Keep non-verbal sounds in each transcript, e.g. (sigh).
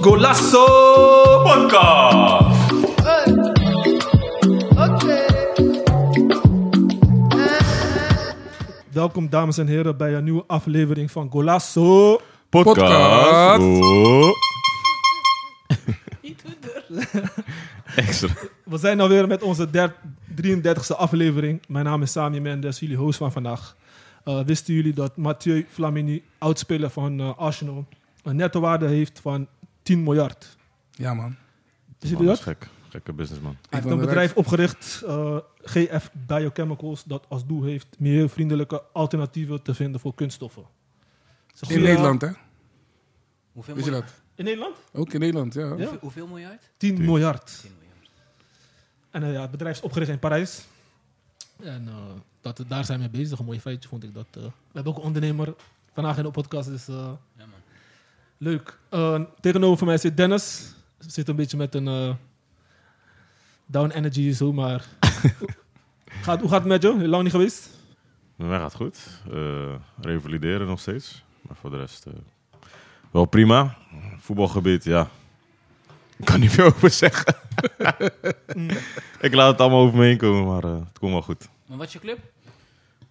Golasso Podcast. Welkom dames en heren bij een nieuwe aflevering van Golasso. Podcast. Oh. Extra. We zijn alweer met onze der- 33e aflevering. Mijn naam is Sami Mendes, jullie host van vandaag. Eh, wisten jullie dat Mathieu Flamini, oudspeler van eh, Arsenal, een nettowaarde heeft van 10 miljard? Ja, man. Wisten Man, jullie dat is dat? gek. Gekke businessman. Hij heeft ben een bedrijf bereikt. opgericht, eh, GF Biochemicals, dat als doel heeft milieuvriendelijke alternatieven te vinden voor kunststoffen. Is een In goede- Nederland, hè? Hoeveel Weet je miljard? dat? In Nederland? Ook in Nederland, ja. Ja. Hoeveel, hoeveel miljard? 10 Tien. miljard. 10 miljard. En eh, ja, het bedrijf is opgericht in Parijs. En eh, dat, we daar zijn we mee bezig. Een mooi feitje vond ik dat. eh. we hebben ook een ondernemer vandaag in de podcast. Dus eh, Ja, man. leuk. Eh, tegenover mij zit Dennis. Zit een beetje met een eh, down energy zo, (laughs) maar... gaat, hoe gaat het met jou? Heel Lang niet geweest? Maar mij gaat goed. Eh, revalideren nog steeds. Maar voor de rest eh, wel prima. Voetbalgebied, ja. Ik kan niet veel over zeggen. ik laat het allemaal over me heen komen, maar eh, het komt wel goed. Maar wat is je club?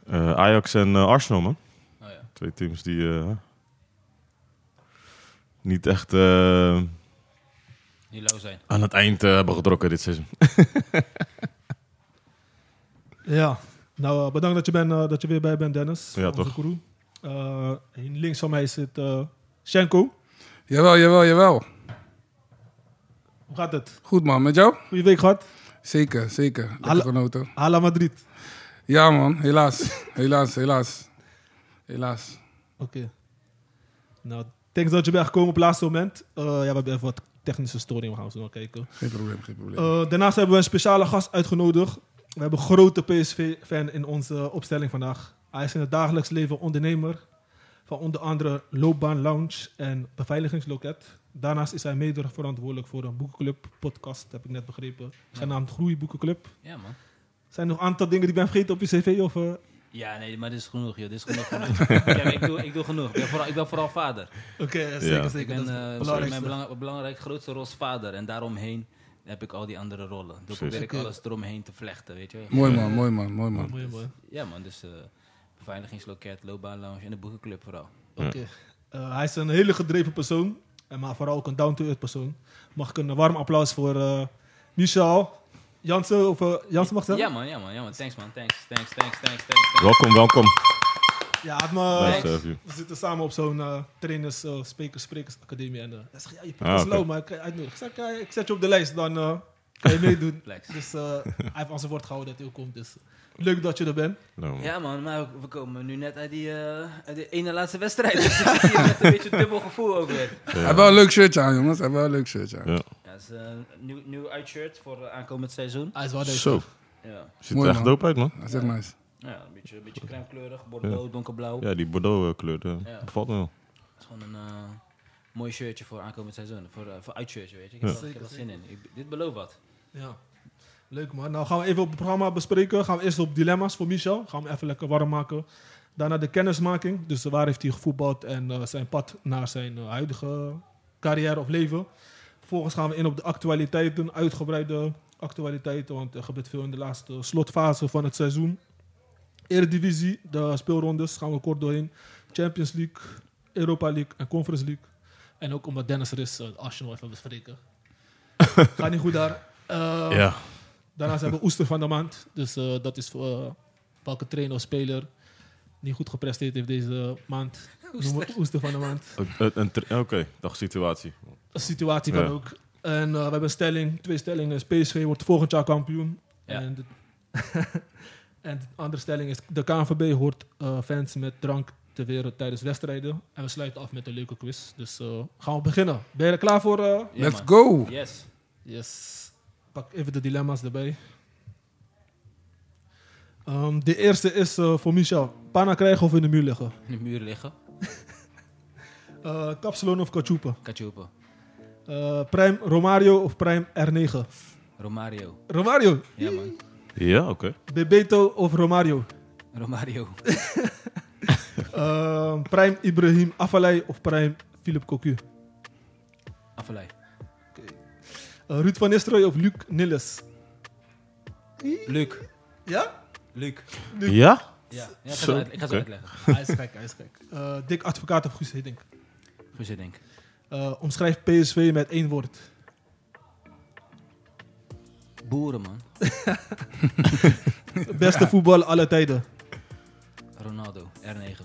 Eh, Ajax en eh, Arsenal, man. Oh ja. Twee teams die eh, niet echt eh, Die lauw zijn. aan het eind eh, hebben getrokken dit seizoen. Ja, nou eh, bedankt dat je, bent, eh, dat je weer bij bent, Dennis. Ja, onze toch. guru. Eh, links van mij zit eh Shenko. Jawel, jawel, jawel. Hoe gaat het? Goed, man. Met jou? Goeie week gehad? Zeker, zeker. Lekker Hallo. genoten. Hala Madrid. Ja, man. Helaas. (laughs) helaas, helaas. Helaas. Oké. Nou, thanks dat je bent gekomen op het laatste moment. Eh, ja, we hebben even wat technische storing, we gaan zo nog kijken. Geen probleem, geen probleem. Eh, daarnaast hebben we een speciale gast uitgenodigd. We hebben een grote PSV-fan in onze opstelling vandaag. Hij is in het dagelijks leven ondernemer van onder andere Loopbaan Lounge en Beveiligingsloket. Daarnaast is hij mede verantwoordelijk voor een boekenclub podcast, heb ik net begrepen. Genaamd Groeiboekenclub. Ja, man. Zijn er nog een aantal dingen die ik ben vergeten op je cv? Of, eh, Ja, nee, maar dit is genoeg, joh. Dit is (laughs) genoeg. genoeg. ja, maar ik, doe, ik doe genoeg. Ik ben vooral, ik ben vooral vader. Oké, zeker, Ja. Ik zeker. Dat ben is eh, het mijn belangrijkste. belang, belangrijk grootste rol is vader. En daaromheen heb ik al die andere rollen. Dan probeer ik Precies. alles eromheen te vlechten, weet je. Mooi, man. Mooi, man. Mooi, man. Mooi, mooi. Ja, man. Dus eh, beveiligingsloket, loopbaanlounge en de boekenclub vooral. Oké. Eh, hij is een hele gedreven persoon, en maar vooral ook een down-to-earth persoon. Mag ik een warm applaus voor eh, Michel Jansen? Of eh, Jansen mag ik zeggen? Ja, man. Ja, man. Ja, man. Thanks, man. Thanks, thanks, thanks, thanks, thanks. thanks. Welkom, welkom. Ja, het Nice me, to have you. we zitten samen op zo'n eh, trainers, eh, sprekers, sprekersacademie. En eh, hij zegt, ja, je Ah, podcast is oké. low, maar ik kan je uitnodigen. Ik zeg, ja, ik zet je op de lijst, dan eh, kan je (laughs) meedoen. Flex. dus eh, hij heeft aan zijn woord gehouden dat hij ook komt. Dus leuk dat je er bent. Nou, man. Ja man, maar we komen nu net uit die, eh, uit die ene laatste (laughs) wedstrijd. Dus ik zit hier met een beetje dubbel gevoel ook weer. Hij heeft wel een leuk shirtje aan, jongens. Hij heeft wel een leuk shirtje aan. Ja. Ja, het is eh, een nieuw, nieuw uitshirt voor eh, aankomend seizoen. Hij is wel deze. Zo, Ja, Nou ziet er Mooi, echt man. dope uit, man. Dat is echt nice. ja een beetje, een beetje crème kleurig, bordeaux, donkerblauw. Ja, die Bordeaux-kleur, Ja. bevalt me wel. Het is gewoon een eh, mooi shirtje voor aankomend seizoen. Voor, eh, voor uitshirtje, weet je. Ik heb, wel- ik heb er zin in. Ik- dit belooft wat. Ja. Leuk man. Nou gaan we even op het programma bespreken. Gaan we eerst op dilemma's voor Michel. Gaan we hem even lekker warm maken. Daarna de kennismaking. Dus waar heeft hij gevoetbald en eh, zijn pad naar zijn eh, huidige carrière of leven. Vervolgens gaan we in op de actualiteiten. Uitgebreide actualiteiten, want er gebeurt veel in de laatste slotfase van het seizoen. Eredivisie, de speelrondes gaan we kort doorheen. Champions League, Europa League en Conference League. En ook omdat Dennis er is, eh, Arsenal even bespreken. Gaat niet goed daar. Eh, Ja, Daarnaast hebben we Oester van de Maand. Dus eh, dat is voor eh, welke trainer of speler niet goed gepresteerd heeft deze maand. Noemen we Oester van de Maand. een- een- een tra- oké, dag situatie. Een situatie van Ja. ook. En eh, we hebben een stelling, twee stellingen. is PSV wordt volgend jaar kampioen. Ja. En, de, (laughs) en de andere stelling is, de KNVB hoort eh, fans met drank te weren tijdens wedstrijden. En we sluiten af met een leuke quiz. Dus eh, gaan we beginnen. Ben je er klaar voor? eh? Ja, Let's man. go. Yes. Yes. Pak even de dilemma's erbij. Ehm, de eerste is eh, voor Michel. Pana krijgen of in de muur leggen? In de muur liggen. Eh kapsalon of kachupa? Kachupa. Eh prime Romario of Prime R9? Romario. Romario. Ja man. Ja, oké. Bebeto of Romario? Romario. (laughs) Ehm Prime Ibrahim Afalai of Prime Philip Cocu? Afalai. Eh, Ruud van Nistelrooy of Luc Nilles? Luc. Ja? Luc. Ja? Ja, ja, ik ga Zo, zo, uit- ik ga oké. zo uitleggen. hij is gek, hij is gek. Eh, Dick Advocaat of Guus Hiddink? Goed zo, denk ik. Eh, omschrijf PSV met één (laughs) woord. Boeren, man. Beste voetbal aller tijden. Ronaldo. R9.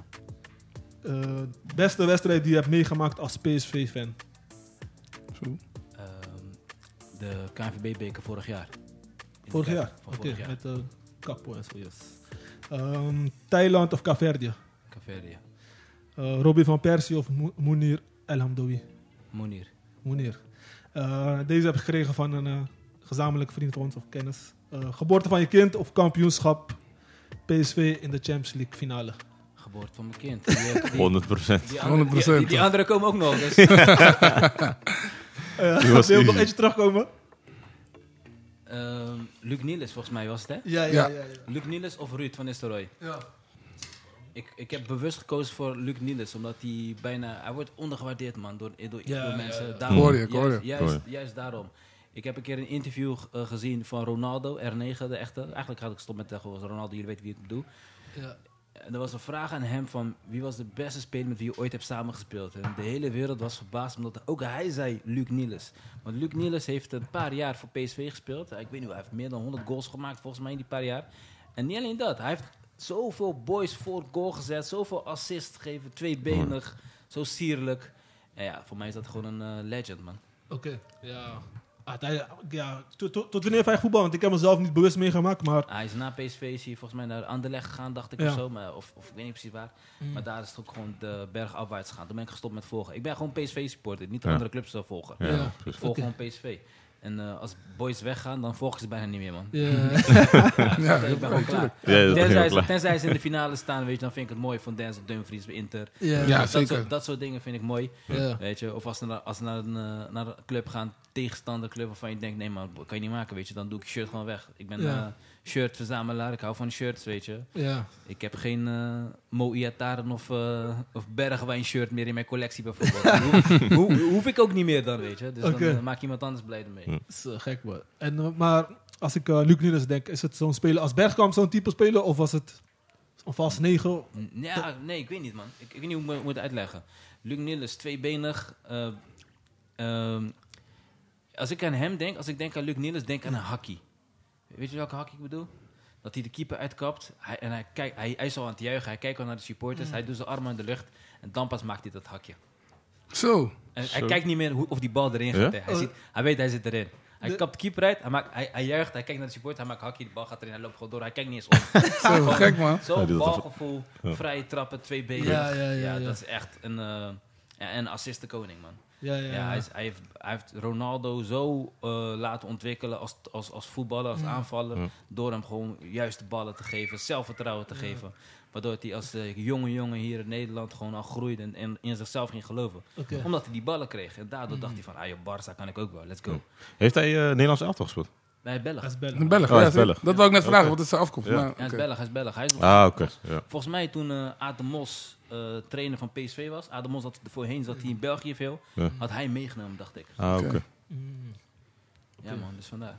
Eh, beste wedstrijd die je hebt meegemaakt als PSV-fan. Zo. Ehm, de KNVB-beker vorig jaar. In de Vorig Kuip, jaar. Van Oké, vorig jaar. met eh Kapo en zo, yes. Ehm, Thailand of Caverdië? Caverdia. Eh Robbie van Persie of Mo- Mounir El Hamdoui? Monir. Mounir. Eh, deze heb ik gekregen van een eh, gezamenlijke vriend van ons of kennis. Eh, geboorte van je kind of kampioenschap PSV in de Champions League finale. Geboorte van mijn kind. Die, die, 100 procent. die, 100%. andere, die, die anderen komen ook nog. Dus, Eh, (laughs) Die was wil je nog easy. eentje terugkomen? Ehm, Luc Niels, volgens mij was het, hè? Ja, ja, ja. Luc Niels of Ruud van Nistelrooy? ja. Ik, ik heb bewust gekozen voor Luc Niels, omdat hij bijna... Hij wordt ondergewaardeerd, man, door, door, Ja, door ja, mensen. ja. Ik Daarom, hoor je, ik hoor je. Juist, juist, Hoor juist daarom. Ik heb een keer een interview eh, gezien van Ronaldo, R9, de echte. Eigenlijk had ik stop met zeggen, Ronaldo, jullie weten wie ik bedoel. En er was een vraag aan hem van wie was de beste speler met wie je ooit hebt samengespeeld. En de hele wereld was verbaasd, omdat ook hij zei Luc Niels. Want Luc Niels heeft een paar jaar voor PSV gespeeld. Ik weet niet, hij heeft meer dan 100 goals gemaakt volgens mij in die paar jaar. En niet alleen dat, hij heeft zoveel boys voor goal gezet, zoveel assist gegeven, tweebenig, zo sierlijk. En ja, voor mij is dat gewoon een eh, legend, man. Oké, ja. Ah, hij- ja. Tot, tot, tot wanneer heeft hij voetbal? Want ik heb mezelf niet bewust meegemaakt, maar... Ah, Hij is na PSV is hij volgens mij naar Anderlecht gegaan, dacht ik Ja. of zo. Maar, of, of ik weet niet precies waar. Maar daar is het ook gewoon de berg afwaarts gegaan. Toen ben ik gestopt met volgen. Ik ben gewoon PSV-supporter, niet de Ja. andere clubs eh, volgen. Ja, Ja. Ik precies. volg Oké. gewoon PSV. En eh, als boys weggaan, dan volgen ze bijna niet meer, man. Ja. Ja, ik ben gewoon klaar. Ja, dat ging Tenzij ook ze, klaar. tenzij ze in de finale staan, weet je, dan vind ik het mooi van Denzel Dumfries bij Inter. Ja, dat, zeker. Soort, dat soort dingen vind ik mooi. Ja. Weet je, of als ze naar, als ze naar, een, eh, naar een club gaan, tegenstanderclub, waarvan je denkt, nee maar kan je niet maken, weet je, dan doe ik je shirt gewoon weg. Ik ben Ja. eh, shirtverzamelaar, ik hou van shirts, weet je. Ja. Ik heb geen eh Mo Iataren of, eh, of Bergwijn shirt meer in mijn collectie bijvoorbeeld. (laughs) hoe, hoe, hoef ik ook niet meer dan, weet je. Dus Oké. dan eh, maak iemand anders blij ermee. Hm. is eh, gek, man. En, eh, maar als ik eh, Luc Niels denk, is het zo'n speler als Bergkamp zo'n type speler? Of was het een vast negen? N- Ja, nee, ik weet niet, man. Ik, ik weet niet hoe ik het moet uitleggen. Luc Nilles, tweebenig. eh, ehm, als ik aan hem denk, als ik denk aan Luc Nilles, denk ik aan een hakkie. Weet je welke hakkie ik bedoel? Dat hij de keeper uitkapt hij, en hij, kijkt, hij, hij is al aan het juichen. Hij kijkt al naar de supporters. Hij doet zijn armen in de lucht en dan pas maakt hij dat hakje. Zo. En hij Zo. kijkt niet meer hoe, of die bal erin Ja? gaat. hè. Hij, ziet, hij weet, hij zit erin. Hij De- kapt de keeper uit, hij, maakt, hij, hij juicht, hij kijkt naar de support, hij maakt hakje, de bal gaat erin, hij loopt gewoon door, hij kijkt niet eens (laughs) om. Zo, gek man. Hij Zo'n doet dat toch- balgevoel, Ja. vrije trappen, twee benen. Ja, ja, ja, ja. dat is echt een, eh ja, en assistenkoning, man. Ja, ja, Ja, ja. hij, is- hij heeft, hij heeft Ronaldo zo eh, laten ontwikkelen als, als, als voetballer, als aanvaller. Ja. Door hem gewoon juiste ballen te geven, zelfvertrouwen te geven. Waardoor hij als eh, jonge jongen hier in Nederland gewoon al groeide en, en in zichzelf ging geloven. Oké. Omdat hij die ballen kreeg. En daardoor dacht hij van, ah joh, Barca kan ik ook wel, let's go. Heeft hij eh, Nederlands elftal gespeeld? Nee, Belg. Dat Hij is Belg. Een Belg. Oh, hij ja, is Belg. Dat wou ik net vragen, Oké. wat is zijn afkomst? Ja. Maar, is oké. Belg, hij is Belg. Hij is Ah, oké. Ja. Volgens mij toen eh Aad de Mos eh, trainer van PSV was. Aad de Mos had voorheen zat hij in België veel. Ja. Had hij meegenomen, dacht ik. Ah, oké. Oké. Mm. Ja man, dus vandaar. Oh.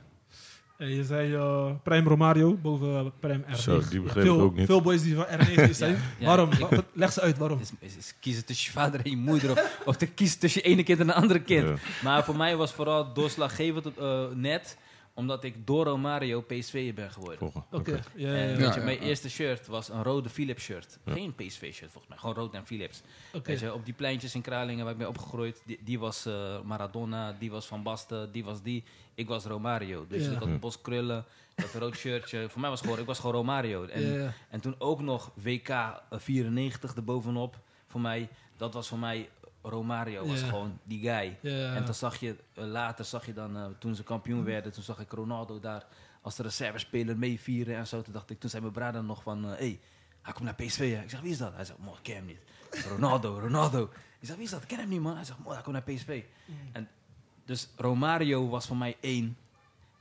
En je zei eh Prime Romario boven eh, Prime R9. Zo, die begreep veel, ik ook niet. Veel boys die van R9 (laughs) zijn. ja. waarom? Ik- Wat- Leg ze uit, waarom? Is, is, is kiezen tussen je vader en je moeder. Of, of te kiezen tussen je ene kind en een andere kind. Ja. Maar voor mij was vooral doorslaggevend eh, net. Omdat ik door Romario PSV'er ben geworden. Volgen. Oké, ja, ja, En, ja. weet je, ja, mijn ja. eerste shirt was een rode Philips shirt. Geen PSV-shirt volgens mij, gewoon rood en Philips. Oké. Weet je, op die pleintjes in Kralingen waar ik ben opgegroeid, die, die was eh, Maradona, die was Van Basten, die was die. Ik was Romario. Dus Ja. ik had een bos krullen, dat rood shirtje. Voor mij was gewoon, ik was gewoon Romario. En, Ja, ja. en toen ook nog WK 94 erbovenop, voor mij, dat was voor mij Romario, was Ja. gewoon die guy. Ja. En toen zag je, eh, later zag je dan, eh, toen ze kampioen werden, toen zag ik Ronaldo daar als de reservespeler meevieren en zo. Toen dacht ik, toen zei mijn brader nog van, hé, hey, hij komt naar PSV. Hè? Ik zeg, wie is dat? Hij zegt, man, ik ken hem niet. Ik zeg, Ronaldo, Ronaldo. Ik zeg, wie is dat? Ik ken hem niet, man. Hij zegt, man, hij komt naar PSV. En dus Romario was voor mij één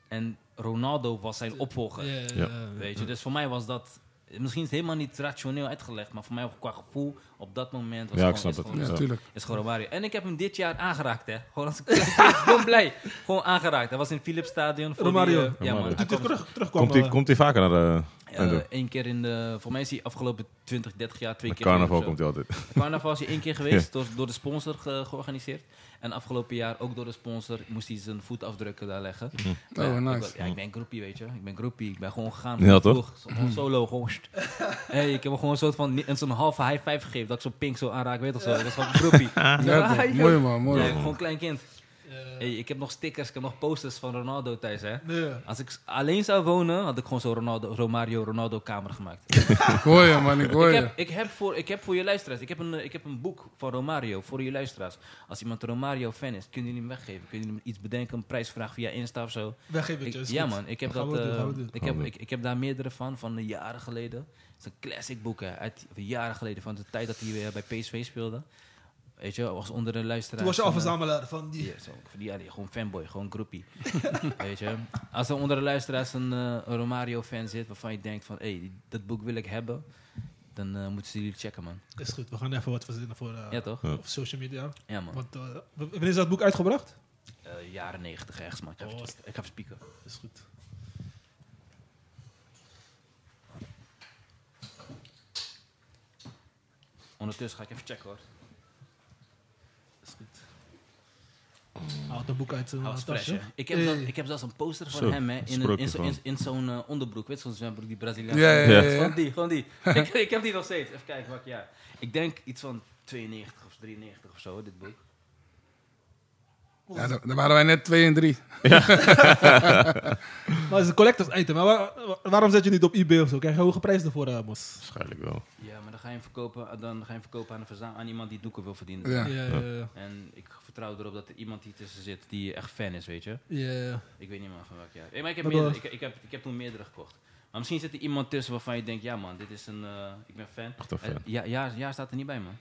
en Ronaldo was zijn opvolger. Ja, ja, Ja. eh, ja. Weet je, dus voor mij was dat Misschien is het helemaal niet rationeel uitgelegd, maar voor mij qua gevoel op dat moment Ja, was gewoon, ik snap is het. gewoon- Ja, Ja. tuurlijk. is gewoon Romario. En ik heb hem dit jaar aangeraakt, hè. Gewoon als klein kind. Gewoon blij. (laughs) Gewoon aangeraakt. Hij was in Philips Stadion. Voor Romario. Die, eh, ja, man. Romario. Hij Toen hij kwam, terug, terugkwam. Komt hij eh, komt hij vaker naar de eh, Endo? één keer in de... Voor mij is hij afgelopen 20, 30 jaar twee Met keer... geweest carnaval of zo. komt hij altijd. Carnaval is hij één keer (laughs) geweest, door, door de sponsor ge- georganiseerd. En afgelopen jaar ook door de sponsor moest hij zijn voetafdrukken daar leggen. Mhm. Oh, ja, nice. Ik, ben- ja, ik ben groepie, weet je. Ik ben groepie. Ik ben gewoon gegaan. Ja, toch? Vroeg, Gewoon (laughs) solo, gewoon... sst. Hey, ik heb hem gewoon een soort van... en zo'n halve high five gegeven, dat ik zo'n pink zo aanraak, weet of zo. Dat was gewoon groepie. (laughs) Ja, toch. Mooi man, mooi Ja, man. gewoon een klein kind. eh, Hey, ik heb nog stickers, ik heb nog posters van Ronaldo thuis, hè. nee. Als ik s- alleen zou wonen, had ik gewoon zo'n Ronaldo, Romario Ronaldo kamer gemaakt. Ik hoor je man, ik hoor ik, je. heb, ik, heb voor, ik heb voor je luisteraars, ik heb, een, eh, ik heb een boek van Romario voor je luisteraars. Als iemand Romario fan is, kunnen jullie hem weggeven. Kunnen jullie hem iets bedenken, een prijsvraag via Insta of zo. Weggeef het Ik- je. is ja dus, goed. man, ik heb, Gaan dat, we doen, eh, gaan we doen. ik, Gaan heb, we ik, ik heb daar meerdere van, van de jaren geleden. Het is een classic boek hè, uit of jaren geleden, van de tijd dat hij weer bij PSV speelde. Weet je, was onder de luisteraars. Toen was je van, al eh, verzamelaar van die. ja, zo, van die allee, gewoon fanboy, gewoon groepie. (laughs) Weet je? Als er onder de luisteraars een eh, een Romario-fan zit waarvan je denkt van... hé, hey, dat boek wil ik hebben, dan eh, moeten ze jullie checken, man. Is goed, we gaan even wat verzinnen voor eh, Ja, toch? Ja. op social media. Ja, man. Want, eh, w- wanneer is dat boek uitgebracht? Eh, jaren negentig ergens, man. Ik ga even, Oh, checken. ik ga even spieken. Is goed. Ondertussen ga ik even checken, hoor. Is goed. Houd dat boek uit zijn Hij uh, was fresh, tasje. hè? Ik heb, Eh, zelfs, ik heb zelfs een poster van Zo, hem, hè. In, een- sprookje in, zo- in, gewoon. in zo'n eh, onderbroek. Weet je, zo'n zwembroek, die Braziliaanse. Ja, ja, ja, ja. Gewoon die, gewoon (laughs) die. ik, ik heb die nog steeds. Even kijken welk jaar. Ik denk iets van 92 of 93 of zo, dit boek. Ja, dan dan waren wij net 2 en 3. Maar Nou, het is een collectors item. Maar waar- waar- waarom zet je niet op eBay of zo? Krijg je hoge prijs ervoor, eh, Mos? Waarschijnlijk wel. Ja, maar dan ga je hem verkopen, dan ga je hem verkopen aan, een verzam- aan iemand die doeken wil verdienen. Ja. Ja, ja, ja. En ik vertrouw erop dat er iemand hier tussen zit die echt fan is, weet je. Ja. Ik weet niet meer van welk jaar. Hey, maar ik heb, Dat meerdere, was- ik, ik, heb, ik heb toen meerdere gekocht. Maar misschien zit er iemand tussen waarvan je denkt, ja man, dit is een... eh, ik ben fan. Echt een Eh, fan. ja, ja, ja, staat er niet bij man.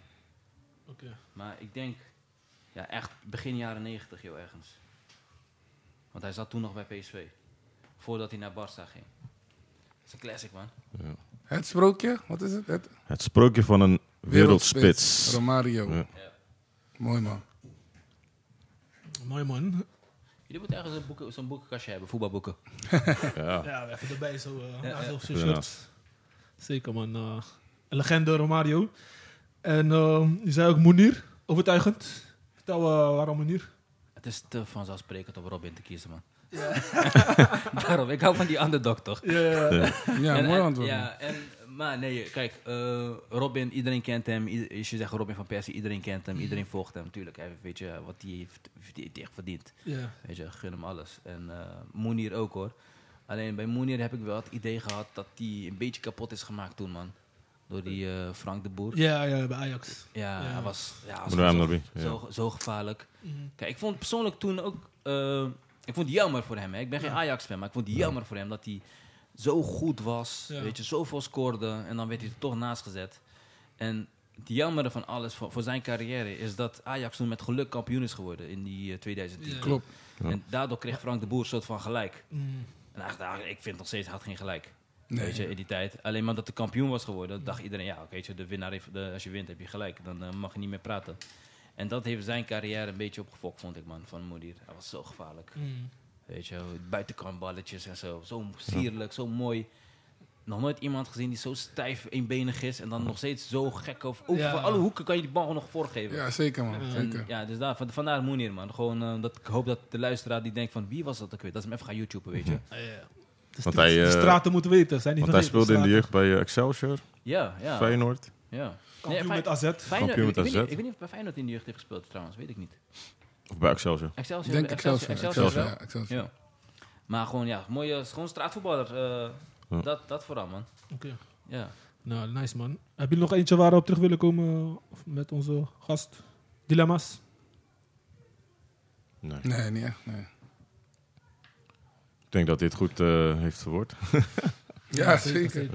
Oké. Maar ik denk, ja echt begin jaren 90 joh, ergens. Want hij zat toen nog bij PSV. Voordat hij naar Barca ging. Dat is een classic man. Het sprookje, wat is het? Het Het sprookje van een wereldspits. Romario. Ja. Ja. Mooi man. Mooi man. Jullie moeten ergens een boeken- zo'n boekenkastje hebben, voetbalboeken. Ja. Ja, even erbij zo. eh Ja, ja, ja. Zo'n Ja. shirt. Zeker man. eh, een legende Romario. En eh, je zei ook Munir. Overtuigend. Vertel eh, waarom (laughs) Munir? Het is te vanzelfsprekend om Robin te kiezen, man. (laughs) Daarom, ik hou van die underdog toch? Ja, En- mooi en- antwoord. man. Ja, en, maar nee, kijk, eh, Robin, iedereen kent hem. Ieder- als je zegt Robin van Persie, iedereen kent hem, Mhm. iedereen volgt hem. Tuurlijk, hij weet je wat hij heeft, heeft hij echt verdient. Ja. Weet je, gun hem alles. En eh Moenier ook hoor. Alleen bij Moenier heb ik wel het idee gehad dat hij een beetje kapot is gemaakt toen, man. Door die eh, Frank de Boer. Ja, ja, bij Ajax. Ja, Ja. hij was, ja, hij Moet hem was nog binnen. Ja. zo, zo gevaarlijk. Mhm. Kijk, ik vond persoonlijk toen ook... eh, ik vond het jammer voor hem. Hè. Ik ben geen Ajax-fan, maar ik vond het jammer voor hem dat hij zo goed was. Ja. Weet je, zoveel scoorde en dan werd hij er toch naast gezet. En het jammere van alles voor, voor zijn carrière is dat Ajax toen met geluk kampioen is geworden in die eh, 2010. Ja. Klopt. Ja. En daardoor kreeg Frank de Boer een soort van gelijk. Mm. En eigenlijk, ik vind nog steeds, hij had geen gelijk. Nee. Weet je, in die tijd. Alleen maar dat de kampioen was geworden, dat dacht iedereen, ja, oké, weet je, de winnaar heeft, de- als je wint heb je gelijk, dan eh, mag je niet meer praten. En dat heeft zijn carrière een beetje opgefokt, vond ik, man, van Moedier. Hij was zo gevaarlijk. Mm. Weet je, buitenkantballetjes en zo. Zo sierlijk, zo mooi. Nog nooit iemand gezien die zo stijf eenbenig is en dan nog steeds zo gek. Of, over Ja. van alle hoeken kan je die bal nog voorgeven. Ja, zeker man. En Zeker. ja, dus daar, van- vandaar Moenier, man. Gewoon, eh, dat, ik hoop dat de luisteraar die denkt van, wie was dat ook weer? Dat is hem even gaan YouTuben, weet Mhm. je. Ah, ja. De, Want stra- hij, eh, de straten moeten weten. Zijn niet Want hij vergeten, speelde in de straten. jeugd bij eh, Excelsior, Ja, ja. Feyenoord. ja. Kampioen Nee, met AZ. Feyenoord, Kampioen ik, met weet niet, AZ. ik weet niet of bij Feyenoord in de jeugd heeft gespeeld trouwens, weet ik niet. Of bij Excelsior. Ik Excelsior, denk Excelsior, Excelsior. Excelsior, Excelsior, ja, Excelsior. wel. Ja. Maar gewoon, ja, mooie, gewoon straatvoetballer. eh, Ja. dat, dat vooral, man. Oké. Ja. Nou, nice man. Heb je nog eentje waar we op terug willen komen eh, met onze gast? Dilemma's? Nee. Nee, niet echt. Nee. Ik denk dat dit goed eh, heeft verwoord. Ja, zeker.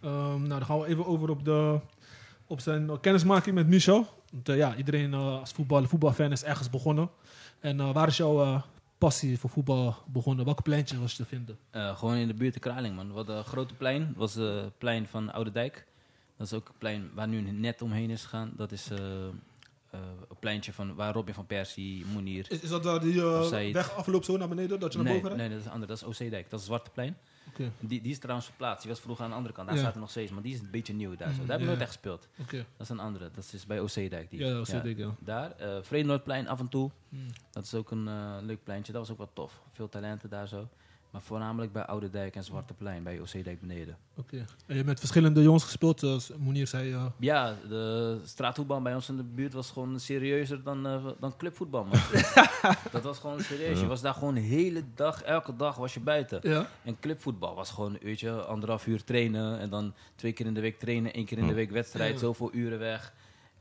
Ehm, nou, dan gaan we even over op, de, op zijn eh, kennismaking met Michel. Want, eh, ja, iedereen eh, als voetbal, voetbalfan is ergens begonnen. En eh, waar is jouw eh, passie voor voetbal begonnen? Welke pleintjes was je te vinden? Eh, gewoon in de buurt de Kraling, man. Wat een grote plein. Dat was het plein van Oude Dijk. Dat is ook het plein waar nu een net omheen is gegaan. Dat is eh, eh, een pleintje van, waar Robin van Persie, Moenier... Is, is dat daar die eh, Of zei het- weg afloopt zo naar beneden, dat je naar nee, boven rijdt? nee, dat is ander. Dat is OC-dijk. Dat is Zwarte Plein. Oké, Die, die is trouwens verplaatst. Die was vroeger aan de andere kant. Daar Ja. staat er nog steeds, maar die is een beetje nieuw daar. Zo. Daar heb ik ja. nooit echt gespeeld. oké. Dat is een andere. Dat is bij OC-dijk. Die. Ja, OC-dijk, ja. Daar. eh Vredenoordplein af en toe. Hmm. Dat is ook een eh, leuk pleintje. Dat was ook wat tof. Veel talenten daar zo. Maar voornamelijk bij Oude Dijk en Zwarte Plein. Bij OC-dijk beneden. oké. En je hebt met verschillende jongens gespeeld, zoals Monier zei. eh, Ja, de straatvoetbal bij ons in de buurt was gewoon serieuzer dan, eh, dan (laughs) clubvoetbal. man. dat was gewoon serieus. Je was daar gewoon de hele dag, elke dag was je buiten. ja, En clubvoetbal was gewoon een uurtje, anderhalf uur trainen. En dan twee keer in de week trainen, één keer in de week wedstrijd, Ja. zoveel uren weg.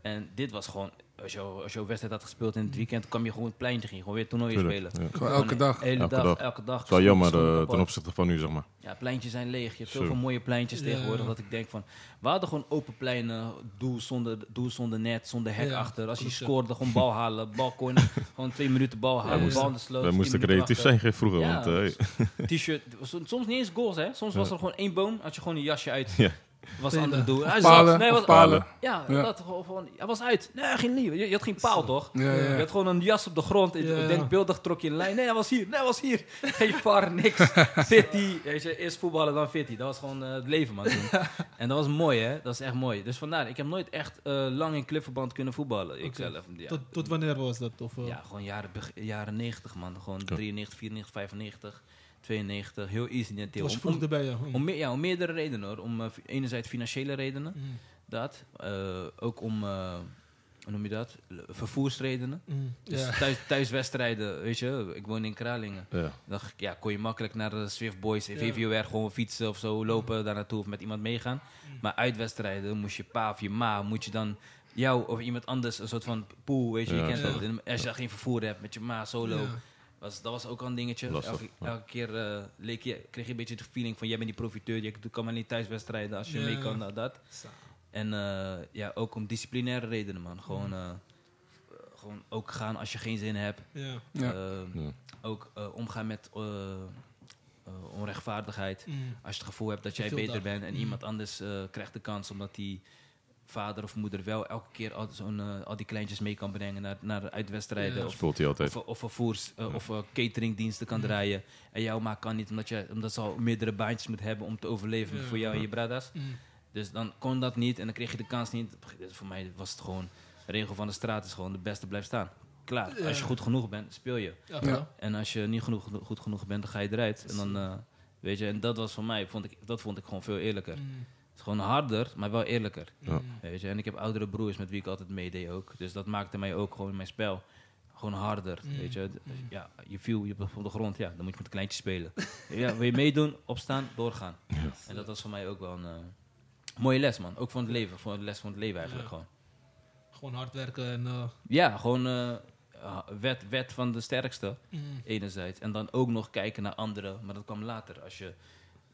En dit was gewoon, als je, als je wedstrijd had gespeeld in het weekend, kwam je gewoon het pleintje, ging gewoon weer toernooien Tuurlijk, spelen. ja. Gewoon elke Gewoon dag. de Hele Elke dag, dag. elke dag. Het is wel jammer schoenen eh, kapot. ten opzichte van nu, zeg maar. Ja, pleintjes zijn leeg. Je hebt Zo. zoveel mooie pleintjes Ja. tegenwoordig dat ik denk van... We hadden gewoon open pleinen, doel zonder, doel zonder net, zonder hek Ja, achter. Als je klopt, ja. scoorde, gewoon bal halen, bal (laughs) corner, gewoon twee minuten bal halen, moesten- bal in de sloot. Wij tien moesten minuten creatief wachten. zijn ge- vroeger, Ja, want eh, hey, T-shirt, soms soms niet eens goals hè. Soms was er gewoon één boom, had je gewoon een jasje uit. Ja. Was een ander doel. Hij Palen, zat. Nee, was, palen. ja, Ja. dat gewoon van, hij was uit. Nee, geen nieuw. Je, je had geen paal, toch? Ja, ja, ja. Je had gewoon een jas op de grond. Ik- Ja, ja. Denkbeeldig trok je een lijn. Nee, hij was hier. Nee, hij was hier. Geen var, niks. Fitty. Weet je, eerst voetballen, dan fitty. Dat was gewoon eh, het leven, man. toen. en dat was mooi, hè? Dat is echt mooi. Dus vandaar, ik heb nooit echt eh, lang in clubverband kunnen voetballen. Ik Oké. zelf. Ja. Tot, tot wanneer was dat? Of, eh, Ja, gewoon jaren, beg- jaren 90, man. Gewoon 93, 94, 95, 92. Heel easy net. was je vroeg erbij? Ja. Mm. Om, meer- ja, om meerdere redenen hoor. Om eh, fi- enerzijds financiële redenen, Mm. dat. Eh, ook om, eh, hoe noem je dat? L- Vervoersredenen. Mm. Dus Ja. thuis, thuiswedstrijden, weet je, ik woon in Kralingen. ja. Dan g- ja, kon je makkelijk naar de Swift Boys, Ja. VVOR, gewoon fietsen of zo, lopen daar naartoe of met iemand meegaan. Maar uitwedstrijden moest je pa of je ma, moet je dan jou of iemand anders een soort van pool, weet je, je Ja, kent ja. dat. En Als je dan geen vervoer hebt met je ma solo, Ja. was, dat was ook al een dingetje. Lastig, elke, ja. elke keer eh, leek je, kreeg je een beetje de feeling van jij bent die profiteur, je kan maar niet thuiswedstrijden als je Ja, mee ja. kan, nou, dat. Zo. En eh, ja, ook om disciplinaire redenen, man. Gewoon, eh, gewoon ook gaan als je geen zin hebt. Ja. Ja. Ehm, Ja. Ook eh, omgaan met eh, eh, onrechtvaardigheid. Mm. Als je het gevoel hebt dat jij veel beter dag. Mm. bent en iemand anders eh, krijgt de kans omdat die vader of moeder wel elke keer al, zo'n, eh, al die kleintjes mee kan brengen naar, naar uitwedstrijden Ja. of, speelt hij altijd. of, of vervoers eh, of eh, cateringdiensten kan draaien. En jouw maak kan niet omdat, je, omdat ze al meerdere baantjes moet hebben om te overleven Ja. voor jou en je bradas. Mm. Dus dan kon dat niet en dan kreeg je de kans niet. Dus voor mij was het gewoon, de regel van de straat is gewoon de beste blijft staan. Klaar, Ja. als je goed genoeg bent, speel je. Ja, Ja. ja. En als je niet genoeg, goed genoeg bent, dan ga je eruit. En dan, eh, weet je, en dat was voor mij, vond ik, dat vond ik gewoon veel eerlijker. Mm. Het is gewoon harder, maar wel eerlijker. Ja. Weet je, en ik heb oudere broers met wie ik altijd meedeed ook. Dus dat maakte mij ook gewoon in mijn spel gewoon harder. Mm. Weet je, ja, je viel je op de grond, ja, dan moet je met een kleintje spelen. ja, wil je meedoen, opstaan, doorgaan. En dat was voor mij ook wel een eh, mooie les, man. Ook van het leven, van de les van het leven eigenlijk Ja. gewoon. Gewoon hard werken en... eh, Ja, gewoon eh, ha- wet, wet van de sterkste, mm. enerzijds. En dan ook nog kijken naar anderen, maar dat kwam later. Als je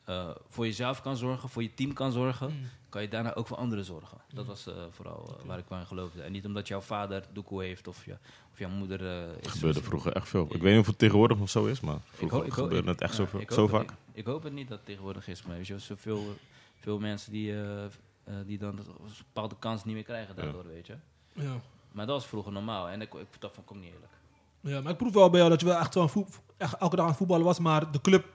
eh, voor jezelf kan zorgen, voor je team kan zorgen, Mm. kan je daarna ook voor anderen zorgen. Dat was eh, vooral eh, waar ik wel in geloofde. En niet omdat jouw vader doekoe heeft of, je, of jouw moeder... eh, is- gebeurde vroeger echt veel. Ik weet niet of het tegenwoordig nog zo is, maar Ik hoop- vroeger ik hoop- gebeurde het echt ja, zo, veel- ik zo hoop het vaak. niet. Ik hoop het niet dat het tegenwoordig is, maar weet je, zoveel, veel mensen die, eh, eh, die dan een bepaalde kans niet meer krijgen daardoor, weet je. Ja. Maar Maar dat was vroeger normaal en ik, ik vond dat van kom niet eerlijk. ja, maar ik proef wel bij jou dat je wel echt, wel aan voet- echt elke dag aan het voetballen was, maar de club,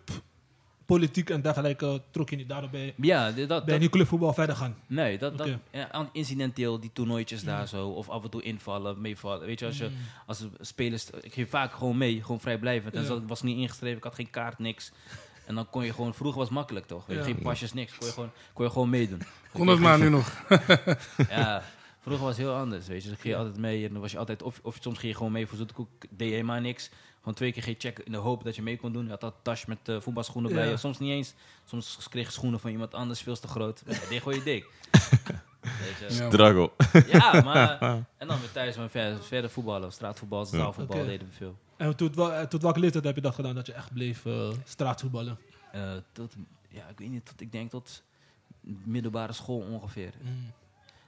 politiek en dergelijke trok je niet. Daardoor ben je, Ja, dit- dat, ben je dat, niet clubvoetbal verder gaan. nee, dat, dat Oké. ja, aan- incidenteel, die toernooitjes daar zo, of af en toe invallen, meevallen. Weet je, als je Mm. als de spelers, ik ging vaak gewoon mee, gewoon vrijblijvend. En Ja. dat was niet ingeschreven, ik had geen kaart, niks. En dan kon je gewoon, vroeger was het makkelijk toch? Weet je, Ja. Geen pasjes, niks. Kon je gewoon, kon je gewoon (laughs) meedoen. Kon dat maar nu nog. Ja, vroeger was het heel anders, weet je. Dan ging je altijd mee en dan was je altijd... Of, of soms ging je gewoon mee voor zoete koek, deed je helemaal niks. Gewoon twee keer ging je checken in de hoop dat je mee kon doen. Je had dat tasje met eh, voetbalschoenen bij Ja. je. Soms niet eens. Soms kreeg je schoenen van iemand anders, veel te groot. Maar ja, deed gewoon je (laughs) dik. Weet je. Ja, Drago. Ja, maar... En dan weer thuis maar verder, verder voetballen. Straatvoetbal, zaalvoetbal Oké. deden we veel. En tot, wel- eh, tot welke leeftijd heb je dat gedaan, dat je echt bleef eh, straatvoetballen? Eh, tot, ja, ik weet niet, tot, ik denk tot middelbare school ongeveer. Mm.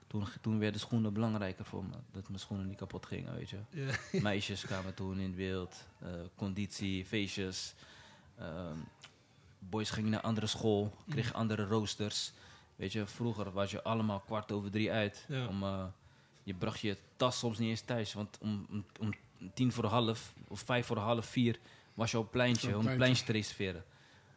Toen, toen werden schoenen belangrijker voor me. Dat mijn schoenen niet kapot gingen, weet je. Ja. Meisjes kwamen toen in beeld. eh, conditie, feestjes. Ehm, boys gingen naar andere school. Kregen andere roosters. Weet je, vroeger was je allemaal kwart over drie uit. Ja. Om, eh, je bracht je tas soms niet eens thuis. Want om, om, om tien voor half of vijf voor half vier was je op het pleintje. Op het om het pleintje pleintje. te reserveren.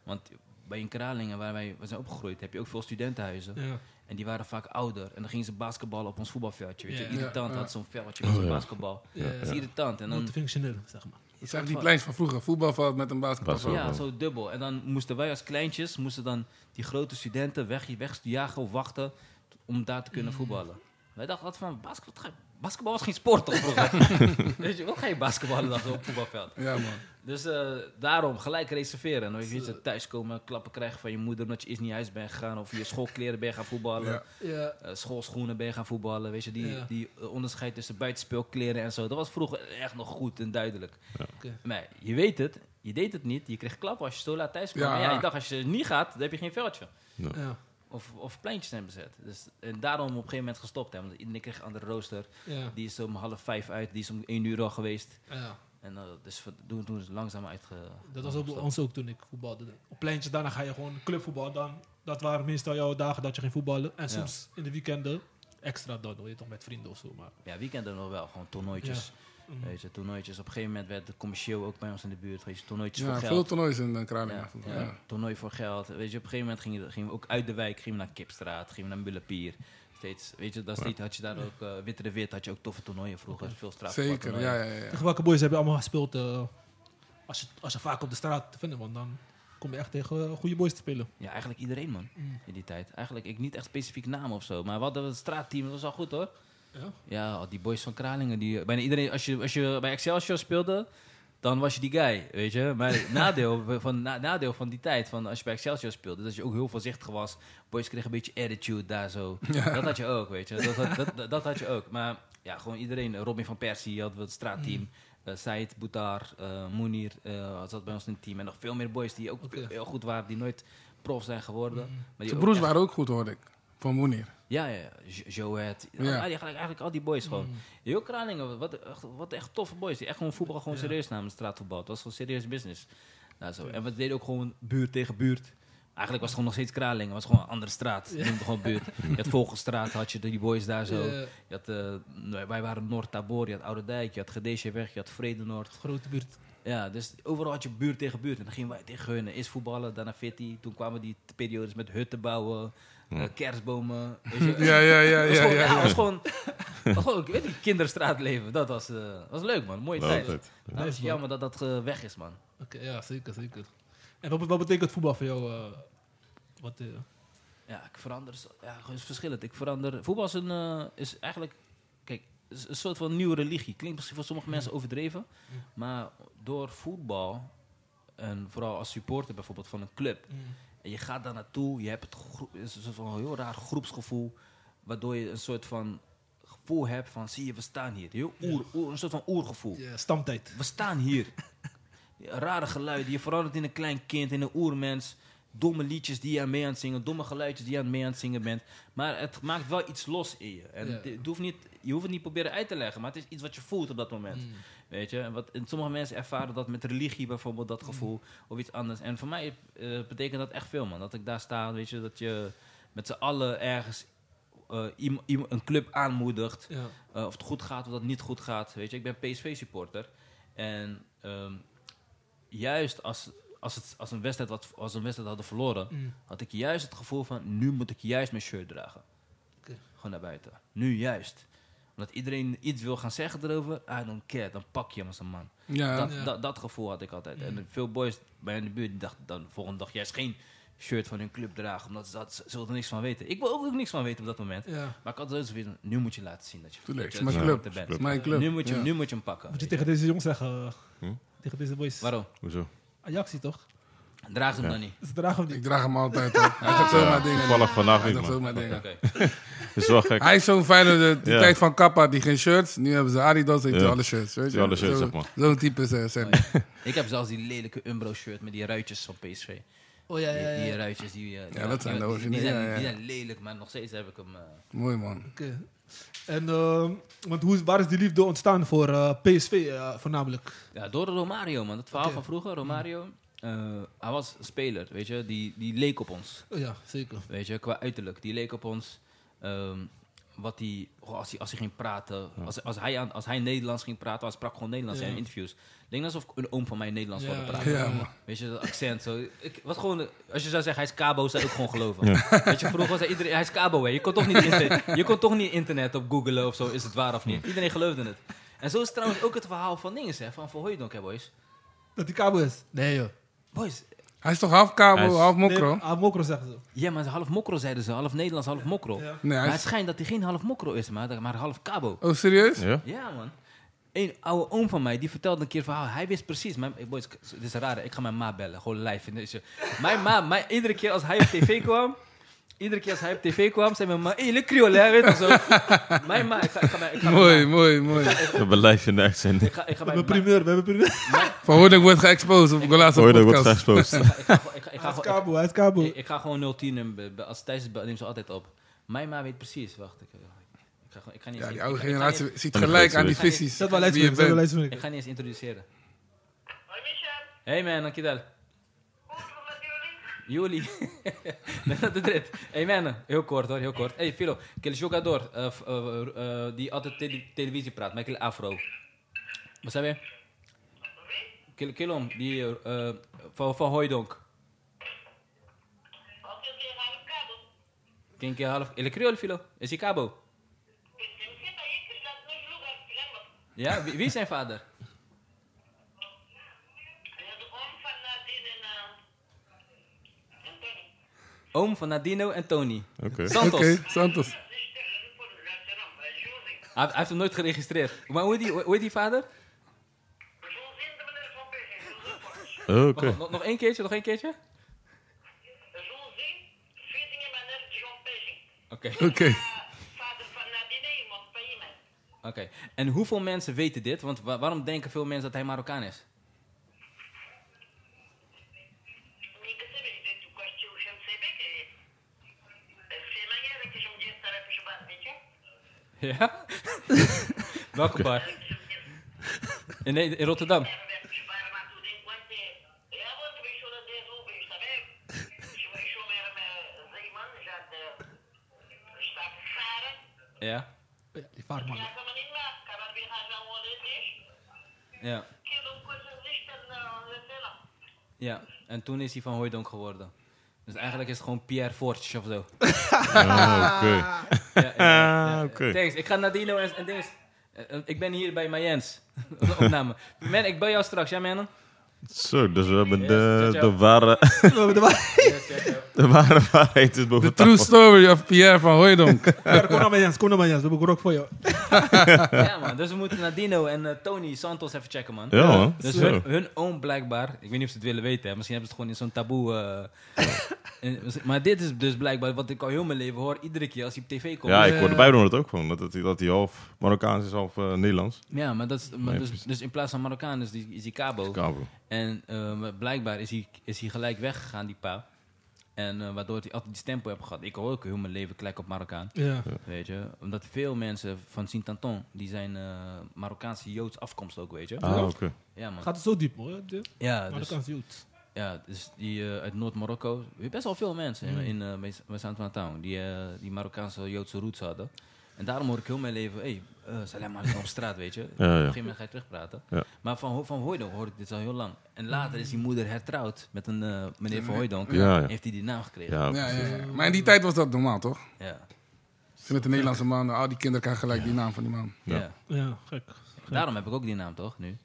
Want bij in Kralingen, waar wij we zijn opgegroeid, heb je ook veel studentenhuizen. Ja. En die waren vaak ouder. En dan gingen ze basketballen op ons voetbalveldje. Weet je, Ja. iedere tand Ja, ja. had zo'n veldje met zo'n Oh, ja. Hmm. basketbal. Ja, Dat is ja. iedere tand. En dan, Multifunctioneel, zeg maar. Dat zijn die pleins van vroeger. Voetbalveld met een basketbal. Basket. ja, zo dubbel. En dan moesten wij als kleintjes, moesten dan die grote studenten weg, wegjagen of wachten t- om daar te kunnen voetballen. Wij dachten altijd van, basket, wat ga je- basketbal was geen sport toch vroeger? Weet je, wat ga je basketballen dan zo op het voetbalveld? Ja, man. Dus eh, daarom, gelijk reserveren. En dan weet je, thuiskomen, klappen krijgen van je moeder omdat je eerst niet naar huis bent gegaan. Of je schoolkleren ben je gaan voetballen. Ja. Ja. eh, schoolschoenen ben je gaan voetballen. Weet je, die, Ja. die eh, onderscheid tussen buitenspeelkleren en zo. Dat was vroeger echt nog goed en duidelijk. Oké. Maar je weet het, je deed het niet. Je kreeg klap als je zo laat thuis kwam. Ja. Maar ja, ik dacht, als je niet gaat, dan heb je geen veldje. Ja. Of, of pleintjes zijn bezet. Dus, en daarom op een gegeven moment gestopt. Hè, want iedereen kreeg een andere rooster. Ja. Die is om half vijf uit, die is om één uur al geweest. ja. En eh, dus we- toen, toen is het langzaam uitge... Dat was ook bij gestopt. ons ook toen ik voetbalde. Op pleintjes, daarna ga je gewoon clubvoetbal. Dan, dat waren meestal jouw dagen dat je ging voetballen. En Ja. soms in de weekenden extra dan, hoor je toch met vrienden of zo. Maar Ja, weekenden nog wel. Gewoon toernooitjes. Mm. Weet je, toernooitjes. Op een gegeven moment werd het commercieel ook bij ons in de buurt. Weet je, toernooitjes Ja, voor veel geld. toernoois in eh, Ja, Kralingen. ja. Ja. Ja. Toernooi voor geld. Weet je, op een gegeven moment gingen we- gingen we ook uit de wijk, gingen we naar Kipstraat, gingen we naar Mullepier. Steeds, weet je, dat street had je daar ook, eh Witte de Wit had je ook toffe toernooien vroeger, veel straat. Zeker, ja, ja, ja. tegen welke boys heb je allemaal gespeeld eh, als, je, als je vaak op de straat te vinden? Want dan kom je echt tegen eh, goede boys te spelen. Ja, eigenlijk iedereen man, Mm. in die tijd. Eigenlijk, ik niet echt specifiek naam of zo, maar we hadden een straatteam, dat was al goed hoor. Ja? Ja, al die boys van Kralingen, die, bijna iedereen, als je, als je bij Excelsior speelde, dan was je die guy, weet je. Maar het nadeel (laughs) van, na- nadeel van die tijd, van als je bij Excelsior speelde, dat je ook heel voorzichtig was. Boys kregen een beetje attitude daar (laughs) zo. Dat had je ook, weet je. Dat, had- dat, dat, dat had je ook. Maar ja, gewoon iedereen. Robin van Persie had het straatteam. Mm. Eh, Said, Boutar, eh Mounir eh, zat bij ons in het team. En nog veel meer boys die ook Oké. heel goed waren, die nooit prof zijn geworden. Maar die Mm. Zijn ook broers echt- waren ook goed, hoorde ik. Van Moenier. ja, ja, ja. Jo- Joët. Ja. Ja. Eigenlijk, eigenlijk al die boys gewoon. Mm. Heel Kralingen, wat, echt- wat echt toffe boys. Die echt gewoon voetbal gewoon Ja. serieus namen, straatvoetbal. Het was gewoon serieus business. Nou, zo. En we deden ook gewoon buurt tegen buurt. Eigenlijk was het gewoon nog steeds Kralingen. Het was gewoon een andere straat. Je noemde gewoon buurt. Je had Vogelstraat, had je die boys daar zo. Ja. Je had, eh, nou, wij waren Noord-Tabor, je had Oude Dijk, je had Gedesjeweg, je had Vredenoord. Grote buurt. Ja, dus overal had je buurt tegen buurt. En dan gingen wij tegen hun. Eerst voetballen, daarna fitty. Toen kwamen die t- periodes met hutten bouwen, eh, (laughs) kerstbomen. Weet je, Ja, ja, ja, was ja, gewoon, ja. ja, was gewoon, was gewoon, ik weet niet, kinderstraatleven. Dat was, eh, was leuk, man. Mooie tijd. Ja, Altijd. het is jammer dat dat eh, weg is, man. Oké, ja, zeker, zeker. En wat, wat betekent voetbal voor jou? eh, wat, eh, Ja, ik verander. zo- Ja, het is verschillend. Ik verander. Voetbal is, een, eh, is eigenlijk. Kijk, is een soort van nieuwe religie. Klinkt misschien voor sommige mensen overdreven. Maar door voetbal. En vooral als supporter bijvoorbeeld van een club. En je gaat daar naartoe, je hebt het gro- het is een soort van heel raar groepsgevoel. Waardoor je een soort van gevoel hebt van, zie je, we staan hier. Heel oer, oer- een soort van oergevoel. ja, stamtijd. We staan (laughs) hier. Rare geluiden, je verandert in een klein kind, in een oermens. Domme liedjes die je aan mee aan het zingen, domme geluidjes die je aan mee aan het zingen bent. Maar het maakt wel iets los in je. En Ja. het- het hoeft niet, je hoeft het niet proberen uit te leggen, maar het is iets wat je voelt op dat moment. Mm. Weet je, en, wat, en sommige mensen ervaren dat met religie bijvoorbeeld, dat gevoel, of iets anders. En voor mij eh, betekent dat echt veel, man. Dat ik daar sta, weet je, dat je met z'n allen ergens eh, iem- iem- een club aanmoedigt. Ja. Eh, of het goed gaat of dat het niet goed gaat. Weet je, ik ben PSV-supporter. En ehm, juist als, als, het, als, een wedstrijd wat, als een wedstrijd hadden verloren, Mm. had ik juist het gevoel van: nu moet ik juist mijn shirt dragen. Oké. Gewoon naar buiten. Nu juist. Omdat iedereen iets wil gaan zeggen erover, I don't care, dan pak je hem als een man. Ja, Dat, Ja. Mm. dat, dat gevoel had ik altijd. En veel boys bij in de buurt die dachten dan de volgende dag juist geen shirt van hun club dragen, omdat ze, dat, ze zullen er niks van weten. Ik wil ook, ook niks van weten op dat moment. Ja. Maar ik had altijd zoiets van, nu moet je laten zien dat je, Tuurlijk, dat het is je mijn er club. bent. dat is mijn club. Nu, moet je, Ja. nu moet je hem pakken. Moet je tegen deze jongens zeggen? eh, Hm? Tegen deze boys? Waarom? Hoezo? Ajaxie toch? Draag hem Ja. dan niet. Ze dragen hem Ik niet. draag hem altijd. hoor. Hij zegt zomaar dingen. Toevallig vandaag Hij niet, zegt man. zomaar dingen. Oké. Het is wel gek. Hij is zo'n fijne, de, die Ja. tijd van Kappa, die geen shirts. Nu hebben ze Adidas, heeft Ja. hij alle shirts. Weet je? alle shirts, Zo- zeg maar. Zo'n type is, eh, zijn. Ik heb zelfs die lelijke Umbro-shirt met die ruitjes van PSV. Oh ja, Die, ja, ja. die ruitjes, die, eh, Ja, dat zijn de die- originele, Die zijn, ja, ja. die zijn lelijk, maar nog steeds heb ik hem. eh, Mooi man. Oké. En ehm, want hoe, is- waar is die liefde ontstaan voor eh, PSV eh, voornamelijk? Ja, door Romario, man. Dat verhaal Oké. van vroeger, Romario. eh, hij was een speler, weet je. Die, die leek op ons, Oh ja, zeker. weet je. Qua uiterlijk. Die leek op ons. ehm, wat die, goh, als hij als hij ging praten. Als, als, hij aan, als hij Nederlands ging praten, hij sprak gewoon Nederlands Ja. in interviews. Ik Denk alsof een oom van mij Nederlands hoorde praten. Ja, man. Weet je, dat accent. Zo. Ik, wat gewoon, als je zou zeggen, hij is Cabo, zou ik gewoon geloven. Weet je, vroeger was hij iedereen, hij is Cabo, hè. Je kon toch niet, internet, je kon toch niet internet op googlen of zo, is het waar of niet. Iedereen geloofde het. En zo is trouwens ook het verhaal van Dinges, hè, van Verhooydonk, hè, boys. Dat die kabel is? Nee joh. Boys, Hij is toch half kabel, Hij is- half Nee, mokro? ah, mokro zeggen ze. ja, maar half mokro zeiden ze, half Nederlands, half mokro. Ja. Nee, hij Maar het is... schijnt dat hij geen half mokro is, maar, dat- maar half Cabo. Oh, serieus? (laughs) Ja? Ja, man. Een oude oom van mij, die vertelde een keer een verhaal. Hij wist precies. Mijn, eh, boys, k- dit is raar. hè. Ik ga mijn ma bellen. Gewoon live. in deze- Mijn ma, mijn, iedere keer als hij op tv kwam... Iedere keer als hij op tv kwam, zei mijn ma... Hé, le creole, hè, weet je zo. Mijn ma, ik ga, ik ga, mijn- ik ga, Mooi, mooi, mooi. We hebben live in de (laughs) uitzending. ik ga, ik ga We mijn hebben ma- primeur, we hebben primeur. Verhoordelijk wordt geëxposed op Golazo Hoor je, dat wordt podcast. straks post. (laughs) ik ga gewoon- ik ga- ik ga Hij is gewoon- kabel, hij is kabel. ik- ik ga gewoon 010 en be- be- als Thijs het belt, neemt ze altijd op. Mijn ma weet precies. Wacht, ik, ik, ga, gewoon- ik ga niet Ja, eens- die oude ik ga- ik ga generatie niet- ziet En gelijk de aan die grootste visies. Dat wel wie je leidsminnik, dat wel bent. Ik leidsminnik. ga niet eens introduceren. Hoi Michel. Hey man, dankjewel. Jullie. (laughs) Dat is het. Hey man, heel kort hoor, heel kort. Hey Philo, quel jogador eh, f- eh, eh, die altijd tele- televisie praat, Michael Afro. Wat zei je? Quel, quel om, die eh, eh, van, van Hooijdonk. Quem que é half? Ele criou, Philo. Esse cabo. Ja, wie, wie is zijn vader? Oom van Nadino en Tony. Oké. Santos. Oké, Santos. Hij, hij heeft hem nooit geregistreerd. Maar hoe heet die, hoe heet die vader? Wacht, Oké. nog, nog één keertje, nog één keertje? Oké. (laughs) Oké. Oké. En hoeveel mensen weten dit? Want wa- waarom denken veel mensen dat hij Marokkaan is? (laughs) Ja? (laughs) Welke bar? In, Ne- in Rotterdam. Ja. Ja, die vaartman. Ja. Ja. En toen is hij van Hooijdonk geworden. Dus eigenlijk is het gewoon Pierre Fortsch of zo. Ah, Oké. Ja, ja, ja. Ah, Oké. Eh, Thanks, ik ga naar Dino en, en Dings. Eh, eh, Ik ben hier bij (laughs) Mayens. Opname. Man, ik bel jou straks, ja, (laughs) man? Zo, dus we hebben de, Yes, ciao, de ware, (laughs) We hebben de waar- de ware waarheid is The boven true tafel. story of Pierre van Hooijdonk. (laughs) Ja, Kom naar mij Jens, kom naar mij Jens. We hebben grok voor jou. Ja, man. Dus we moeten naar Dino en eh, Tony Santos even checken, man. Ja, man. Dus Zo. hun, hun oom blijkbaar, ik weet niet of ze het willen weten, hè. misschien hebben ze het gewoon in zo'n taboe. eh, in- (laughs) maar dit is dus blijkbaar wat ik al heel mijn leven hoor, iedere keer als hij op tv komt. Ja, ik hoorde bij het ook gewoon. Dat, dat, hij- dat hij half Marokkaans is, half eh, Nederlands. Ja, maar, dat is, maar Nee, dus, precies. dus in plaats van Marokkaan is die, is die Cabo. Kabel. En ehm, blijkbaar is hij, is hij gelijk weggegaan, die pa. En eh, waardoor hij altijd die stempel heeft gehad. Ik hoor ook heel mijn leven gelijk op Marokkaan. Ja. Weet je, omdat veel mensen van Sint-Anton, die zijn eh, Marokkaanse Joods afkomst ook, weet je. Ah, oké. Ja, man. Gaat het zo diep hoor. de- Ja, Maar dat dus, kan goed. ja, dus die eh, uit Noord-Marokko, best wel veel mensen Mm. in, in eh, bij- bij Sint-Anton, die, eh, die Marokkaanse Joodse roots hadden. En daarom hoor ik heel mijn leven, hé, hey, eh, salam alaikum op straat, (laughs) weet je. ja. Op een gegeven moment ga je terugpraten. Ja. Maar van, Ho- van Hooijdonk hoor ik dit al heel lang. En later is die moeder hertrouwd met een eh, meneer van Hooijdonk. Ja, ja. Heeft hij die naam gekregen. Ja, Ja, ja, ja. Maar in die tijd was dat normaal, toch? Ja. Met de Nederlandse man, al die kinderen krijgen gelijk die naam van die man. Ja. Ja. Ja, gek. Daarom heb ik ook die naam, toch, nu?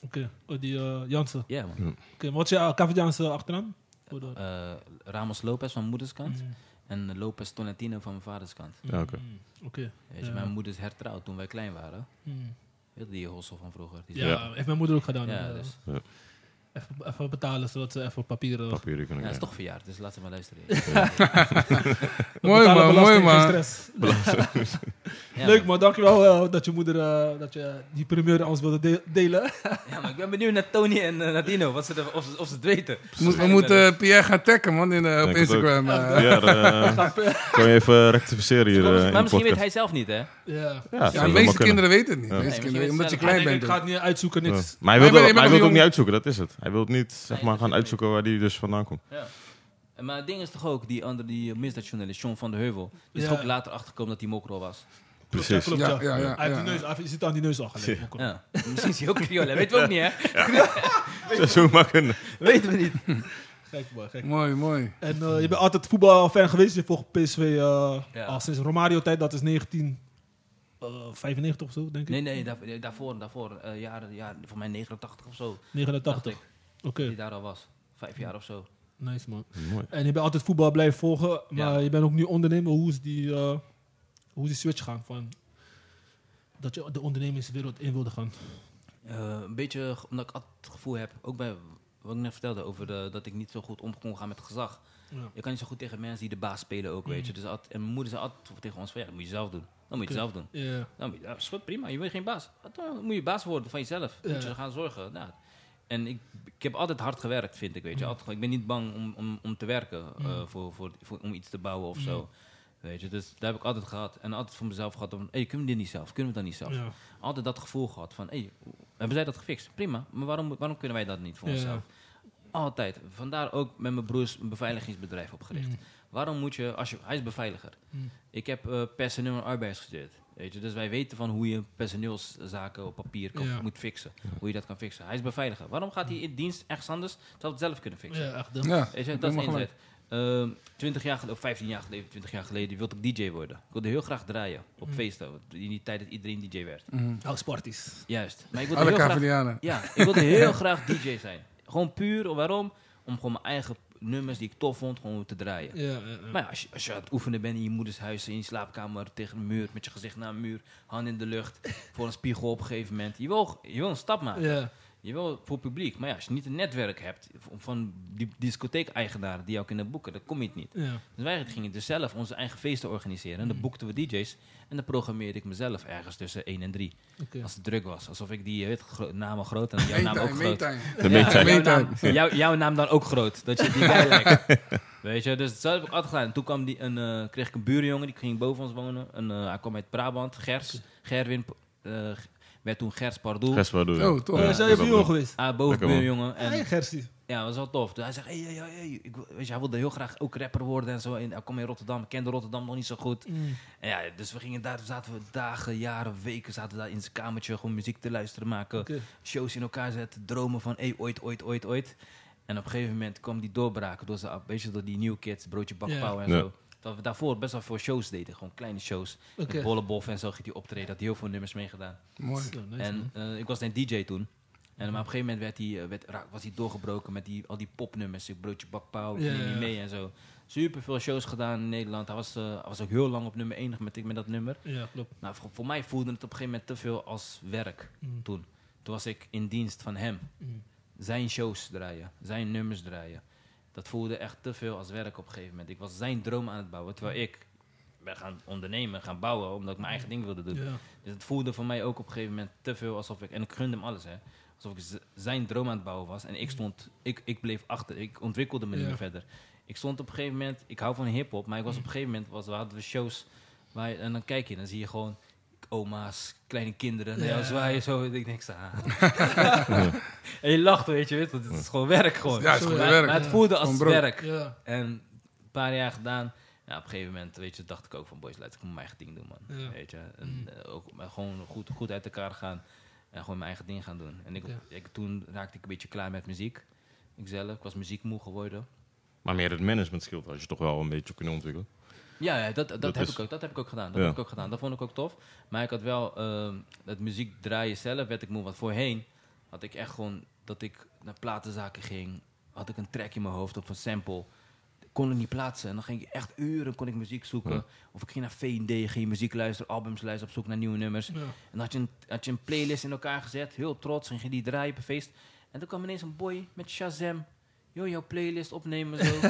Oké, oh, die eh, Jansen. Oké, Ja, man. maar wat is je Kavit Jansen achternaam? Voor de- Eh, Ramos Lopez van moederskant. Mm. En Lopez Tolentino van mijn vaderskant. Ja, oké. Oké. Weet je, Ja. Mijn moeder is hertrouwd toen wij klein waren. Hmm. Heel die hossel van vroeger. Die Ja, Ja. heeft mijn moeder ook gedaan. Ja, eh. dus. Ja. En Even, even betalen, zodat ze even eh, papieren... Papieren kunnen Ja, krijgen. het is toch verjaard, dus laten we maar luisteren. Mooi betalen man, belasting, mooi geen man. stress. Ja, (laughs) Leuk man, dankjewel eh, dat je moeder eh, dat je die primeur aan ons wilde de- delen. (laughs) Ja, maar ik ben benieuwd naar Tony en eh, naar Dino, wat ze er, of, ze, of ze het weten. Moet- we moeten Pierre gaan taggen, man, in, eh, op het Instagram. eh. Ja, eh, kan je even rectificeren hier eh, in de maar misschien weet podcast? hij zelf niet, hè? ja. Ja, dat zou Ja, de wel meeste kunnen. kinderen weten het niet. De Ja. meeste Nee, kinderen, omdat je misschien weten klein Ik denk, bent. ik ga het niet uitzoeken, Ja. niks. Maar hij Maar je bent- wil je bent nog het ook jong. niet uitzoeken, dat is het. Hij wil het niet zeg Nee, maar, dat gaan is- uitzoeken waar die dus vandaan komt. Ja. Eh, Maar het ding is toch ook, die andere, die eh, misdaadjournalist, John van der Heuvel, die is Ja. er ook later achtergekomen dat hij mokro was. Precies. Klopt, Ja, klopt, ja. ja, ja, Hij heeft ja. die neus, af- je ziet aan die neus al gelijk. man, kom. Ja. Misschien is hij ook Creole, hè? weten we ook niet, hè? (laughs) Zo maken. Weten we niet. Gek man, gek. Mooi, mooi. En eh, je bent altijd voetbalfan geweest. Je volgt PSV eh, Ja. al sinds Romario-tijd. Dat is 1995 of zo, denk ik. Nee, nee, daar- nee, daarvoor, daarvoor, eh, jaren, jaren, voor mij 89 of zo, dacht 89. ik, Oké, die daar al was. Vijf jaar of zo. nice man. Mooi. En je bent altijd voetbal blijven volgen. Maar Ja. je bent ook nu ondernemer. Hoe is die, eh, hoe is die switch gaan? Van, dat je de ondernemingswereld in wilde gaan. Eh, een beetje ge- omdat ik altijd het gevoel heb, ook bij wat ik net vertelde over de, dat ik niet zo goed om kon gaan met gezag. Ja. Je kan niet zo goed tegen mensen die de baas spelen ook, weet je. Dus altijd, en mijn moeder zei altijd tegen ons van, ja, dat moet je zelf doen. Dan moet je het zelf doen. Ja. Dan moet je, ja, is goed, prima, je bent geen baas. Ah, Dan moet je baas worden van jezelf. Moet Ja. je gaan zorgen. Nou, en ik, ik heb altijd hard gewerkt, vind ik, weet je. Altijd, gewoon- ik ben niet bang om, om, om te werken, eh, voor, voor, voor, om iets te bouwen of zo. Weet je, dus daar heb ik altijd gehad. En altijd voor mezelf gehad van, hey, kunnen we dit niet zelf? Kunnen we dat niet zelf? Ja. altijd dat gevoel gehad van, hey, hebben zij dat gefixt? Prima, maar waarom, waarom kunnen wij dat niet voor Ja. onszelf? Altijd. Vandaar ook met mijn broers een beveiligingsbedrijf opgericht. Waarom moet je, als je, hij is beveiliger. Mm. Ik heb eh, personeel en arbeid gestudeerd. Weet je? Dus wij weten van hoe je personeelszaken op papier kan, Ja. Mm. moet fixen. Hoe je dat kan fixen. Hij is beveiliger. Waarom gaat hij in dienst ergens anders, terwijl we het zelf kunnen fixen? Ja, echt. hè. Ja, Weet je, ik dat ben is maar één gelijk. zet. Ehm, 20 jaar geleden, of 15 jaar geleden, 20 jaar geleden, wilde ik DJ worden. Ik wilde heel graag draaien op Mm. feesten. want In die tijd dat iedereen DJ werd. Houseparties. Juist. Maar ik wilde Alle heel graag, Cavalianen. ja, ik wilde heel graag DJ zijn. Gewoon puur, waarom? Om gewoon mijn eigen nummers die ik tof vond, gewoon te draaien. Ja, ja, ja. Maar ja, als, je, als je aan het oefenen bent in je moeders huis, in je slaapkamer, tegen een muur, met je gezicht naar een muur, hand in de lucht, voor een spiegel op een gegeven moment. Je wil, je wil een stap maken. Ja. Je wil voor publiek. Maar ja, als je niet een netwerk hebt van- van die discotheek-eigenaren die jou kunnen boeken, dan kom je het niet. Ja. Dus wij gingen dus zelf onze eigen feesten organiseren. En dan boekten we DJ's. En dan programmeerde ik mezelf ergens tussen 1 en 3. Oké. Als het druk was. Alsof ik die weet, gro- namen groot en jouw naam nou, ook Meetime, groot. De meetime. Ja, meetime. jouw, Meetime. naam, jou- jouw naam dan ook groot. Dat je die guy lijkt. Weet je, dus dat heb ik altijd gedaan. En toen kwam die, een, eh, kreeg ik een buurjongen, die ging boven ons wonen. En, eh, hij kwam uit Brabant, Gers. Gerwin eh, werd toen Gers Pardoel. Gers waar doe je? Oh, toch. Ja, Ja, zijn dat je is buur ook geweest? Ah, boven Lekker, man. buurjongen. En, Hey, Gersie. ja, dat was wel tof. Dus hij zegt, hey, hey, hey, hey, ik wil- weet je, hij wilde heel graag ook rapper worden en zo. En hij kwam in Rotterdam, ik kende Rotterdam nog niet zo goed. Mm. En ja, dus we gingen daar, zaten we dagen, jaren, weken zaten we daar in zijn kamertje gewoon muziek te luisteren, maken, Oké. shows in elkaar zetten, dromen van, hey, ooit, ooit, ooit, ooit. En op een gegeven moment kwam die doorbraak door, zijn, weet je, door die New Kids, Broodje Bakpauw en Ja. zo. Dat we daarvoor best wel veel shows deden, gewoon kleine shows. Oké. Met Bollebof en zo ging die optreden, had hij heel veel nummers meegedaan. Mooi. Zo, nice, man. En eh, ik was een DJ toen. En, maar op een gegeven moment werd hij, eh, werd, raak- was hij doorgebroken met die, al die popnummers. die Broodje Bakpauw, ik Ja, neem je ja. mee en zo. Super veel shows gedaan in Nederland. Hij was, eh, hij was ook heel lang op nummer 1 met, met dat nummer. Ja, klopt. Nou, voor, voor mij voelde het op een gegeven moment te veel als werk Mm. toen. Toen was ik in dienst van hem. Mm. Zijn shows draaien, zijn nummers draaien. Dat voelde echt te veel als werk op een gegeven moment. Ik was zijn droom aan het bouwen, terwijl ik ben gaan ondernemen, gaan bouwen, omdat ik mijn eigen ding wilde doen. Mm. Ja. Dus het voelde voor mij ook op een gegeven moment te veel alsof ik, en ik gunde hem alles hè, alsof ik z- zijn droom aan het bouwen was en ik stond, ik, ik bleef achter, ik ontwikkelde me niet Ja. meer verder. Ik stond op een gegeven moment, ik hou van hip-hop, maar ik Mm. was op een gegeven moment, was, hadden we shows waar, je- en dan kijk je, dan zie je gewoon oma's, kleine kinderen, Ja. ja. zwaaien zo, en ik denk, ah. En je lacht, weet je, weet, want het is gewoon werk gewoon. Ja, het is gewoon maar, werk. maar het Ja. voelde als Gewoon brood. werk. Ja. En een paar jaar gedaan. Ja, op een gegeven moment weet je, dacht ik ook van boys, laat ik moet mijn eigen ding doen man. Ja. Mm. Weet je? En, eh, ook, maar gewoon goed, goed uit elkaar gaan en gewoon mijn eigen ding gaan doen. En ik, Ja. ik, toen raakte ik een beetje klaar met muziek. Ikzelf, ik was muziekmoe geworden. Maar meer het management scheelt als je toch wel een beetje kunnen ontwikkelen. Ja, ja dat, dat, Dat heb is- ik ook, dat heb ik ook gedaan. Dat Ja. heb ik ook gedaan. Dat vond ik ook tof. Maar ik had wel ehm het muziek draaien zelf, werd ik moe. Want voorheen had ik echt gewoon dat ik naar platenzaken ging, had ik een track in mijn hoofd of een sample. Kon ik niet plaatsen. En dan ging ik echt uren kon ik muziek zoeken. Ja. Of ik ging naar V&D, ging muziek luisteren, albums luisteren, op zoek naar nieuwe nummers. Ja. En dan had je, een, had je een playlist in elkaar gezet, heel trots, en ging die draaien op een feest. En toen kwam ineens een boy met Shazam. Yo, jouw playlist opnemen zo.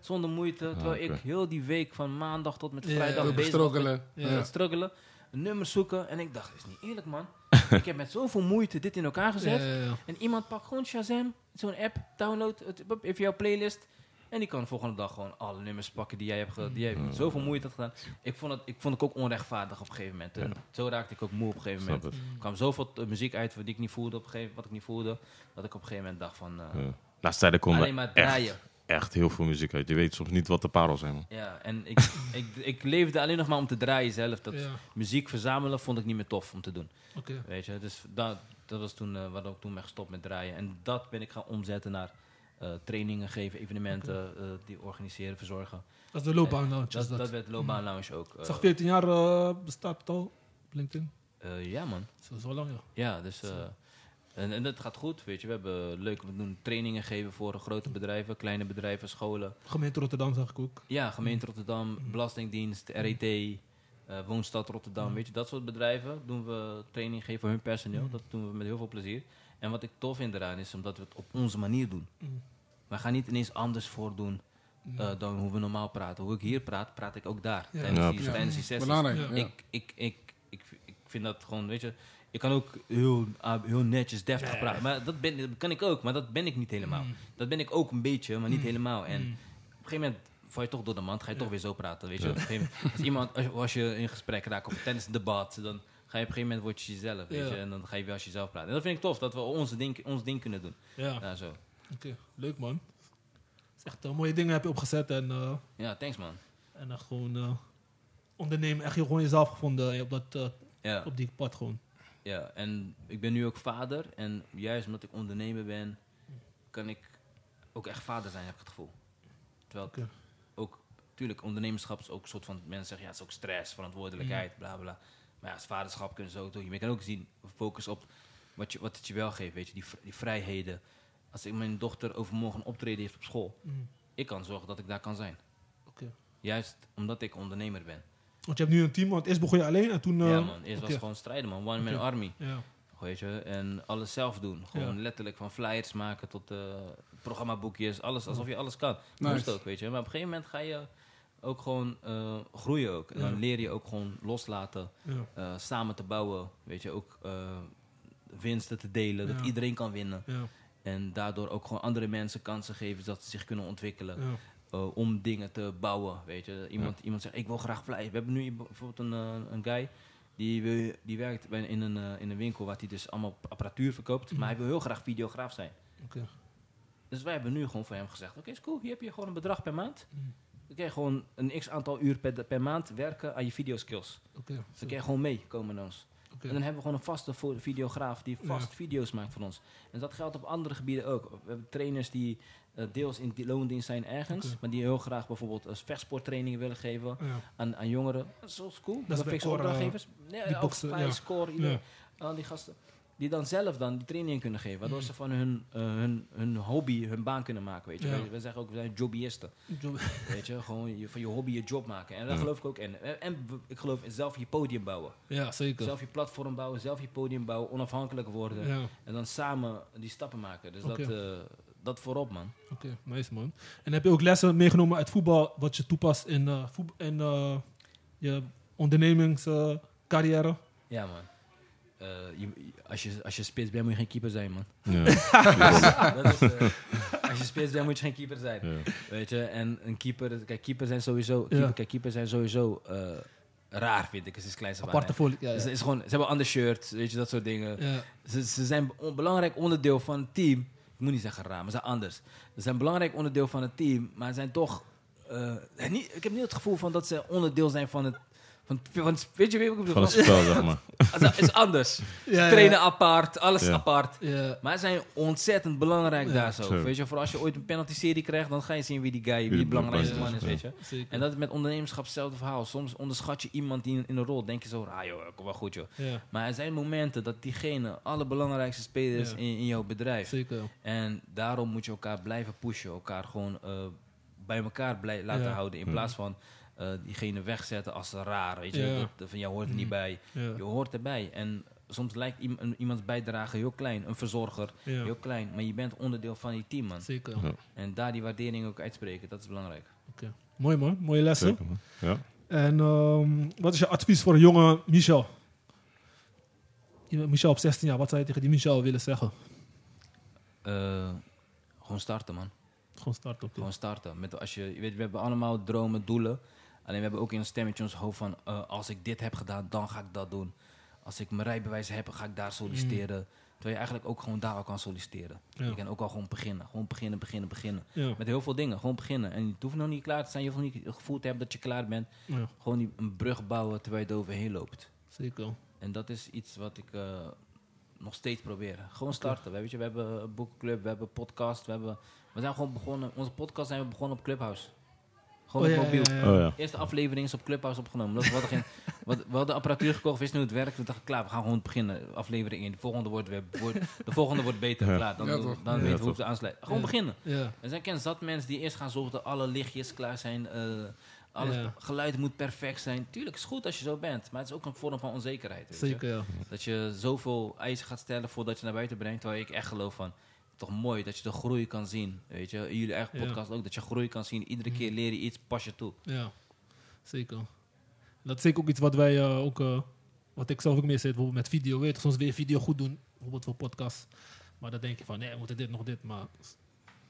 zonder moeite. Terwijl oké. ik heel die week van maandag tot met Ja, vrijdag ja, Ook bezig was met- struggelen. ja. Ja. struggelen. Een nummer zoeken. En ik dacht, dat is niet eerlijk man. ik heb met zoveel moeite dit in elkaar gezet. En iemand pakt gewoon Shazam, zo'n app, download het bup, even jouw playlist. En die kan de volgende dag gewoon alle nummers pakken die jij hebt ge- die jij Mm. met zoveel moeite had gedaan. Ik vond het, ik vond het ook onrechtvaardig op een gegeven moment. En Zo raakte ik ook moe op een gegeven Snap moment. het. Er kwam zoveel eh, muziek uit wat ik niet voelde op een gegeven wat ik niet voelde. Dat ik op een gegeven moment dacht van, eh, Ja. Laatste tijden komt alleen maar er draaien. echt, echt heel veel muziek uit. Je weet soms niet wat de parels zijn. Man. Ja, en ik, ik, ik leefde alleen nog maar om te draaien zelf. Dat Ja. muziek verzamelen vond ik niet meer tof om te doen. Oké. Weet je, dus dat, dat was toen eh, waar ik toen ben gestopt met draaien. En dat ben ik gaan omzetten naar eh, trainingen geven, evenementen eh, die organiseren, verzorgen. Dat is de loopbaan nou. Dat, Dat, dat werd Loopbaan Lounge ook. eh, Ik zag 14 jaar eh, bestaat het al op LinkedIn. eh, ja, man. Zo, zo lang, ja. Ja, dus. eh, en, en dat gaat goed, weet je. We hebben leuk om te doen trainingen geven voor grote bedrijven, kleine bedrijven, scholen. Gemeente Rotterdam zag ik ook. Ja, gemeente Rotterdam, Belastingdienst, RET, eh, Woonstad Rotterdam, weet je, dat soort bedrijven doen we training geven voor hun personeel. Dat doen we met heel veel plezier. En wat ik tof vind eraan is omdat we het op onze manier doen. Mm. We gaan niet ineens anders voordoen eh, dan hoe we normaal praten. Hoe ik hier praat, praat ik ook daar. Ja. Tijdens, Ja, die, Ja. tijdens die sessies. Belangrijk. Ja. Ja. Ik, ik, ik, ik, ik vind dat gewoon, weet je, ik kan ook heel, ah, heel netjes, deftig praten. Maar dat, ben, dat kan ik ook, maar dat ben ik niet helemaal. Mm. Dat ben ik ook een beetje, maar niet helemaal. En op een gegeven moment val je toch door de mand, ga je toch weer zo praten, weet je. Op een gegeven moment, als, iemand, als, je- als je in gesprek raakt of tijdens een debat, dan ga je op een gegeven moment word je jezelf, weet Ja. je. En dan ga je weer als jezelf praten. En dat vind ik tof, dat we onze ding, ons ding kunnen doen. Ja, Ja, zo. oké. Leuk, man. Het is echt eh, mooie dingen heb je opgezet en, eh, Ja, thanks man. en dan gewoon eh, ondernemen. Echt gewoon jezelf gevonden eh, op, dat, eh, Ja. op die pad gewoon. Ja, en ik ben nu ook vader. En juist omdat ik ondernemer ben, kan ik ook echt vader zijn, heb ik het gevoel. Terwijl ik Oké. ook, tuurlijk, ondernemerschap is ook een soort van, mensen zeggen, ja, het is ook stress, verantwoordelijkheid, Mm. bla bla. Maar ja, als vaderschap kun je zo doen. Maar je kan ook zien, focus op wat, je, wat het je wel geeft, weet je, die, vri- die vrijheden. Als ik mijn dochter overmorgen een optreden heeft op school, Mm. ik kan zorgen dat ik daar kan zijn. Oké. Juist omdat ik ondernemer ben. Want je hebt nu een team, want eerst begon je alleen en toen... eh, ja man, eerst was oké. het gewoon strijden man, one man Oké. army. Ja. Weet je, en alles zelf doen. Gewoon letterlijk van flyers maken tot eh, programmaboekjes, alles, alsof je alles kan. Dat Nice. Moest ook, weet je. Maar op een gegeven moment ga je ook gewoon eh, groeien ook. En dan Ja. leer je ook gewoon loslaten, Ja. eh, samen te bouwen, weet je. Ook eh, winsten te delen, dat Ja. iedereen kan winnen. Ja. En daardoor ook gewoon andere mensen kansen geven, zodat ze zich kunnen ontwikkelen. Ja. eh, om dingen te bouwen, weet je. Iemand, iemand zegt, ik wil graag flyers. We hebben nu bijvoorbeeld een, eh, een guy... Die, wil, die werkt bij, in, een, eh, in een winkel waar hij dus allemaal apparatuur verkoopt. Maar hij wil heel graag videograaf zijn. Oké. Dus wij hebben nu gewoon voor hem gezegd... Oké, is cool. Hier heb je gewoon een bedrag per maand. Mm. Dan kun je gewoon een x-aantal uur per, per maand werken aan je videoskills. Oké. Dus dan kun je gewoon meekomen naar ons. Oké. En dan hebben we gewoon een vaste vo- videograaf die vast Ja. video's maakt voor ons. En dat geldt op andere gebieden ook. We hebben trainers die eh, deels in die loondienst zijn ergens. Oké. Maar die heel graag bijvoorbeeld als vechtsporttrainingen willen geven Ja. aan, aan jongeren. Dat is wel cool. bij Dat fix Cora, eh, opdrachtgevers. Nee, die ook boksen, Fire ja. Score, ieder- Ja. al die gasten. Die dan zelf dan die training kunnen geven. Waardoor ze van hun, eh, hun, hun hobby hun baan kunnen maken. Weet je. Ja. Wij- We zeggen ook, we zijn hobbyisten. Job- Weet je, gewoon je, van je hobby je job maken. En daar geloof ik ook in. En, en w- ik geloof in zelf je podium bouwen. Ja, zeker. Zelf je platform bouwen, zelf je podium bouwen, onafhankelijk worden. Ja. En dan samen die stappen maken. Dus dat, eh, dat voorop, man. Oké, nice man. En heb je ook lessen meegenomen uit voetbal wat je toepast in, eh, voet- in eh, je eh, ondernemingscarrière? Ja, man. Eh, je- je- als, je, als je spits bent, moet je geen keeper zijn, man. Ja. Ah. dat is, eh, als je spits bent, moet je geen keeper zijn. Ja. Weet je, en een keeper... Kijk, keepers zijn sowieso... Keeper, kijk, keepers zijn sowieso eh, raar, vind ik. Het is kleins Aparte voor. Ja, Ze, ja. is gewoon, ze hebben een ander shirt, weet je, dat soort dingen. Ja, Ze, ze zijn een belangrijk onderdeel van het team. Ik moet niet zeggen raar, maar ze zijn anders. Ze zijn een belangrijk onderdeel van het team, maar zijn toch... eh, niet, ik heb niet het gevoel van dat ze onderdeel zijn van het... Van, het- van, het- weet je, weet je wat ik Van bedoel? het spel, zeg maar. Het is anders. Ze Ja, ja. Trainen apart, alles Ja. apart. ja. Maar ze zijn ontzettend belangrijk daar zo. Zo. Weet je, voor als je ooit een penalty-serie krijgt, dan ga je zien wie die guy, wie de die belangrijkste man is, belangrijkste weet is, je. zeker. En dat is met ondernemerschap hetzelfde verhaal. Soms onderschat je iemand die in, in een rol. Denk je zo, ah joh, kom wel goed joh. ja, Maar er zijn momenten dat diegene, alle belangrijkste spelers Ja. in, in jouw bedrijf. zeker. En daarom moet je elkaar blijven pushen. Elkaar gewoon eh, bij elkaar blij laten Ja. houden. In plaats van eh, diegene wegzetten als raar. Weet je, Ja. dat, van jou hoort er niet bij. Ja. Je hoort erbij. En soms lijkt iem- een- iemands bijdrage heel klein, een verzorger Ja, heel klein, maar je bent onderdeel van die team, man. zeker. Ja. En daar die waardering ook uitspreken, dat is belangrijk. Mooi man, mooie lessen. (laughs) Zeker, man. Ja. En ehm, wat is je advies voor een jonge Michel? Iemand- Michel op 16 jaar, wat zou je tegen die Michel willen zeggen? Eh, gewoon starten, man. Gewoon start op dit. Gewoon starten. Met, als je, je weet, we hebben allemaal dromen, doelen. Alleen we hebben ook in een stemmetje in ons hoofd van... eh, als ik dit heb gedaan, dan ga ik dat doen. Als ik mijn rijbewijs heb, ga ik daar solliciteren. Terwijl je eigenlijk ook gewoon daar al kan solliciteren. Ja. Je kan ook al gewoon beginnen. Gewoon beginnen, beginnen, beginnen. Ja, Met heel veel dingen. Gewoon beginnen. En het hoeft nog niet klaar te zijn. Je hoeft nog niet het gevoel te hebben dat je klaar bent. ja, Gewoon die, een brug bouwen terwijl je er overheen loopt. zeker. En dat is iets wat ik eh, nog steeds probeer. Gewoon starten. We, weet je, we hebben een boekenclub, we hebben een podcast. We, hebben, we zijn gewoon begonnen. Onze podcast zijn we begonnen op Clubhouse. Gewoon Oh, op ja, mobiel. ja, ja. Oh ja. Eerste aflevering is op Clubhouse opgenomen. Dat we, hadden (laughs) geen, wat, we hadden apparatuur gekocht, wisten niet hoe het werkt. We dachten, klaar, we gaan gewoon beginnen. Aflevering 1, de volgende wordt, weer, wordt- de volgende wordt beter. Ja. Klaar, dan, Ja, dan toch. weten we Ja, hoe toch. we aansluiten. Gewoon Ja. beginnen. Ja, Er zijn ken zat mensen die eerst gaan zorgen dat alle lichtjes klaar zijn. eh, alles, Ja. Geluid moet perfect zijn. Tuurlijk, is goed als je zo bent. Maar het is ook een vorm van onzekerheid. Weet je. zeker ja. Dat je zoveel eisen gaat stellen voordat je naar buiten brengt. Terwijl ik echt geloof van, toch mooi dat je de groei kan zien. Weet je, in jullie eigen Ja. podcast ook, dat je groei kan zien. Iedere keer leer je iets, pas je toe. Ja, zeker. Dat is zeker ook iets wat wij eh, ook, eh, wat ik zelf ook meer zit, bijvoorbeeld met video. Weet je, soms wil je video goed doen, bijvoorbeeld voor podcasts. Maar dan denk je van, nee, we moeten dit, nog dit. Maar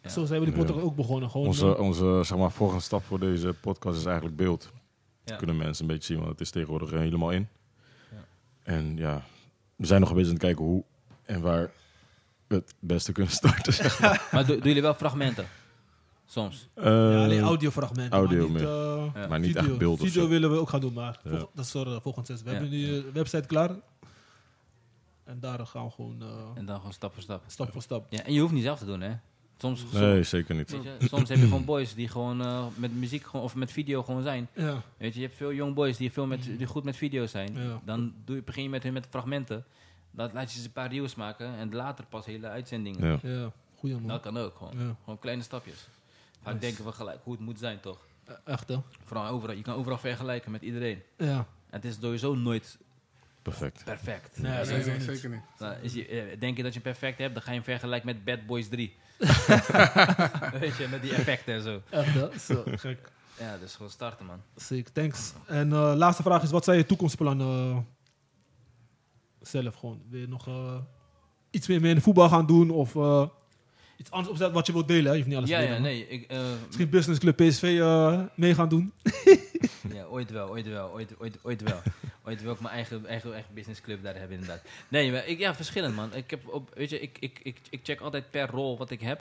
Ja. zo zijn we die Ja. podcast ook begonnen. Gewoon, Onze, eh, onze zeg maar, volgende stap voor deze podcast is eigenlijk beeld. Ja. Kunnen mensen een beetje zien, want het is tegenwoordig eh, helemaal in. Ja. En ja, we zijn nog een beetje aan het kijken hoe en waar we het beste kunnen starten. zeg maar. Maar do- doen jullie wel fragmenten? Soms. ja, Eh, alleen audiofragmenten. audio maar niet, meer. eh, Ja. maar niet video. echt beeld of Video zo. willen we ook gaan doen, maar Ja. volg- dat is voor eh, volgend seizoen. We Ja. hebben nu de website klaar. En daar gaan we gewoon eh, En dan gewoon stap voor stap. stap voor stap. Ja, en je hoeft niet zelf te doen, hè? Soms, Nee, zeker niet. weet je, soms heb je gewoon boys die gewoon eh, met muziek gewoon, of met video gewoon zijn. Ja, Weet je, je hebt veel young boys die, veel met, die goed met video zijn. Mhm. Ja. Dan doe je, begin je met hun met fragmenten. Dan laat je ze een paar reels maken en later pas hele uitzendingen. Ja. ja. goeie man. Dat kan ook gewoon. Ja, Gewoon kleine stapjes. Vaak Nice. denken we gelijk hoe het moet zijn, toch? e- echt hè? Vooral overal. Je kan overal vergelijken met iedereen. Ja, Het is sowieso nooit Perfect. perfect. Nee, Weet je? sowieso nee, niet. zeker niet. Nou, is je, eh, denk je dat je hem perfect hebt, dan ga je hem vergelijken met Bad (laughs) Boys 3. Weet je, met die effecten en zo. echt hè? (laughs) Zo, gek. Ja, dus gewoon starten, man. Zeker, thanks. En eh, laatste vraag is, wat zijn je toekomstplannen eh, zelf? Gewoon weer nog eh, iets meer, meer in de voetbal gaan doen of eh, iets anders opzetten wat je wilt delen. hè? Je hoeft niet alles Ja, te ja, delen. maar nee. Ik, eh, Misschien Business Club PSV eh, mee gaan doen. Ja, ooit wel, ooit wel, ooit, ooit, ooit wel. Ooit wil ik mijn eigen, eigen, eigen businessclub daar hebben, inderdaad. Nee, maar ik, ja, verschillend, man. Ik, heb op, weet je, ik, ik, ik, ik check altijd per rol wat ik heb.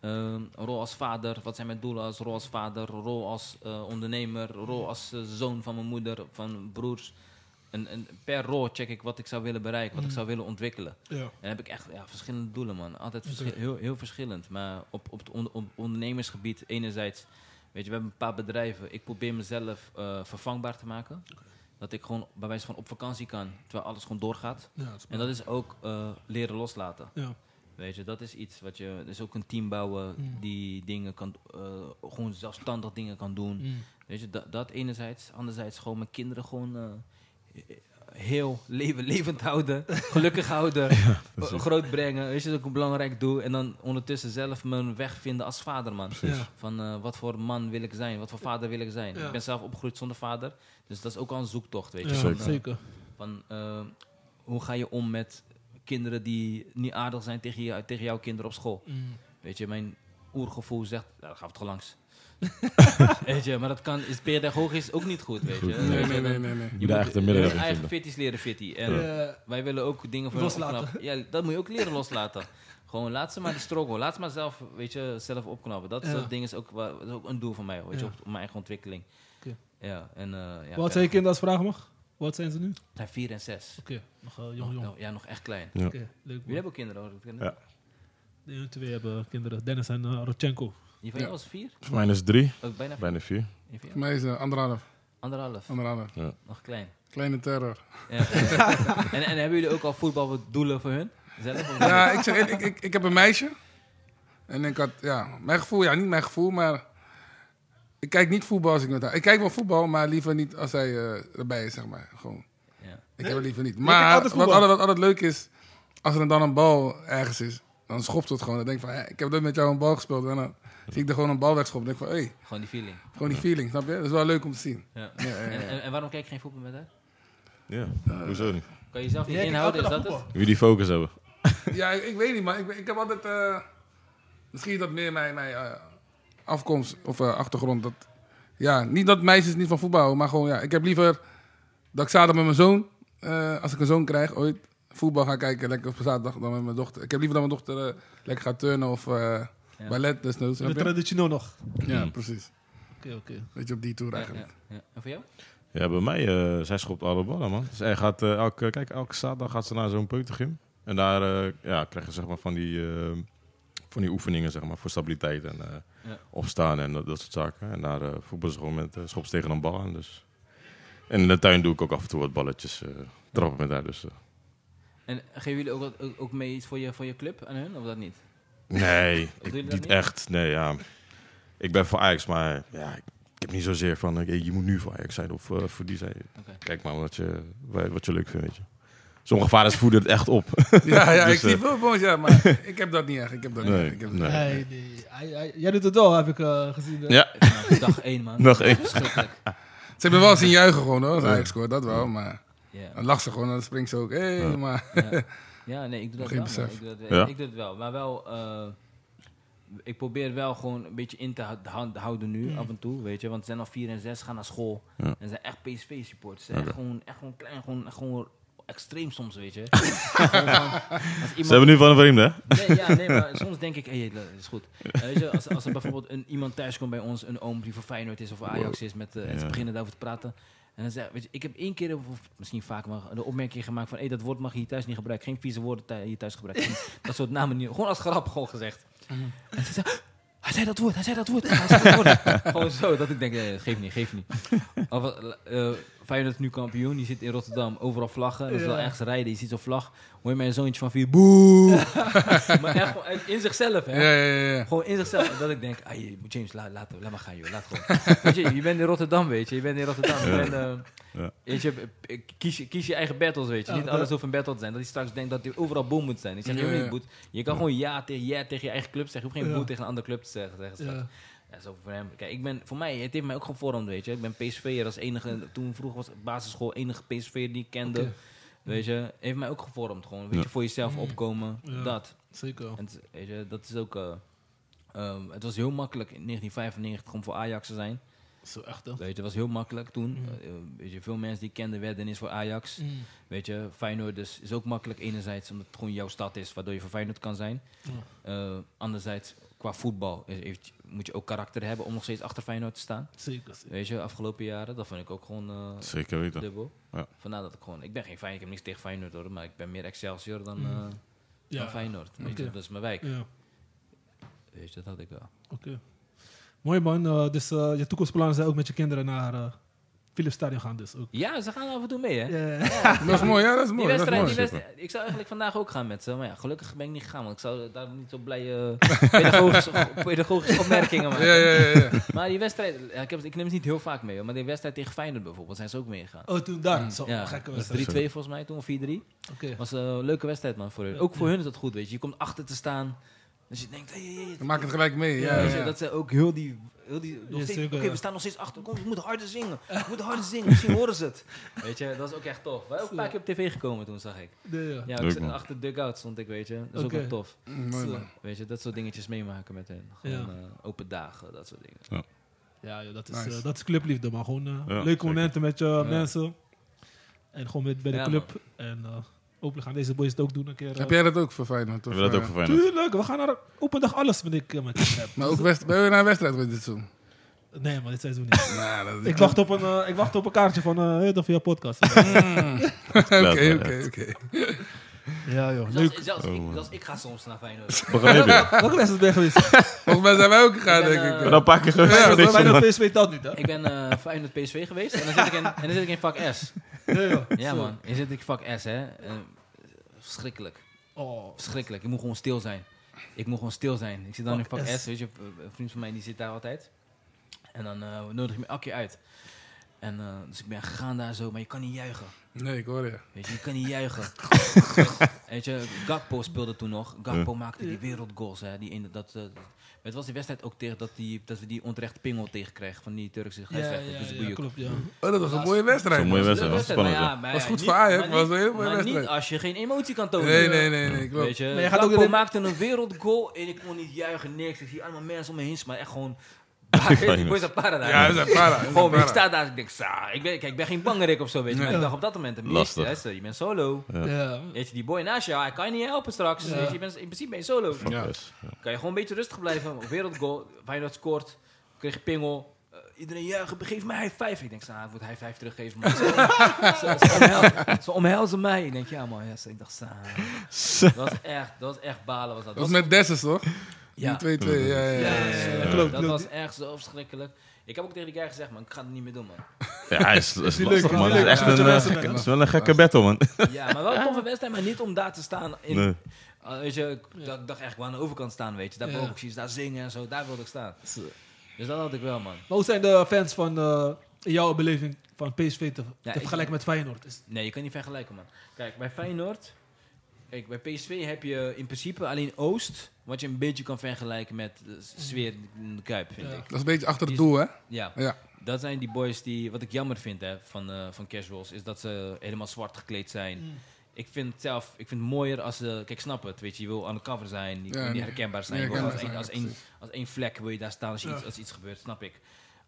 Ehm, een rol als vader, wat zijn mijn doelen als rol als vader, rol als eh, ondernemer, rol als eh, zoon van mijn moeder, van broers. En, en per rol check ik wat ik zou willen bereiken, wat ik zou willen ontwikkelen. Ja, En dan heb ik echt ja, verschillende doelen, man. Altijd verschil- heel, heel verschillend. Maar op, op het on- op ondernemersgebied, enerzijds, weet je, we hebben een paar bedrijven. Ik probeer mezelf eh, vervangbaar te maken. Dat ik gewoon bij wijze van op vakantie kan, terwijl alles gewoon doorgaat. ja, dat is En dat is ook eh, leren loslaten. ja. Weet je, dat is iets wat je. Dus ook een team bouwen Mm. die dingen kan. eh, gewoon zelfstandig dingen kan doen. Mm. Weet je, dat, dat enerzijds. Anderzijds gewoon mijn kinderen gewoon eh, heel leven, levend houden. Gelukkig houden. dat is ook- groot brengen. Weet je, dat is ook een belangrijk doel. En dan ondertussen zelf mijn weg vinden als vader, man. Ja, Van eh, wat voor man wil ik zijn? Wat voor vader wil ik zijn? Ja. Ik ben zelf opgegroeid zonder vader. Dus dat is ook al een zoektocht, weet je. ja, Van, zeker. eh, van eh, hoe ga je om met kinderen die niet aardig zijn tegen, je, tegen jouw kinderen op school? Mm. Weet je, mijn oergevoel zegt, nou, dan gaan we het gewoon (laughs) langs. weet je, maar dat kan, is pedagogisch ook niet goed, weet je. Goed, nee, Weet Nee, je, nee, dan- nee, nee. nee. Je moet echt een je middenweg eigen vinden. fitties leren fitty. En Ja, wij willen ook dingen voor Loslaten. hun opknappen. Ja, dat moet je ook leren loslaten. Gewoon laat ze maar de struggle. Laat ze maar zelf, weet je, zelf opknappen. Dat Ja. soort ding is ook, wa- dat is ook een doel van mij, weet je, Ja. op, op mijn eigen ontwikkeling. Oké. Ja, en eh ja, Wat zijn je kinderen als vraag mag? Wat zijn ze nu? Oké, Ze zijn vier en zes. nog eh, jong, Nog- jong. nog- ja, nog echt klein. Ja. Oké, leuk. Jullie man. hebben ook kinderen, hoor. Ja. De ene twee hebben kinderen, Dennis en eh, Rodchenko. Die van jou was vier? Voor mij is drie, Ook bijna vier. bijna vier. Een vier? Voor mij is eh, anderhalf. Anderhalf. Anderhalf. Nog klein. Kleine terror. Ja. (laughs) en, en hebben jullie ook al voetbaldoelen voor hun? Zelf? of niet? Ja, ik zeg, eerlijk, ik, ik, ik heb een meisje. En ik had, ja, mijn gevoel, ja, niet mijn gevoel, maar ik kijk niet voetbal als ik met haar. Ik kijk wel voetbal, maar liever niet als zij eh, erbij is, zeg maar. Gewoon. Ja. Ik heb het liever niet. kijk Maar altijd wat voetbal. altijd, wat altijd leuk is, als er dan een bal ergens is, dan schopt het gewoon. Dan denk ik van, hé, ik heb net met jou een bal gespeeld. En dan zie ik er gewoon een bal wegschoppen. Dan denk ik van, hé, Gewoon die feeling. gewoon die feeling, snap je? Dat is wel leuk om te zien. Ja. Ja, ja, ja. En, en, en waarom kijk je geen voetbal met haar? Ja, hoezo niet? Kan je jezelf niet Jij kijkt inhouden, is elke dat dag het? Wie die focus hebben. Ja, ik, ik weet niet, maar ik, ik heb altijd... eh, misschien is dat meer mijn, mijn eh, afkomst of eh, achtergrond. Dat, ja, niet dat meisjes niet van voetbal houden, maar gewoon... Ja, ik heb liever dat ik zaterdag met mijn zoon, eh, als ik een zoon krijg ooit, voetbal ga kijken lekker op zaterdag dan met mijn dochter. Ik heb liever dat mijn dochter eh, lekker gaat turnen of eh Ja. ballet desnoods. De snap je? traditioneel nog. Ja, precies. Oké, oké. Weet je, op die toer Ja, eigenlijk. ja, ja. En voor jou? Ja, bij mij, eh, zij schopt alle ballen, man. Zij gaat, eh, elke, kijk, elke zaterdag gaat ze naar zo'n peutergym. En daar eh, ja, krijg je zeg maar, van, die, eh, van die oefeningen zeg maar, voor stabiliteit en eh, Ja. opstaan en dat, dat soort zaken. En daar eh voetbal ze gewoon met eh, schopt ze tegen een bal aan. Dus. En in de tuin doe ik ook af en toe wat balletjes eh, trappen met haar. Dus, eh. En geven jullie ook, wat- ook, ook mee iets voor je, voor je club aan hun, of dat niet? nee, Doen ik, jullie dat niet, niet? echt. Nee, ja. Ik ben voor Ajax, maar ja, ik, ik heb niet zozeer van eh, hey, je moet nu voor Ajax zijn of eh, voor die zijn. Oké. Kijk maar wat je, wa- wat je leuk vindt, weet je. Sommige vaders voeden het echt op. Ja, ja, Dus, ik zie eh, veel boos, ja, maar ik heb dat niet echt. Ik heb dat Nee, niet echt. Ik heb dat nee. Hij- niet. die- hij- hij- Jij doet het wel, heb ik eh, gezien. eh. Ja. Vanaf dag één, man. Nog één. Verschrikkelijk. Ze hebben wel zien juichen gewoon hoor, als Ajax scoort, dat wel, maar... Ja. Dan lacht ze gewoon en dan springt ze ook. Hé, hey, maar... Ja. (laughs) ja, nee, ik doe dat Geen wel. man. besef. Ik doe dat, Ja. ik doe dat wel. Maar wel, eh, ik probeer wel gewoon een beetje in te hou- hou- houden nu, af en toe, weet je. Want ze zijn al 4 en 6, gaan naar school. Ja. En ze zijn echt PSV-supporters. Ze zijn echt, gewoon, echt gewoon klein, gewoon, echt gewoon extreem soms, (laughs) weet je. Gewoon van, als Ze iemand- hebben nu van een vreemde, hè? Nee, ja, nee, maar soms denk ik, hey, dat is goed. Eh, weet je, als, als er bijvoorbeeld een, iemand thuis komt bij ons, een oom die voor Feyenoord is of Ajax is, met, eh, en ze Ja. beginnen daarover te praten. En dan zeg, weet je, ik heb één keer, of misschien vaker, maar de opmerking gemaakt van, hey, dat woord mag je hier thuis niet gebruiken. Geen vieze woorden thu- hier thuis gebruiken. Geen- dat soort namen niet. Gewoon als grap gewoon gezegd. En ze zei, hij zei dat woord, hij zei dat woord. Hij zei dat woord. gewoon zo, dat ik denk, nee, geef niet, geef niet. Of, eh, eh, Feyenoord is nu kampioen, die zit in Rotterdam, overal vlaggen. En als ze Ja. dan ergens rijden, je ziet zo'n vlag, hoor je mijn zoontje van vier, boe. (laughs) maar echt gewoon en in zichzelf, hè. Ja, ja, ja. ja. Gewoon in zichzelf. En Dat ik denk, ah, je- James, laat, laat, laat maar gaan, joh. Laat gewoon. weet je, je bent in Rotterdam, weet je. Je bent in Rotterdam. Je bent, eh, Ja. weet je, eh, kies, je- kies je eigen battles, weet je. Ja, Niet dat- alles hoeft een battle te zijn. Dat hij straks denkt dat hij overal boem moet zijn. Ik zeg, Ja, joh, ja. niet boet. Je kan gewoon ja tegen, ja tegen je eigen club zeggen. Je hoeft geen Ja. boet tegen een andere club te zeggen. zeggen straks. Ja. Ja, zo voor hem. Kijk, ik ben, voor mij, het heeft mij ook gevormd, weet je. Ik ben PSV'er als enige, toen vroeger was basisschool, enige PSV'er die ik kende. Oké. Mm. Weet je, heeft mij ook gevormd gewoon. Weet Ja. je, voor jezelf opkomen, Ja. dat. Zeker. En het- weet je, dat is ook... eh, ehm, het was heel makkelijk in 1995 om voor Ajax te zijn. Zo echt, hè? Weet je, het was heel makkelijk toen. Mhm. Eh, weet je, veel mensen die ik kende werden is voor Ajax. Mm. Weet je, Feyenoord dus is ook makkelijk enerzijds omdat het gewoon jouw stad is, waardoor je voor Feyenoord kan zijn. Ja. Eh, anderzijds, qua voetbal is- heeft- moet je ook karakter hebben om nog steeds achter Feyenoord te staan. Zeker. zeker. Weet je, afgelopen jaren, dat vind ik ook gewoon eh, Zeker weten. dubbel. Ja. Vandaar dat ik gewoon, ik ben geen Feyenoord, ik heb niks tegen Feyenoord hoor, maar ik ben meer Excelsior dan, Mm. eh, dan Ja, Feyenoord. Weet je, Oké. dat is mijn wijk. ja. Weet je, dat had ik wel. oké. Mooi man, Eh, dus eh, je toekomstplannen zijn ook met je kinderen naar eh Philips Stadion gaan dus Eh, ook. Ja, ze gaan af en toe mee hè. Ja. Dat is mooi, ja, dat is (laughs) Die mooi. Dat is wedstrijd, die mooi. wedstrijd, ik zou eigenlijk vandaag ook gaan met ze, maar ja, gelukkig ben ik niet gegaan, want ik zou daar niet zo blij eh, (laughs) pedagogische, pedagogische opmerkingen Ja, maken. ja, ja. ja. Maar die wedstrijd, ja, ik, heb, ik neem het niet heel vaak mee, hoor, maar die wedstrijd tegen Feyenoord bijvoorbeeld zijn ze ook meegegaan. (laughs) Oh, toen daar. Zo, Ja, gekke was 3-2 wedstrijd. volgens mij toen, of 4-3. Oké. was eh, een leuke wedstrijd man voor hun. Ook voor hun is dat goed, weet je. Je komt achter te staan, dus je denkt, hey, hey, hey. Dan maak ik het gelijk mee. Ja, Ja, Weet je, ja. dat ze ook heel die... Heel die nog Ja, steeds- Oké, zeker, ja. we staan nog steeds achter. Kom, we moeten harder (laughs) zingen. We moeten harder zingen. Misschien horen ze het. Weet je, dat is ook echt tof. We zijn ook een paar keer op tv gekomen toen, zag ik. Nee, ja. Dus, Ja, Leuk, ik- man. achter de dugout stond ik, weet je. Dat is Oké. ook wel tof. Mm, Mooi, eh, man. Weet je, dat soort dingetjes meemaken met hen. Gewoon Ja. eh, open dagen, dat soort dingen. Ja, joh, dat, is, Nice. eh, dat is clubliefde, maar gewoon eh, Ja, leuke zeker. momenten met je mensen. En gewoon met, bij de Ja, club. En eh, hopelijk gaan deze boys het ook doen een keer. eh. Heb jij dat ook voor Feyenoord? We Of, hebben dat ook eh, voor Feyenoord. Tuurlijk, we gaan naar open dag alles wanneer ik eh, mijn kids heb. Maar ook west, ben je naar een wedstrijd met dit seizoen? Nee, maar dit seizoen niet. Nou, dat (laughs) Ik wacht op een, eh, ik wacht op een kaartje van eh dat via (laughs) podcast. Oké, oké, oké. ja joh, leuk. Zelfs, zelfs, Oh, ik, man. zelfs ik ga soms naar Feyenoord. We gaan (laughs) weer. Welke wedstrijd ben je geweest? Volgens mij zijn wij ook gegaan, Ik ben, denk ik. eh, We gaan een paar keer geweest. Ja, dat Niks is gedaan. Bijna PSV telt niet hè? ik ben eh (laughs) Feyenoord PSV geweest en dan zit ik in, en dan zit ik in vak S. Nee, joh. Ja Zo. man, dan zit ik in vak S hè. Eh, verschrikkelijk, Oh, verschrikkelijk. Ik moet gewoon stil zijn. Ik moet gewoon stil zijn. Ik zit dan Vak in vak S. S. weet je. Een vriend van mij die zit daar altijd. En dan eh nodig ik me elke keer uit. En, eh, dus ik ben gegaan daar zo, maar je kan niet juichen. Nee, ik hoor je. Weet je, je kan niet (laughs) juichen. Weet je, Gakpo speelde toen nog. Gakpo maakte die wereldgoals. Hè. Die ene, dat, eh, het was die wedstrijd ook tegen dat, die, dat we die onterecht pingel tegenkregen van die Turkse Ja, scheidsrechter. ja, dus ja, klopt, ja. Oh, dat was een mooie wedstrijd. Zo'n mooie man. wedstrijd, was spannend. maar ja, ja. maar Was ja, goed niet- voor Ajax, maar was niet- een hele mooie maar wedstrijd. niet als je geen emotie kan tonen. Nee, nee, nee, nee, klopt. Weet je, Maar je gaat ook Gakpo in de- maakte een wereldgoal en ik kon niet juichen, niks. Ik zie allemaal mensen om me heen, maar (laughs) echt gewoon... Ik was een paradijs. Ja, dat is een para. Gewoon, ik sta daar, ik denk, sa, ik ben, kijk, ik ben geen bangerik of zo, weet je. Maar Nee. ik dacht op dat moment, een beetje, Lastig. luister, je bent solo. Ja. Weet je, die boy naast jou, hij kan je niet helpen straks. Ja. Weet je, je bent, in principe ben je solo. Fuck Ja. yes. Ja. Kan je gewoon een beetje rustig blijven. Wereldgoal, Feyenoord scoort, kreeg je pingel. Eh, iedereen juichen, geef mij high five. Ik denk, sa, ik moet high five teruggeven. Maar ze, ze, ze, omhelzen, ze omhelzen mij. Ik denk, ja man, yes. ik dacht, sa. Dat was echt, dat was echt balen. Was dat. Dat was met Dessus, toch? ja. Die 2-2, ja, ja, Ja, ja. ja, ja, ja. Ja, klopt, dat klopt. was echt zo verschrikkelijk. Ik heb ook tegen die guy gezegd, man, ik ga het niet meer doen, (laughs) man. (laughs) Ja, hij is, is die lastig, leuk? man. Is Het die is leuk? echt Met een, je eh, mensen gekke- bent, het is wel een gekke battle, man. Ja, maar wel een toffe wedstrijd, maar niet om daar te staan. In, Nee. Ah, weet je, ik dacht, dacht echt wel aan de overkant staan, weet je. Daar Ja. boven precies, daar zingen en zo, daar wilde ik staan. Dus dat had ik wel, man. Maar hoe zijn de fans van eh, in jouw beleving van PSV te, Ja, te ik- vergelijken met Feyenoord? Is, Nee, je kan niet vergelijken, man. Kijk, bij Feyenoord... Kijk, bij PSV heb je in principe alleen Oost... wat je een beetje kan vergelijken met de s- sfeer in de Kuip, vind Ja. ik. Dat is een beetje achter het doel, hè? Ja. Ja. Dat zijn die boys die... Wat ik jammer vind hè, van, eh, van casuals... is dat ze helemaal zwart gekleed zijn. Ik vind het zelf... Ik vind het mooier als ze... Kijk, ik snap het. Weet je, je wil aan de cover zijn. Je Ja, wil niet ja. herkenbaar Ja, zijn. Je wil als, herkenbaar één- als, zijn, één, als één vlek wil je daar staan als, je iets, als iets gebeurt. Snap ik.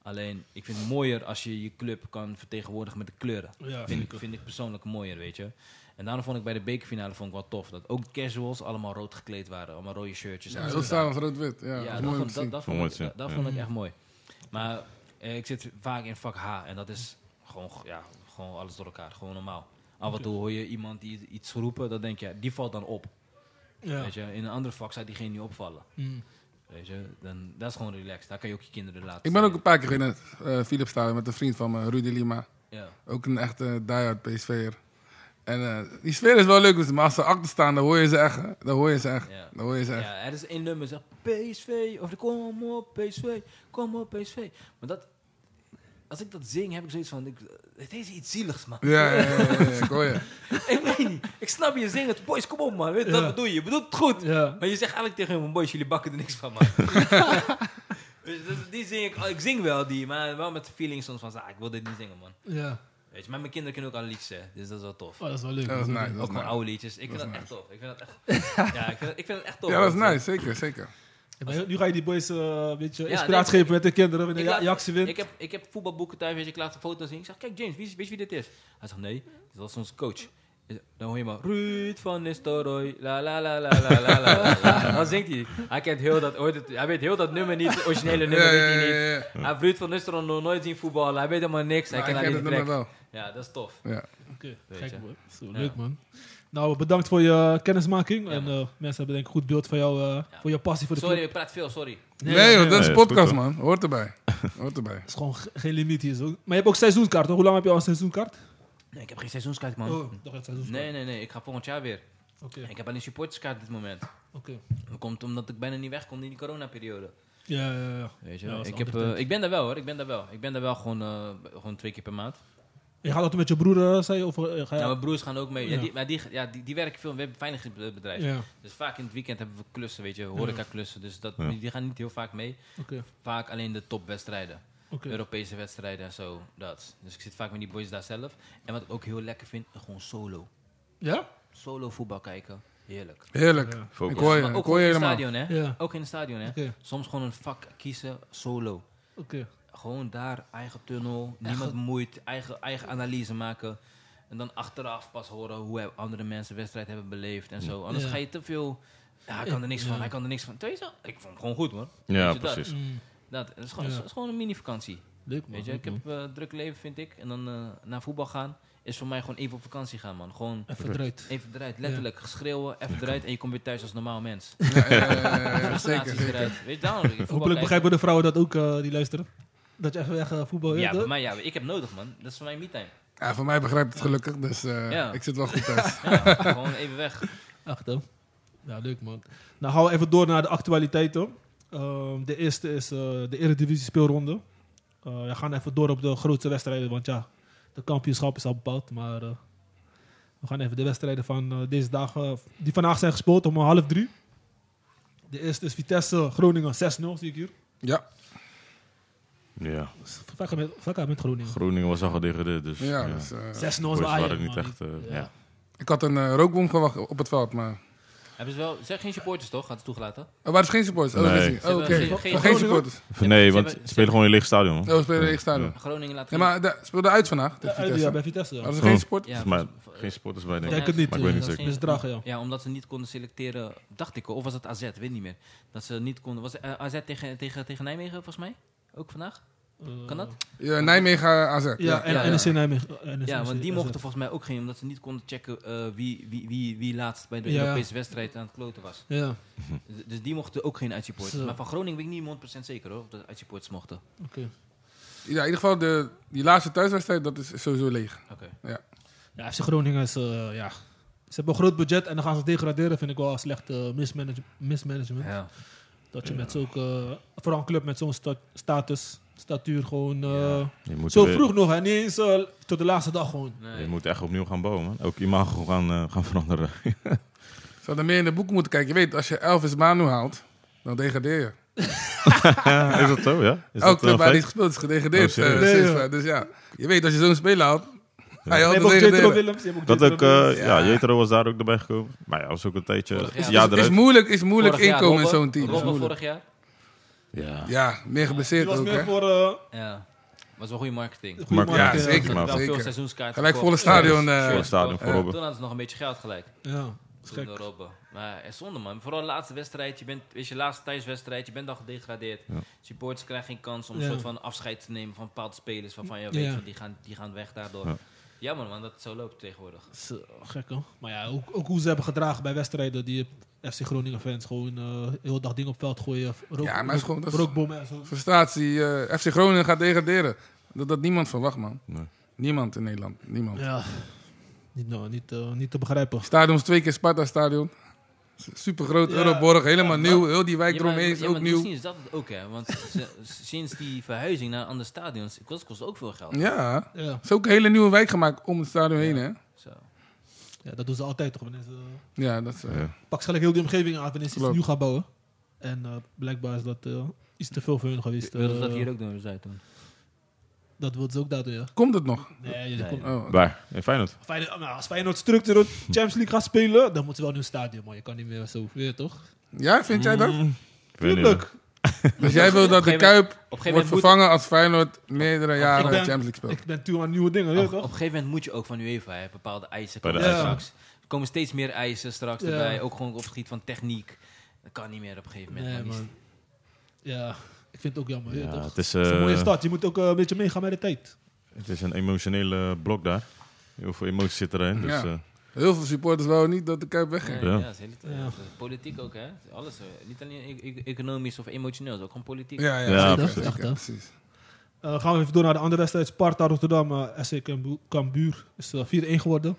Alleen, ik vind het mooier als je je club kan vertegenwoordigen met de kleuren. ja, Vind ik, vind ik persoonlijk mooier, weet je. En daarom vond ik bij de bekerfinale vond ik wel tof. Dat ook casuals allemaal rood gekleed waren. Allemaal rode shirtjes. en Ja, zo. dat staat als rood-wit. Ja, Ja, dat is dat, mooi om te vond, dat, zien. dat Mooi vond, te ik, zien, dat, dat ja. vond ik echt mooi. Maar eh, ik zit vaak in vak H. En dat is gewoon, g- ja, gewoon alles door elkaar. Gewoon normaal. Af en toe hoor je iemand die iets roepen. Dan denk je, die valt dan op. ja. Weet je. In een andere vak zou diegene niet opvallen. Mm. Weet je. Dan, dat is gewoon relaxed. Daar kan je ook je kinderen laten Ik ben ook zijn. een paar keer in het eh Philips Stadion met een vriend van me, Rudy Lima. Ja. Ook een echte die-hard PSV'er. En eh, die sfeer is wel leuk, maar als ze achter staan, dan hoor je ze echt. hè. Dan hoor je ze echt. Ja. Dan hoor je ze echt. Ja, (laughs) er is één nummer zegt PSV of de kom op PSV, kom op PSV. Maar dat, als ik dat zing, heb ik zoiets van, ik, het is iets zieligs man. Ja, ja, ja, ja, ja, ik hoor je. (laughs) ik weet niet, ik snap je zingen, boys kom op man, weet je, Ja. dat bedoel je, je bedoelt het goed. Ja. Maar je zegt eigenlijk tegen hem, boys jullie bakken er niks (laughs) van man. dus, dat- die zing ik, ik zing wel die, maar wel met de feeling soms van, ah, ik wil dit niet zingen man. ja. Weet je, maar mijn kinderen kunnen ook alle liedjes, hè, dus dat is wel tof. Oh, dat is wel leuk. Ja, dat is nice. Ook Dat is gewoon nice. oude liedjes. Ik vind dat, echt tof. Ik vind (laughs) dat echt, ja, ik vind, ik vind het echt tof. Ja, dat is man. nice, zeker, zeker. Ja, maar nu ga je die boys eh, een beetje Ja, inspiratie nee, geven met de kinderen. Wanneer Ik ja, laat- Ajax wint. Ik heb, ik heb voetbalboeken thuis, weet je, ik laat de foto zien. Ik zeg, kijk James, wie, is- weet je wie dit is? Hij zegt, nee, dat is onze coach. Dan hoor je maar, Ruud van Nistelrooy, la la la la la la la, (laughs) la. Dan zingt hij. Hij, kent heel dat, hoort het, hij weet heel dat nummer niet, het originele Ja, ja, nummer weet ja. hij niet. ja, ja. Hij heeft Ruud van Nistelrooy nog nooit zien voetballen, hij weet helemaal niks. Hij Maar kent ik ken alleen het de nummer track. wel. Ja, dat is tof. Ja. Oké, Weet gek je. man. Zo, Ja. Leuk man. Nou, bedankt voor je kennismaking. Ja, en man. eh, mensen hebben denk ik een goed beeld van jou, eh, Ja. voor je passie voor de Sorry, club. ik praat veel, sorry. Nee, nee, joh, nee. dat is is goed, podcast, hoor. man. Hoort erbij. Hoort erbij. Er is gewoon ge- geen limiet hier. Zo. Maar je hebt ook seizoenskaart, toch? Hoe lang heb je al een seizoenkaart? Nee, ik heb geen seizoenskaart, man. Oh, toch echt seizoenskaart. Nee, nee, nee, ik ga volgend jaar weer. Oké, Ik heb alleen supporterskaart op dit moment. oké. Dat komt omdat ik bijna niet weg kon in die coronaperiode. Ja, ja, ja. Weet je, Ja, wel. dat is ik, heb, altijd eh, ik ben daar wel hoor, ik ben daar wel. Ik ben daar wel gewoon, eh, b- gewoon twee keer per maand. Je gaat dat met je broer, eh, zei je? Of, eh, ga je... Ja, mijn broers gaan ook mee. Ja, Ja. die, maar die, ja, die, die werken veel, we hebben een veiligheidsbedrijf. Ja, Dus vaak in het weekend hebben we klussen, weet je, horeca klussen. Dus dat, Ja. die, die gaan niet heel vaak mee. oké. Vaak alleen de topwedstrijden. oké. Europese wedstrijden en zo, dat. Dus ik zit vaak met die boys daar zelf. En wat ik ook heel lekker vind, gewoon solo. Ja? Solo voetbal kijken, heerlijk. Heerlijk. Ja. Focus. Ik hoor je, Maar ik ook hoor gewoon je in het helemaal. stadion, hè. Ja, Ook in het stadion, hè. oké. Soms gewoon een vak kiezen, solo. Oké. Gewoon daar, eigen tunnel, niemand moeit, eigen, eigen analyse maken. En dan achteraf pas horen hoe he- andere mensen de wedstrijd hebben beleefd en zo. Anders Ja. ga je te veel... Ja, hij kan er niks Ja. van, hij kan er niks van. Weet je wel? Ik vond het gewoon goed, hoor. Ja, Weet je dat? precies. Mm, Dat, het is gewoon, Ja. Mhm. het is gewoon een mini-vakantie. Leuk man. Weet je, leuk, ik heb man. eh, druk leven, vind ik. En dan eh, naar voetbal gaan is voor mij gewoon even op vakantie gaan, man. Gewoon Even eruit. even eruit, letterlijk. Geschreeuwen, even eruit. En je komt weer thuis als normaal mens. Ja, ja, ja, ja, ja, ja, zeker, Frustraties zeker. eruit. Weet je, daarom wil ik voetbal Hopelijk kijken. begrijpen de vrouwen dat ook, eh, die luisteren. Dat je echt weg eh, voetbal Ja, wilde. bij mij, ja, ik heb nodig, man. Dat is voor mij me-time. Ja, voor mij begrijpt het gelukkig, dus eh, Ja. ik zit wel goed thuis. Ja, gewoon even weg. Echt hè? Ja, leuk man. Nou gaan we even door naar de actualiteiten. Ehm, de eerste is eh, de Eredivisie speelronde. Eh, we gaan even door op de grootste wedstrijden, want ja, de kampioenschap is al bepaald. Maar eh, we gaan even de wedstrijden van eh, deze dagen, die vandaag zijn gespeeld om half drie. De eerste is Vitesse Groningen 6-0, zie ik hier. Ja, Ja, Vakken met, vakken met Groningen. 6-0 Groningen was al gedegradeerd, dus... ja, Ja, dus, eh, is wel Boys Ajax, waren niet man. echt... eh, Ja. ja. ik had een eh, rookbom gewacht op het veld, maar... Hebben ze wel... Ze zijn geen supporters, toch? Had ze toegelaten? Er waren dus geen supporters. Oh, Nee. dat is niet. Ze hebben Oh, oké. geen- Oh, geen Geen Groningen? supporters. Nee, ze want hebben- ze spelen gewoon in een leeg stadion. man. Oh, we spelen in eigen stadion. Groningen laat Nee, geen... maar daar speelde uit vandaag. Ja, tegen uit- ja, Vitesse. bij Vitesse. ja. Hadden ze Oh. geen supporters? Ja, Volgens mij volgens- geen supporters bij, denk Ja, ik. ik het niet, Maar ik weet eh, niet zeker. Misdragen, ja. Ja, omdat ze niet konden selecteren, dacht ik, of was het AZ, weet niet meer. Dat ze niet konden. Was eh, AZ tegen, tegen, tegen Nijmegen volgens mij? Ook vandaag? Eh, Kan dat? Ja, Nijmegen eh, AZ. Ja, en ja, ja. NEC Nijmegen. eh, NEC Ja, want die AZ. mochten volgens mij ook geen, omdat ze niet konden checken eh, wie, wie, wie, wie laatst bij de Ja. Europese wedstrijd aan het kloten was. Ja, Dus- Dus die mochten ook geen uitsupporters. Zo. Maar van Groningen ben ik niet 100% zeker hoor, of de uitsupporters mochten. oké. Ja, in ieder geval, de, die laatste thuiswedstrijd, dat is sowieso leeg. Oké. Ja, FC Groningen is, eh, ja... Ze hebben een groot budget en dan gaan ze degraderen, vind ik wel slecht eh, mismanage- mismanagement. Ja. Dat je met zulke... Vooral een club met zo'n sta- status, statuur gewoon... eh, Je moet Zo weer- vroeg nog, hè? Niet eens eh, tot de laatste dag gewoon. Je Nee. moet echt opnieuw gaan bouwen, man. Ook imago gaan, eh, gaan veranderen. (laughs) Ze hadden meer in de boeken moeten kijken. Je weet, als je Elvis Manu haalt, dan degradeer je. is dat zo, ja? Is Elke dat club een waar feit? hij gespeeld is gedegradeerd. Oh, eh, serieus? Nee, sinds, joh. eh, dus ja, je weet, als je zo'n speler haalt, hij Je haalt hebt dan ook Jetro degraderen. Willems. je hebt ook Dat Jetro ook, Willems. eh, ja, Jetro was daar ook erbij gekomen. Maar ja, was ook een tijdje. Vorig Ja, jaar. Het is eruit. moeilijk, is moeilijk Vorig jaar inkomen in Robben- zo'n team. Is Robben moeilijk. vorig jaar? Ja. Ja, meer Die geblesseerd was ook, meer hè. voor... eh, Ja. Was wel goede marketing. goede Maar- markt, ja, eh, zeker. Wel Maar- veel Zeker. seizoenskaarten. Gelijk volle verkocht. stadion. Voor eh het stadion voor Ja. Toen Robben. hadden ze nog een beetje geld gelijk. Ja, is Toen gek. door Robben. Maar eh, zonde man. Vooral de laatste wedstrijd. Je bent, is je laatste thuiswedstrijd. Je bent al gedegradeerd. Ja. Supporters krijgen geen kans om een Ja. soort van afscheid te nemen van bepaalde spelers. Waarvan je weet Ja. van die gaan, die gaan weg daardoor. Ja. Jammer man dat het zo loopt tegenwoordig. Zo, eh, gek hoor. Maar ja, ook, ook hoe ze hebben gedragen bij wedstrijden. Die FC Groningen fans gewoon eh heel dag dingen op veld gooien. Rook, Ja, maar is gewoon- dat is- rookbommen en zo. Frustratie, eh, FC Groningen gaat degraderen. Dat dat niemand verwacht, man. Nee. Niemand in Nederland, niemand. Ja, niet, nou, niet, eh, niet te begrijpen. Stadion is twee keer Sparta Stadion. Super groot, Ja. Euroborg, helemaal Ja, nieuw. Heel die wijk Ja, maar- eromheen is ja, ook maar nieuw. Misschien is dat het ook hè. Want (laughs) ze- sinds die verhuizing naar andere stadions. kost kost ook veel geld. Ja, Ja. het is ook een hele nieuwe wijk gemaakt om het stadion heen, hè? Zo. ja, dat doen ze altijd toch. Wanneer ze, Ja, dat is... eh, Ja. pak ze gelijk heel die omgeving aan wanneer ze iets Klopt. nieuw gaan bouwen. En eh, blijkbaar is dat eh, iets te veel voor hun geweest. Wilden ze eh, dat hier ook doen? we zeiden toen. dat wilden ze ook daardoor, ja. Komt het nog? Nee, Nee. komt- Oh. Waar? In Feyenoord. Feyenoord- nou, als Feyenoord structureel Champions League gaat spelen, dan moeten ze wel in een stadion. Maar je kan niet meer zo weer, toch? Ja, vind jij dat? Ik weet niet, man. Tuurlijk. (laughs) Dus jij wil dat de gegeven Kuip moment- Mm. Op wordt een gegeven moment moet- vervangen als Feyenoord meerdere jaren ben- de Champions League speelt? Ik ben toe aan nieuwe dingen, weet je Op, op toch? een gegeven moment moet je ook van UEFA hè, bepaalde eisen. Bij de komen eisen. straks. Er komen steeds meer eisen straks Ja. erbij. Ook gewoon op het gebied van techniek. Dat kan niet meer op een gegeven moment. Nee, man. man. Ja, ik vind het ook jammer, weet je Ja, toch? het, is, Het is een mooie eh, stad. Je moet ook eh, een beetje meegaan met de tijd. het is een emotionele blok daar. Heel veel emotie zit erin. Dus, Ja. eh, Heel veel supporters wouden niet dat de Kuip Nee, wegging. ja, Ja. dat is heel- dat is politiek ook, hè? Alles. eh, Niet alleen e- e- economisch of emotioneel, het is ook gewoon politiek. Ja, ja, Ja, zeker, precies. zeker, Echt, hè? precies. Eh, gaan we even door naar de andere wedstrijd. Sparta Rotterdam, eh SC Cambu- Cambuur is eh, 4-1 geworden.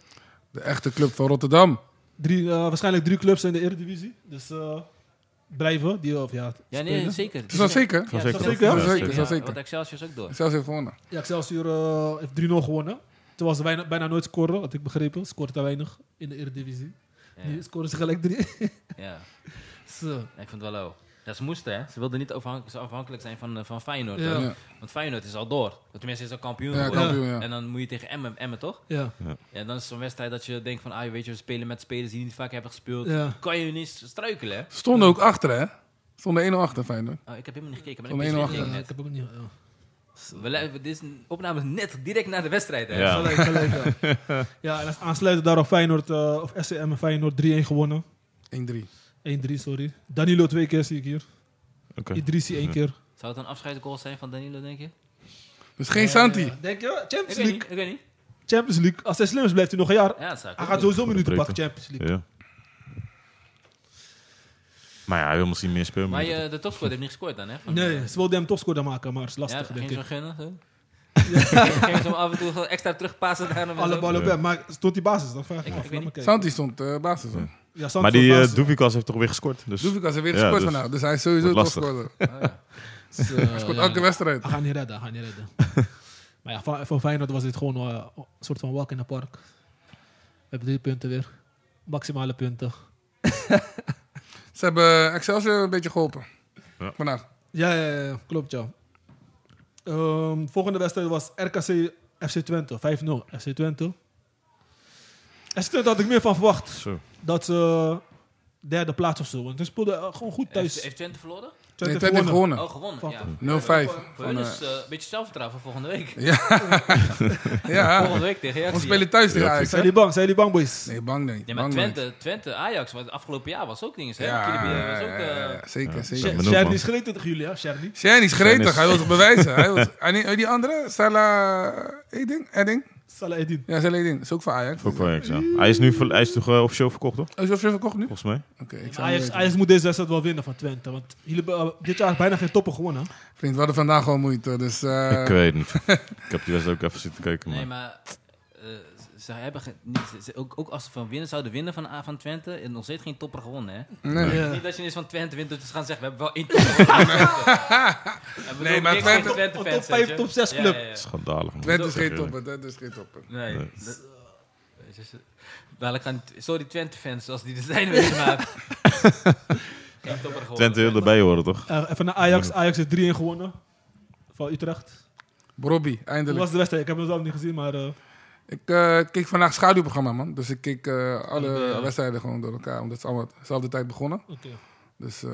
De echte club van Rotterdam. Drie, eh, waarschijnlijk drie clubs in de Eredivisie. Dus eh, blijven. Die, of, ja, Ja, nee, spelen. zeker. Het Is dat zeker? Ja, zeker. zeker, ja, zeker, Ja, dat zeker. Want Excelsior is ook door. Zelfs heeft gewonnen. Ja, Excelsior eh, heeft 3-0 gewonnen. Terwijl ze bijna, bijna nooit scoren, had ik begrepen. Scoort te weinig in de Eredivisie. Ja, Nu scoren ze gelijk 3. ja. (laughs) Zo. Ja, ik vind het wel low. Ja, ze moesten, hè? Ze wilden niet afhankelijk, ze afhankelijk zijn van, eh, van Feyenoord. Ja. hè. Ja. Want Feyenoord is al door. Tenminste, is al kampioen Ja, geworden. kampioen, ja. En dan moet je tegen Emmen, Emmen toch? Ja. Ja, dan is het zo'n wedstrijd dat je denkt van... Ah, weet je, we spelen met spelers die niet vaak hebben gespeeld. Ja. Kan je niet struikelen, hè? Stonden ook achter, hè? Stonden 1-0 achter, Feyenoord. Oh, ik heb helemaal niet gekeken. Om Maar ik één wist uur het Ja, net. ik heb ook niet... Ja. We li- dit is een opname net direct na de wedstrijd. Hè? Ja. Gelijk, gelijk, ja. ja, en als- aansluitend daarop Feyenoord, eh, of SCM en Feyenoord 3-1 gewonnen. 1-3. 1-3, sorry. Danilo twee keer zie ik hier. oké. Idrissi één keer. Zou het een afscheidsgoal zijn van Danilo, denk je? Dus geen Santi. Eh, Ja, denk je? Ik Champions weet League. niet. Ik weet niet. Champions League. Als hij slim is, blijft hij nog een jaar. Ja, dat zou ik Hij ook gaat doen. sowieso minuten breken. pakken, Champions League. Ja. Maar ja, hij wil misschien meer spelen. Maar je, de topscorer heeft niet gescoord dan, hè? Van- eh, Nee, ze wilden hem topscorer maken, maar het is Ja, lastig, ging denk ze ik. hem gunnen? Zo? (laughs) ging ze hem af en toe gewoon extra terugpassen naar hem? en Alle zo? ballen Ja. bij, maar tot die basis, dan vraag ik Ik- me ik af. weet Laat maar kijken. Santi stond eh basis. hoor. Ja, Santi maar van die basis. eh Doevikas heeft toch weer gescoord. Dus Doefikas heeft weer Ja, gescoord dus- vandaag, dus hij is sowieso Wordt lastig. topscorer. Oh, ja. Dus, eh, Goed, ja. elke (laughs) wedstrijd. Hij gaat niet redden, hij gaat niet (laughs) redden. maar ja, voor, voor Feyenoord was dit gewoon eh, een soort van walk in the park. We hebben drie punten weer. Maximale punten. Ze hebben Excelsior een beetje geholpen. Ja. Vandaag. Ja, ja, ja, ja, klopt, ja. Ehm, volgende wedstrijd was RKC FC Twente, 5-0 FC Twente. FC Twente had ik meer van verwacht. Zo. Dat ze derde plaats of zo. Want ze speelden eh, gewoon goed thuis. Heeft, heeft Twente verloren? Nee, Twente Twente heeft gewonnen. gewonnen. Oh, gewonnen. Ja. 0-5. Voor hun Van, is eh, een beetje zelfvertrouwen voor volgende week. Ja, Volgende week tegen we Ajax. spelen thuis tegen Ja, Ajax. hè? Zijn jullie bang? Zijn jullie bang, boys? Nee, bang nee. Nee, maar bang nee. Twente, Twente, Ajax, wat afgelopen jaar was ook dingen. hè? Kilibi was ook, eh, ja, zeker, Ja, zeker. maar- Sher- benoemd, Sherdy man. is gereden tegen jullie, hè? Sherdy. Shani is gretig, Shani is- hij wil zich bewijzen. (laughs) Hij wil... en die- die andere, Salah Eding? Edding? Salah Eddin. Ja, Salah Eding, is ook van Ajax. Ook wel Ajax, ja. Hij is nu ver- hij is toch eh, officieel verkocht, toch? Oh, is dat veel verkocht nu? Oké, Volgens mij. ik zou Ajax, het weten. Ajax moet deze wedstrijd wel winnen van Twente. Want jullie hebben eh, dit jaar bijna geen toppen gewonnen. hè? Vriend, we hadden vandaag al moeite, dus... eh, Ik weet niet. (laughs) ik heb die wedstrijd ook even zitten kijken, maar... Nee, maar eh, ze- ze hebben ge- niet, ze- ze- ook, ook als ze van winnen zouden winnen van, A- van Twente, en nog steeds geen topper gewonnen, hè? Eh. eh, nee. Ja. Niet dat je eens van Twente wint, dat ze gaan zeggen, we hebben wel (laughs) één topper gewonnen. (laughs) Nee, maar Twente- Top vijf, top zes club. Schandalig, man. Twente is geen Zo- topper, Twente is geen topper. Nee. dat- weet je, ze- Dadelijk gaan, die- sorry Twente-fans, als die er zijn, weet je (laughs) maar. Geen topper gewonnen. Twente wil erbij horen, toch? Eh, even naar Ajax. Ajax heeft 3-1 gewonnen. Van Utrecht. Robbie, Hoe eindelijk. was de wedstrijd? Ik heb hem zelf niet gezien, maar... eh, Ik eh, keek vandaag schaduwprogramma, man. Dus ik keek eh, alle Allebei, ja. wedstrijden gewoon door elkaar, omdat ze allemaal dezelfde tijd begonnen. Oké. Dus eh,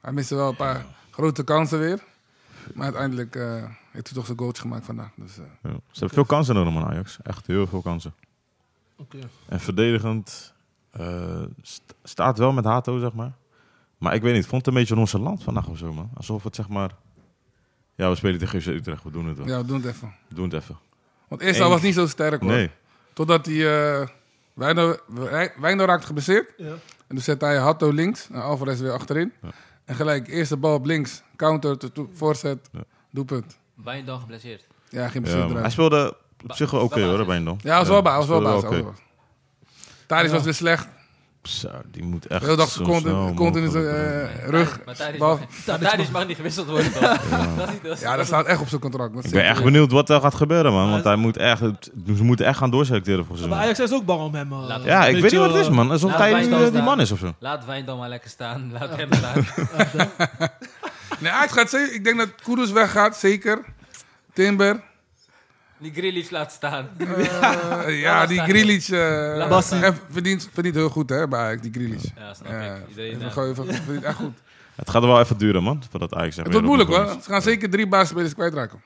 hij miste wel een paar grote kansen weer. Maar uiteindelijk eh, heeft hij toch zijn goals gemaakt vandaag. Dus, eh, Ja. Ze hebben veel kansen nodig, man, Ajax. Echt heel veel kansen. Oké. En verdedigend eh, st- staat wel met Hato, zeg maar. Maar ik weet niet, ik vond het een beetje onze land vandaag of zo, man. Alsof het, zeg maar... Ja, we spelen tegen FC Utrecht, we doen het wel. ja, we doen het even. We doen het even. Want eerst al Eén. was niet zo sterk, hoor. Nee, Totdat hij... eh Wijndal Wij- Wijndal raakte geblesseerd. Ja. En toen zette hij Hatto links en Alvarez weer achterin. En gelijk, eerste bal op links. Counter, to- to- voorzet, Ja. doelpunt. Bijna dan geblesseerd. Ja, geen ja, blessure maar eruit. hij speelde op Ba- zich wel oké, Ba- hoor, basis. Bijndon. Ja, was wel baas. Was wel speelde baas. was oké. wel baas. Tadic Ja. was weer slecht. Zo, die moet echt Heel dag zo continu, snel continu mogelijk, eh, zijn eh, rug. Maar Thadis bal. mag, maar Thadis mag niet gewisseld worden. toch? (laughs) Dat is niet- dat is- Ja, dat staat echt op zijn contract. Dat Ik zit ben er echt weer. benieuwd wat er gaat gebeuren, man. Want Maar- hij moet echt, het- ze moeten echt gaan doorselecteren voor Maar seizoen. Ajax is ook bang om hem. eh, Laat- Ja, een ik weet beetje, niet wat het is, man. Alsof Nou, hij wij nu staan eh, die daar. man is of zo. Laat Wijn dan maar lekker staan. Laat hem staan. Nee, Ajax gaat zeker. Ik denk dat Kudus weggaat, zeker. (laughs) Timber. Die Grealish laat staan. Eh, ja, die Grealish. eh, Bassi. en verdient, verdient heel goed, hè, bij Ajax, die Grealish. Ja, snap Ja, ik. Iedereen even eh, gewoon (laughs) even- verdient echt goed. Het gaat er wel even duren, man. Voordat Ajax echt Het wordt weer op moeilijk, de hoor. grond is. Ze gaan zeker drie basisspelers kwijtraken.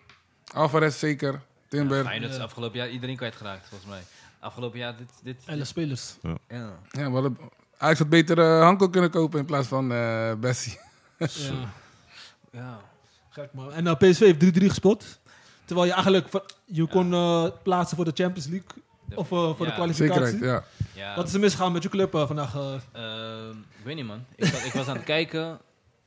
Alvarez zeker, Timber. Ja, Feyenoord is afgelopen jaar iedereen kwijtgeraakt, volgens mij. Afgelopen jaar dit... dit eh, Elf spelers. ja. we hadden Ajax had beter eh, Hanko kunnen kopen in plaats van eh, Bessie. (laughs) (laughs) Ja. Ja. Gek, man. En eh, PSV heeft 3-3 gespot. Terwijl je eigenlijk van- je kon eh, plaatsen voor de Champions League. Of eh, voor Ja. de kwalificatie. Zekerheid, ja. Ja, Wat is er misgaan met je club eh, vandaag? eh? ehm, ik weet niet, man. Ik, zat- ik was aan het (laughs) kijken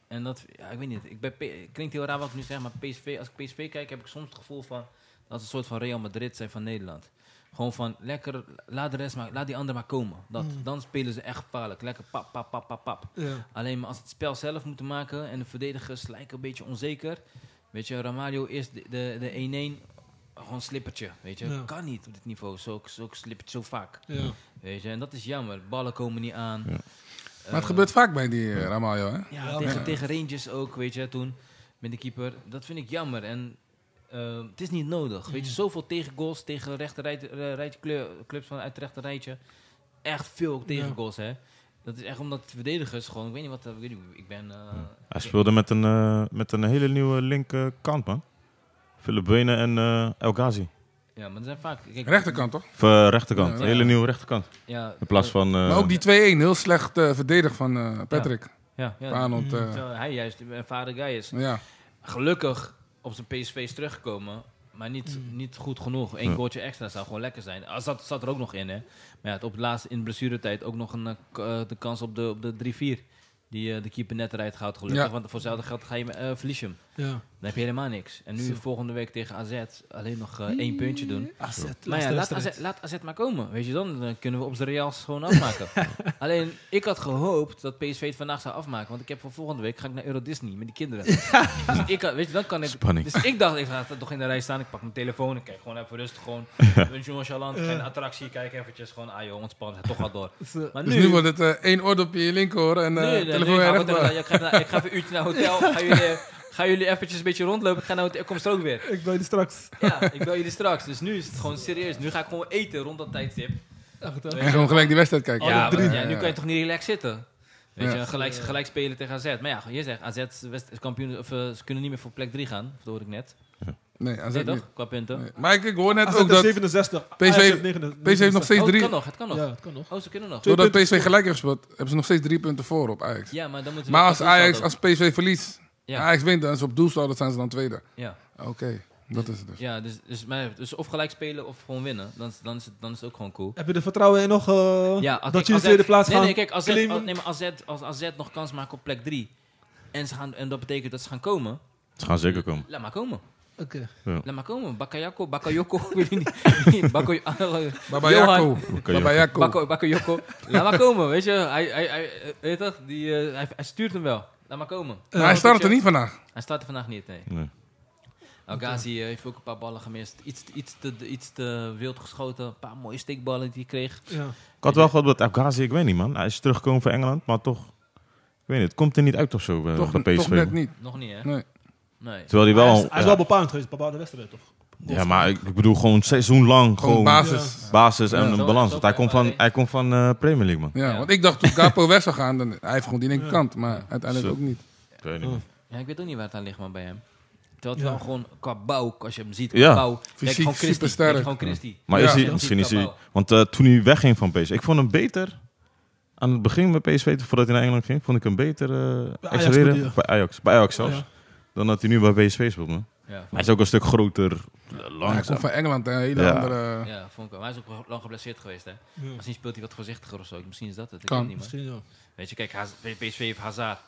en dat... Ja, ik weet niet. Ik ben, P- klinkt heel raar wat ik nu zeg, maar PSV, als ik PSV kijk, heb ik soms het gevoel van... Dat ze een soort van Real Madrid zijn van Nederland. Gewoon van, lekker, laat de rest maar, laat die anderen maar komen. Dat, Dan spelen ze echt gevaarlijk. Lekker pap, pap, pap, pap, pap. ja. Alleen maar als ze het spel zelf moeten maken en de verdedigers lijken een beetje onzeker. Weet je, Ramalho is de, de, de 1-1 gewoon slippertje. Weet je, Ja. kan niet op dit niveau. Zo, zo slippert zo vaak. Ja. Weet je, en dat is jammer. Ballen komen niet aan. Eh, Maar het gebeurt vaak bij die eh, Ramalho, hè? Ja, Ja, tegen, tegen Rangers ook, weet je, toen met de keeper. Dat vind ik jammer. En eh, het is niet nodig. Weet je, zoveel tegengoals tegen rechter rijtje, eh, rijtje kleur- clubs van uit het rechter rijtje. Echt veel tegengoals, hè. Dat is echt omdat de verdedigers gewoon, ik weet niet wat, eh, ik, weet niet, ik ben... eh, Hij speelde met een, eh, met een hele nieuwe linkerkant, man. Philip Benen en eh, El Ghazi. Ja, maar er zijn vaak... kijk, Rechterkant, toch? Of eh, rechterkant. Ja, ja. hele nieuwe rechterkant. Ja, In plaats van... eh, Maar ook die 2-1, heel slecht eh, verdedigd van eh, Patrick. Ja, ja. Ja. Arnold, eh, Terwijl hij juist een ervaren guy is. ja. Gelukkig op zijn PSV is teruggekomen, maar niet, niet goed genoeg. Eén Ja. goaltje extra zou gewoon lekker zijn. Ah, zat, zat er ook nog in, hè. Maar ja, het op het laatste, in de blessuretijd ook nog een, eh, k- eh, de kans op de, op de 3-4. Die eh, de keeper net eruit gaat gelukkig. Ja. Want voor hetzelfde geld ga je, hem, eh verlies je hem. Ja. Dan heb je helemaal niks. En nu Zo. volgende week tegen AZ alleen nog eh, één puntje doen. AZ, Maar ja, laat AZ, laat AZ maar komen. Weet je, dan eh, kunnen we op de Reals gewoon afmaken. alleen, ik had gehoopt dat PSV het vandaag zou afmaken. Want ik heb voor volgende week ga ik naar Euro Disney met die kinderen. dus ik had, weet je, dan kan ik... Spanning. Dus ik dacht, ik ga toch in de rij staan. Ik pak mijn telefoon. Ik kijk gewoon even (laughs) rustig. Gewoon, een nonchalant. Geen attractie. Kijk eventjes. Gewoon, ah joh, ontspannen. Toch wel (laughs) door. Maar Dus nu wordt het eh, één oor op je linker hoor en eh Nee, nee, telefoon weer nee, eh. ik, ga rechtdoor. gewoon- ik, ga naar- ik ga even een uurtje naar (laughs) het hotel. Ga jullie, eh, gaan jullie eventjes een beetje rondlopen. Ik ga naar het hotel. Kom straks weer. Ik ben er straks. Ja, ik bel jullie straks. Dus nu is het gewoon serieus. Nu ga ik gewoon eten rond dat tijdstip. Echt, hè? En gewoon gelijk die wedstrijd kijken. ja, drie. maar ja, nu kan je toch niet relaxed zitten? Weet Ja. je, gelijk, gelijk spelen tegen AZ. Maar ja, je zegt, AZ West- is kampioen, of, eh, ze kunnen niet meer voor plek 3 gaan. Dat hoorde ik net. Nee, AZ Nee, niet. toch? Qua punten. Nee. Maar ik, ik hoor net AZ ook is dat 67. PSV Ajax heeft 69. PSV heeft nog steeds Oh, het drie. kan nog, het kan nog. Ja, het kan nog. Oh, ze kunnen nog. Twee Doordat punten PSV gelijk heeft gespeeld, hebben ze nog steeds drie punten voor op Ajax. Ja, maar dan moeten ze Maar wel als kampioen Ajax, worden. als PSV verliest, en Ja, Ajax wint en ze op doel staan, dan zijn ze dan tweede. ja. Oké, dat is het dus. ja dus, dus, maar, dus of gelijk spelen of gewoon winnen. Dan, is- dan, is, het, dan is het ook gewoon cool. Heb je er vertrouwen in nog eh, Ja, dat als- kijk, je in de AZ tweede plaats nee, gaat Nee, kijk, AZ, claimen? als, nee, maar AZ, als AZ nog kans maakt op plek 3... En, ze gaan, en dat betekent dat ze gaan komen. Ze gaan zeker komen. Laat maar komen. Oké. Laat maar komen. Bakayako, Bakayoko. (laughs) ik weet het (laughs) niet. (laughs) Bakoy- Baba Johan, Jacco. Baba Jacco. Bakko- Bakayoko. Laat maar komen, weet je. Hij, hij, hij, eh, weet je toch, die, eh, hij, hij stuurt hem wel. Laat maar komen. Maar hij start er niet vandaag. Eh, Hij staat er vandaag niet, nee. Nee. Algazi eh, heeft ook een paar ballen gemist. Iets, iets, te, iets te wild geschoten. Een paar mooie steekballen die hij kreeg. Ja. Ik had wel gehad wat Afghazi, ik weet niet man. Hij is teruggekomen van Engeland, maar toch... Ik weet niet, het komt er niet uit of zo bij, Toch, bij toch PSV. net niet. Nog niet, hè? Nee. Nee. Terwijl hij Hij wel... is, hij is ja, wel bepaald geweest, bepaalde wedstrijd toch? ja, maar ik, ik bedoel gewoon seizoen lang. Gewoon Gewoon, basis. basis en Ja. een Zo- balans. zo Want hij kan komt je van, wel, hè? hij komt van eh, Premier League man. Ja, Ja. want ik dacht toen Capo (laughs) weg zou gaan, dan, hij heeft gewoon die linkerkant. Maar uiteindelijk Zo. ook niet. Ik weet niet man. Ja, ik weet ook niet waar het aan ligt, man, bij hem. Terwijl het Ja. wel gewoon qua bouw, als je hem ziet, qua Ja. bouw, denk ik Fysiek gewoon Christie, supersterk. denk ik gewoon Christie. Maar Ja. is hij, Ja. misschien is hij... Want eh, toen hij wegging van PSV, ik vond hem beter... Aan het begin bij PSV, voordat hij naar Engeland ging, vond ik hem beter eh Ajax accelereren. bedoel je? bij Ajax. Bij Ajax zelfs. Ja. Dan dat hij nu bij PSV speelt man. Ja, Hij vond, is ook een stuk groter, Hij langzaam. komt van Engeland, een hele Ja. andere... ja, vond ik wel. Maar hij is ook lang geblesseerd geweest, hè. Ja. Misschien speelt hij wat voorzichtiger of zo. Misschien is dat het. Ik Kan. weet het niet, man. Misschien ja. Weet je, kijk, Haz- PSV heeft Hazard.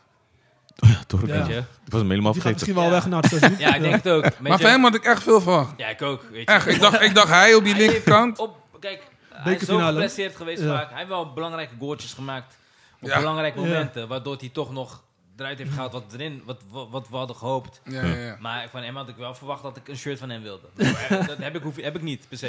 Toch, Ja. weet je. Ja, Ik was hem helemaal Die gaat vergeten. misschien wel Ja. weg naar het seizoen. ja ik denk het ook. Weet Maar je- van hem had ik echt veel verwacht. Ja, ik ook. Weet je. Echt, ik dacht, ik dacht hij op die Hij heeft linkerkant. Op, kijk, hij is zo Bekerfinale. geblesseerd geweest Ja. vaak. Hij heeft wel belangrijke goaltjes gemaakt op Ja. belangrijke Ja. momenten. Waardoor hij toch nog eruit heeft gehaald wat, erin, wat, wat, wat we hadden gehoopt. Ja, ja, ja. Maar van hem had ik wel verwacht dat ik een shirt van hem wilde. (laughs) Maar dat heb ik, hoef, heb ik niet, per se.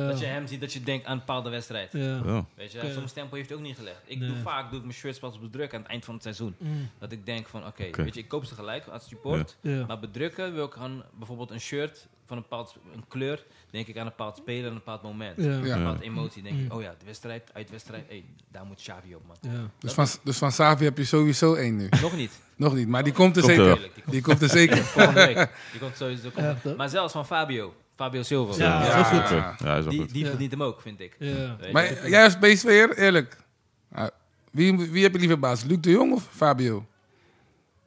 Ja. Dat je hem ziet, dat je denkt aan een bepaalde wedstrijd. Ja. Ja. Weet Oké. je, soms tempo heeft hij ook niet gelegd. Ik doe Nee. vaak doe ik mijn shirts pas bedrukken aan het eind van het seizoen. Mm. Dat ik denk van, oké, Oké. weet je, ik koop ze gelijk als support. Ja. Maar bedrukken wil ik aan bijvoorbeeld een shirt van een bepaald een kleur, denk ik aan een bepaald speler, een bepaald moment. Ja. Ja. Ja. Mm. Een bepaald emotie, denk ik, oh ja, de wedstrijd, uit de wedstrijd, hey, daar moet Xavi op, man. Dus van, dus van Savi heb je sowieso één nu. Nog niet. Nog niet, maar die komt er Komt er zeker. Eerlijk, die komt Die komt er (laughs) zeker. volgende week. (laughs) Die komt sowieso. komt- Echt, hè? Maar zelfs van Fabio, Fabio Silva. Ja. Ja. dat is goed. Ja, hij is wel Die, goed. die Ja. verdient hem ook, vind ik. Ja. Weet je. Maar jij als PSV'er, eerlijk. Ah, Wie, wie heb je liever baas? Luc de Jong of Fabio?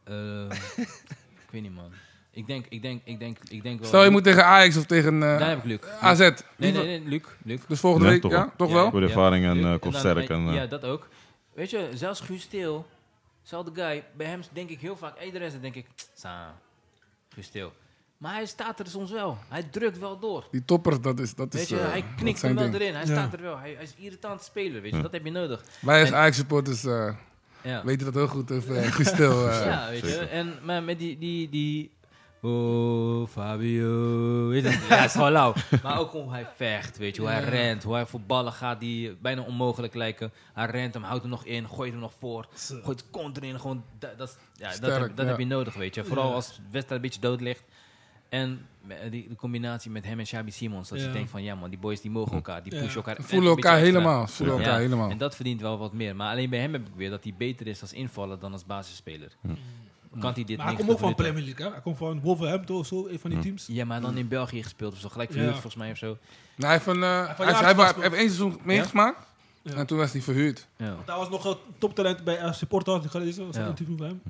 Ehm, ik weet niet, man. Ik denk, ik denk, ik denk, ik denk wel... Stel je moet tegen Ajax of tegen eh, Daar heb ik Luc. AZ. Nee, Wie- nee, nee, Luc. Luc. Dus volgende Ja, week, toch ja? wel. Toch Ja. wel? Goede ervaring en Luc. eh dan- kopsterk. En, eh, Ja, dat ook. Weet je, zelfs Guus Stil, zelfde guy, bij hem denk ik heel vaak, hey, de rest denk ik, sa, Guus Stil. Maar hij staat er soms wel. Hij drukt wel door. Die toppers, dat is... Dat Weet is je, eh, hij dat knikt zijn hem wel ding. erin. Hij Ja. staat er wel. Hij, hij is irritant speler, weet je. Dat heb je nodig. Wij als En- Ajax-supporters eh, Ja, weten dat heel goed. Of, eh, Gustil, eh, (laughs) ja weet je. zeker. En maar met die, die, die... Oh, Fabio. Weet je, ja, is gewoon lauw. Maar ook hoe hij vecht, weet je. Hoe hij rent. Hoe hij voor ballen gaat die bijna onmogelijk lijken. Hij rent hem, houdt hem nog in, gooit hem nog voor. Zo. Gooit de kont erin. Gewoon, dat, dat, is- ja, dat, Sterk, heb, dat ja. heb je nodig, weet je. Vooral Ja. als de wedstrijd een beetje dood ligt. En eh, die, de combinatie met hem en Xabi Simons. Dat Ja. je denkt van, ja man, die boys die mogen elkaar. Die Ja. pushen elkaar. voelen een beetje elkaar extra. helemaal. Voelen Ja, elkaar helemaal. En dat verdient wel wat meer. Maar alleen bij hem heb ik weer dat hij beter is als invaller dan als basisspeler. Kan hij dit Maar hij niet komt ook van Premier League, hè? Hij komt van Wolverhampton of zo, een van die teams. Ja, maar dan in België gespeeld of zo. Gelijk Ja. verhuurd volgens mij of zo. Nou, hij heeft, een, eh, heeft hij een heeft- Ajax hij heeft- gespeeld. heeft één seizoen meegemaakt. En toen was hij verhuurd. Ja. Daar was nog een toptalent bij eh, supporter, had ik gelezen, was een Ja. interview van hem.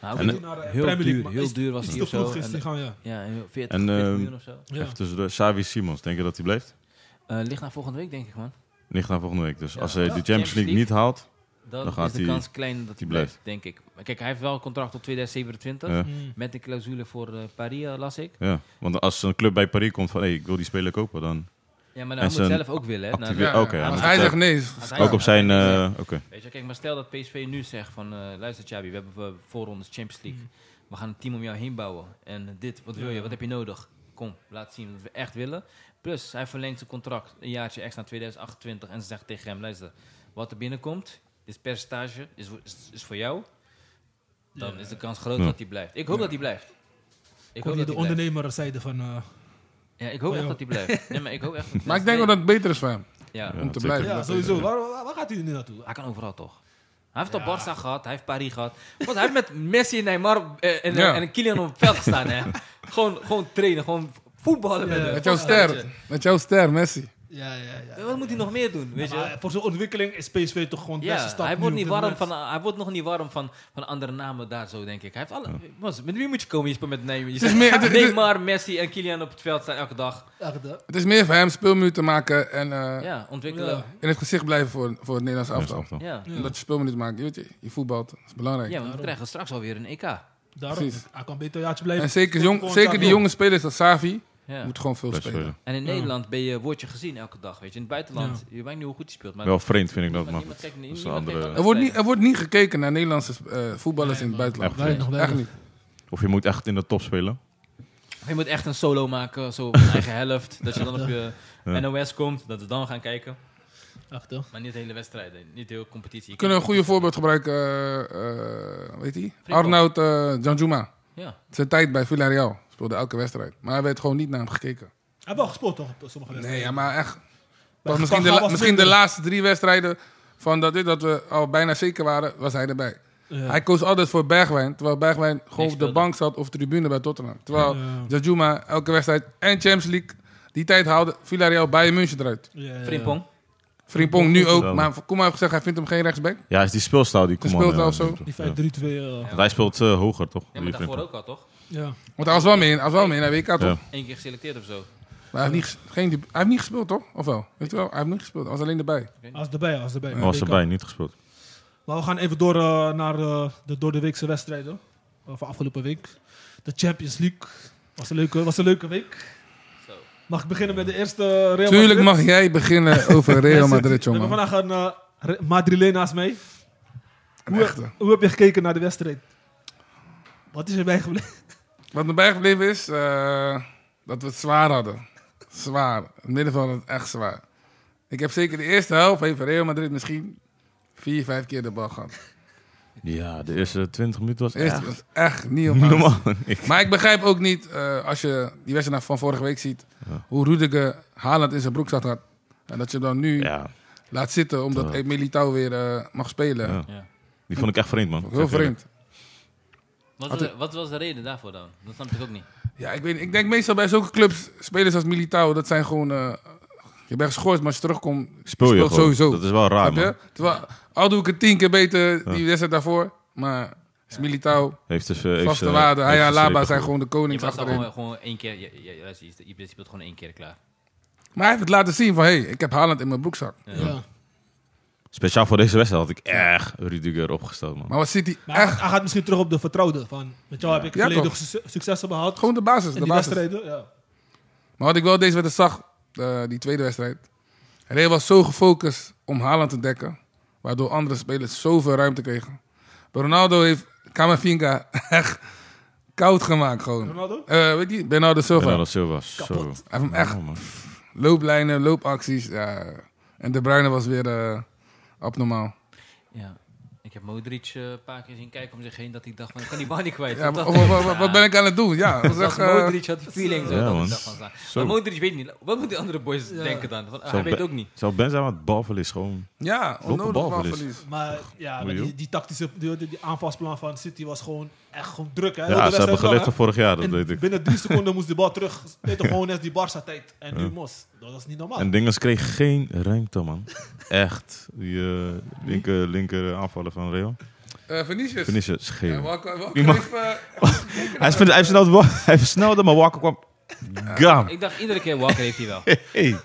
Maar ook En, heel- eh, naar, eh, heel Premier League, duur, maar heel is- duur was Iets hij te of zo. vroeg gisteren En- gaan, ja. Ja, heel 40, En, 40 ehm, miljoen of zo. Ja. Even tussendoor. Xavi Simons, denk je dat hij blijft? Eh, ligt naar volgende week, denk ik, man. Ligt naar volgende week. Dus als hij Ja, de Champions Champions League League. niet haalt, dan, Dan gaat is de hij- kans klein dat die hij blijft. blijft, denk ik. Maar Kijk, hij heeft wel een contract tot 2027. Ja. Mm. Met een clausule voor eh, Paris, eh, las ik. Ja, want als een club bij Paris komt van hey, ik wil die speler kopen, dan Ja, maar En dan moet zijn zelf ook willen. Hè, actieve- Nou, Ja, oké, als ja, dat hij is- zegt nee, is- Als hij- Ah, ja. ook op zijn. eh, Oké. Weet je, kijk, maar stel dat PSV nu zegt van... eh, luister Chabi, we hebben voor- voorrondes Champions League. We gaan een team om jou heen bouwen. En dit, wat wil je? Wat heb je nodig? Kom, laat zien wat we echt willen. Plus, hij verlengt zijn contract een jaartje extra naar 2028. En ze zegt tegen hem, luister, wat er binnenkomt... Dit percentage is, voor- is, is voor jou. Dan is de kans groot Ja. dat hij blijft. Ik hoop dat hij blijft. Ik eh, Kon hoop je dat de hij blijft. ondernemerzijde van... eh, Ja, ik hoop Oh, echt joh. dat hij blijft. Nee, maar ik hoop echt dat Maar ik denk wel dat het beter is voor hem. Ja. Ja, om te dat blijven. zeker. ja, sowieso. Waar, waar, waar gaat hij nu naartoe? Hij kan overal toch? Hij heeft al Barça gehad, hij heeft Paris gehad. Want hij heeft met Messi en Neymar eh, en, Ja. en Kylian op het veld gestaan, hè. gewoon, gewoon trainen, gewoon voetballen met Ja. hem. Met jouw ster, met jouw ster, Messi. Ja, ja, ja. Wat moet hij nog meer doen, weet je? Maar eh, voor zijn ontwikkeling is PSV toch Nou, gewoon de beste Ja, stap hij nu wordt, niet op dit warm moment. van, hij wordt nog niet warm van, van andere namen daar zo, denk ik. Hij heeft alle, Mas, met wie moet je komen? Je speelt met Neymar. Je is zegt meer- het- het- Neymar, Messi en Kylian op het veld staan elke dag. Echt, hè? Het is meer voor hem speelminuten maken en eh, Ja, ontwikkelen. Ja. in het gezicht blijven voor, voor het Nederlands Ja, is elftal. elftal. Ja, ja. En Dat je speelminuten maakt, je, weet je, je voetbalt, dat is belangrijk. want we krijgen straks alweer een EK. Ja. Daarom. Precies. Hij kan beter een jaartje blijven. En zeker, jong, Gewoon zeker daar die doen. jonge spelers als Savi, moet gewoon veel Blijf spelen. spelen. En in Nederland ben je, word je gezien elke dag, weet je. In het buitenland, je weet niet hoe goed hij speelt. Maar Wel vreemd vind ik dat, Maar maar niemand goed. kijkt- Dat is een niemand andere- kijkt Er wordt, niet, er wordt niet gekeken naar Nederlandse eh, voetballers in het buitenland. Echt Weinig, Echt weinig. niet. Of je moet echt in de top spelen. Oh, Je moet echt een solo maken, zo op een eigen helft. Dat je dan op je NOS komt, dat we dan gaan kijken. Echt, hè? Maar niet de hele wedstrijden, niet de hele competitie. Je We kunnen een kunt- goede voorbeeld gebruiken, eh, eh, weet je? Frimpong. Arnoud eh Janjuma. Ja, Zijn tijd bij Villarreal speelde elke wedstrijd. Maar hij werd gewoon niet naar hem gekeken. Hij heeft wel gespeeld toch op sommige Nee, wedstrijden? ja, maar echt. Was Gakpo misschien de, la- was misschien de minder. laatste drie wedstrijden van dat, dit, dat we al bijna zeker waren, was hij erbij. Ja. Hij koos altijd voor Bergwijn, terwijl Bergwijn gewoon op de speelde. bank zat of tribune bij Tottenham. Terwijl Ja. Janjuma elke wedstrijd en Champions League die tijd haalde Villarreal bij München eruit. Ja, ja, ja. Frimpong. Frimpong nu ook, Ja. maar Koeman heeft gezegd hij vindt hem geen rechtsback. Ja, is die speelstijl die Die Coman, speelt eh, al zo. doet. Die 5-3-2. Ja. eh, Want hij speelt eh, hoger, toch? Ja, Die maar vindt daarvoor hem. ook al, toch? ja. Want hij was wel mee in, hij was wel mee in de WK toch? Ja. Eén keer geselecteerd of zo. Maar hij heeft, niet, ges- geen, debu- hij heeft niet gespeeld toch? Of wel? Weet je wel, hij heeft niet gespeeld, hij was alleen erbij. Als erbij, als erbij. Hij was erbij, niet gespeeld. Maar we gaan even door eh, naar eh, de door de weekse wedstrijden eh, van afgelopen week. De Champions League was een leuke, was een leuke week. Zo. Mag ik beginnen met de eerste eh, Real Madrid? Tuurlijk mag jij (laughs) beginnen over Real Madrid We hebben jongen. vandaag een eh, Re- Madrileen naast mij. Een echte. Hoe heb je gekeken naar de wedstrijd? Wat is er bijgebleven? Wat me bijgebleven is, eh, dat we het zwaar hadden. Zwaar. Het middenveld had het echt zwaar. Ik heb zeker de eerste helft, even Real Madrid misschien, vier, vijf keer de bal gehad. Ja, de eerste 20 minuten was De eerste echt was (laughs) echt niet om niet aan te normaal. Ik- Maar ik begrijp ook niet, eh, als je die wedstrijd van vorige week ziet, hoe Rudiger Haaland in zijn broek zat had. En dat je hem dan nu Ja, laat zitten, omdat Terwijl- Militao weer eh, mag spelen. Ja. Ja. die vond ik echt vreemd, man. Heel vreemd. Wat, was, wat was de reden daarvoor dan? Dat snap ik ook niet. Ja, ik, weet, niet. ik denk meestal bij zulke clubs, spelers als Militao, dat zijn gewoon... eh, je bent geschorst, maar als je terugkomt, Speel je speelt gewoon. sowieso. Dat is wel raar, man. Snap je? Terwijl, al doe ik het tien keer beter die wedstrijd daarvoor. Maar is Militao, Heeft dus, eh, heeft vaste ze- waarde, Ah, hij heeft dus en ze Laba strepen zijn gegooid. gewoon de Je konings was achterin. gewoon, gewoon één keer, je, je, je, luister, je, je speelt gewoon één keer klaar. Maar hij heeft het laten zien van, hé, hey, ik heb Haaland in mijn broekzak. Ja. Speciaal voor deze wedstrijd had ik echt Rudiger opgesteld, man. Maar wat zit hij Maar hij- echt? hij gaat misschien terug op de vertrouwde. Van, met jou heb ik Ja, volledig toch? su- successen behaald. Gewoon de basis, in de die basis. wedstrijden. Ja. Maar wat ik wel deze wedstrijd zag, eh, die tweede wedstrijd. Real was zo gefocust om Haaland te dekken. Waardoor andere spelers zoveel ruimte kregen. Maar Ronaldo heeft Camavinga (laughs) echt koud gemaakt gewoon. Ronaldo? Eh, weet je, Bernardo Silva. Bernardo Silva, zo. Hij heeft hem echt Ja, man. looplijnen, loopacties. Ja. En De Bruyne was weer eh, abnormaal. Ja. Ik heb Modric eh, een paar keer zien kijken om zich heen dat ik dacht van, ik kan die bal niet kwijt. Ja, Dat- wa- wa- wa- (laughs) wa- wat ben ik aan het doen? Ja, dat was Dat echt, eh, Modric had die feeling zo. Ja, dat man. ik dacht van, Zo. maar Modric weet niet. Wat moeten die andere boys denken dan? Want, ah, Zo hij weet be- ook niet. Zou Benzema het balverlies gewoon... ja onnodig balverlies. balverlies. Maar ja, maar Oei, die, joh. die tactische die, die- die aanvalsplan van City was gewoon echt gewoon druk. Hè? Heel de Ja, ze wedstrijd hebben wel, geleerd hè? van vorig jaar, dat En weet ik. binnen drie seconden moest de bal (laughs) terug. Weet toch gewoon net die Barca tijd. En nu Mos. Dat is niet normaal. En Dingens kreeg geen ruimte, man. Echt. Die eh, linker, linker aanvallen van Real. Eh, Vinicius. Vinicius, Ja, scheel. Walker- Walker Iemand- heeft, eh, Hij, is- hij, versnelde, hij versnelde, maar Walker kwam Gam. Ik dacht iedere keer Walker heeft hij (laughs) wel. Hey.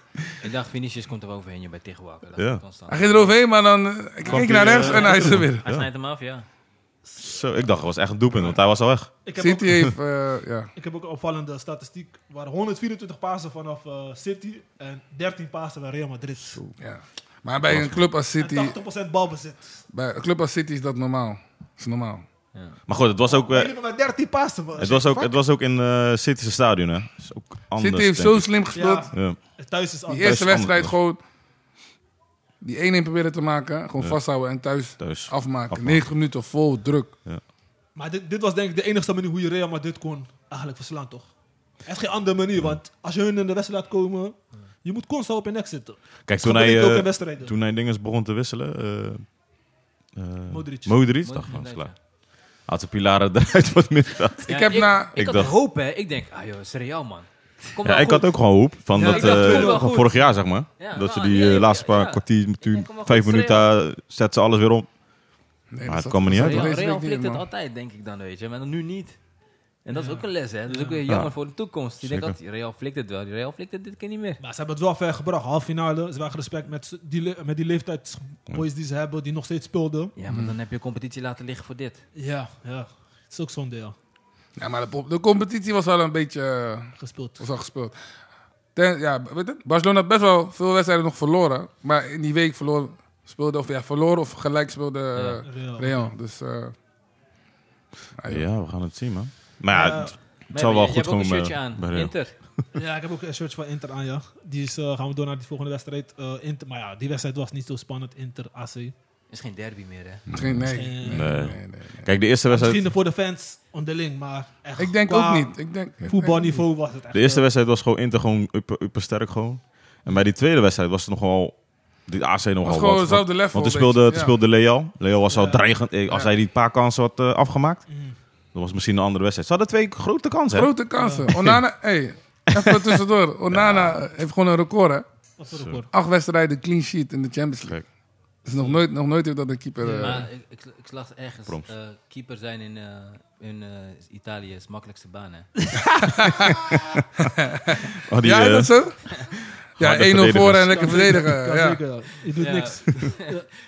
Ik dacht Vinicius komt er overheen, je bent tegen Walker. Dat Ja. is constant. Hij ging eroverheen, maar dan eh, ik Kwam keek naar die, rechts eh, en hij is er weer. Hij Ja. snijdt hem af, ja. Zo, ik dacht het was echt een doelpunt, want hij was al weg. Ik heb, City ook, heeft, eh, ja. ik heb ook een opvallende statistiek. Er waren 124 pasen vanaf eh, City en 13 pasen bij Real Madrid. ja. Maar bij een club als City, En 80% balbezit. bij een club als City is dat normaal. is normaal. Maar goed, het was ook, eh, Helemaal met 13 pasen. man. het was ook, het was ook in eh City's stadion, hè. Is ook anders, City heeft denk zo ik. slim gespeeld. Ja, Ja. thuis is Die anders. eerste thuis wedstrijd anders. gewoon die 1-1 proberen te maken. Gewoon vasthouden en thuis, Thuis afmaken. afmaken. 90 minuten vol druk. Maar dit, dit was denk ik de enige manier hoe je Real Madrid kon eigenlijk verslaan, toch? Er is geen andere manier, want als je hun in de wedstrijd laat komen, je moet constant op je nek zitten. Kijk, Zo toen hij, ben ik ook in eh, wedstrijden. toen hij dinges begon te wisselen... eh, eh, Modric. Modric, Modric dacht ik, dat is inderdaad, klaar. Haalt de pilaren (laughs) eruit van het middenveld. Ja, heb ik, na- ik, Ik had dacht- hoop, hè. Ik denk, ah joh, het is Real, man. Kom Ja, nou ik goed. had ook gewoon hoop van Ja, dat, ik dacht, eh, we doen wel van goed. vorig jaar, zeg maar. Ja, dat ze nou, die nee, eh, ik- laatste paar ja. kwartier, denk, toen kom maar vijf goed, minuten, eh, zetten ze alles weer om. Nee, Maar dat het zat- kwam er niet dat uit, zat Real, deze Real week flikt niet in, het man. altijd, denk ik dan, weet je. Maar dan nu niet. En dat is ook een les, hè. Dat is ook weer Ja. jammer voor de toekomst. Die denkt Zeker. altijd, Real flikt het wel. Die Real flikt het dit keer niet meer. Maar ze hebben het wel ver gebracht. Half finale, ze waren respect met z'n- die, le- met die leeftijdsboys die ze hebben, die nog steeds speelden. Ja, Hmm. maar dan heb je competitie laten liggen voor dit. Ja, ja. Het is ook zo'n deel Ja, maar de, pop- de competitie was wel een beetje eh, gespeeld. was al gespeeld. Ten- ja, weet je, Barcelona had best wel veel wedstrijden nog verloren. Maar in die week verloor, speelde, of ja, verloren of gelijk speelde eh, Real. Real. Dus, eh, ah, joh. Ja, we gaan het zien, man. Maar ja, Ja. het- het Maar zal je- wel je goed hebt ook komen een shirtje bij- aan. bij Real. Inter. Ja, ik heb ook een shirt van Inter aan, ja. Die is, eh, gaan we door naar die volgende wedstrijd. Eh, Inter, maar ja, die wedstrijd was niet zo spannend. Inter, AC. is geen derby meer, hè. Hmm. Misschien, nee. Geen- Nee, Nee. nee, nee, nee. Kijk, de eerste wedstrijd, Misschien voor de fans onderling, maar echt. Ik denk qua ook niet. Ik denk, Voetbalniveau was het echt. de eerste eh, wedstrijd was gewoon Inter gewoon upper, upper sterk gewoon. En bij die tweede wedstrijd was het nogal, die AC nogal was gewoon wat. Want, hetzelfde level. want toen een speelde, beetje, toen speelde Leal. Leal was al Ja. dreigend. Eh, Als Ja. hij die paar kansen had eh, afgemaakt, mm. dan was het misschien een andere wedstrijd. Ze hadden twee grote kansen, ja. hè? Grote kansen. Onana, hey, even (laughs) tussendoor. Onana heeft gewoon een record, hè. eh, Wat voor record. Acht wedstrijden clean sheet in de Champions League. Gek. Dus nog nooit, nog nooit heeft dat een keeper... eh, Maar ik, ik, ik las ergens, Proms. eh, keeper zijn in, eh, in eh, Italië is de makkelijkste baan, hè. (laughs) Oh, die, ja, eh, is dat zo? Ja, 1-0 voor en verdedigers. lekker verdedigen. Ja, Ja. zeker. ja. Je doet Ja. (laughs) niks.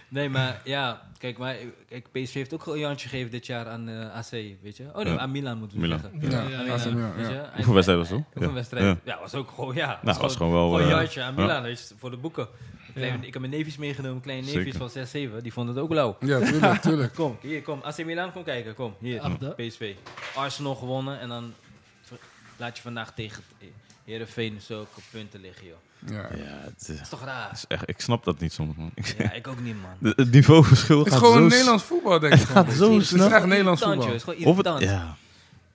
Nee, maar ja, kijk, maar kijk, PSV heeft ook een jantje gegeven dit jaar aan eh, AC, weet je? Oh nee, Ja. aan Milan moeten we Milan. zeggen. Ja, Ja, ja, Aan ja. AC Milan, weet ja. je? En- Hoeveel wedstrijd was het? en- Hoeveel Ja. wedstrijd? Ja, was ook gewoon, ja. Nou, was gewoon wel... Gewoon eh, een jantje aan ja. Milan, weet je, voor de boeken. Kleine- Ik heb mijn neefjes meegenomen, kleine neefjes Zeker. van 6, 7, die vonden het ook lauw. Ja, tuurlijk, tuurlijk. Kom, hier, kom, AC Milan, kom kijken, kom, hier, Ach, dat. PSV. Arsenal gewonnen en dan ver- laat je vandaag tegen Herenveen zulke punten liggen, joh. Ja. Ja, het is- Dat is toch raar? is echt, ik snap dat niet soms, man. Ik- Ja, ik ook niet, (laughs) man. de- Het niveauverschil Het is gaat gewoon zo... s- Nederlands (laughs) voetbal, denk ik. gewoon. zo het is snel. echt Nederlands Irritant, joh, voetbal. Het is Of gewoon het, irritant. ja.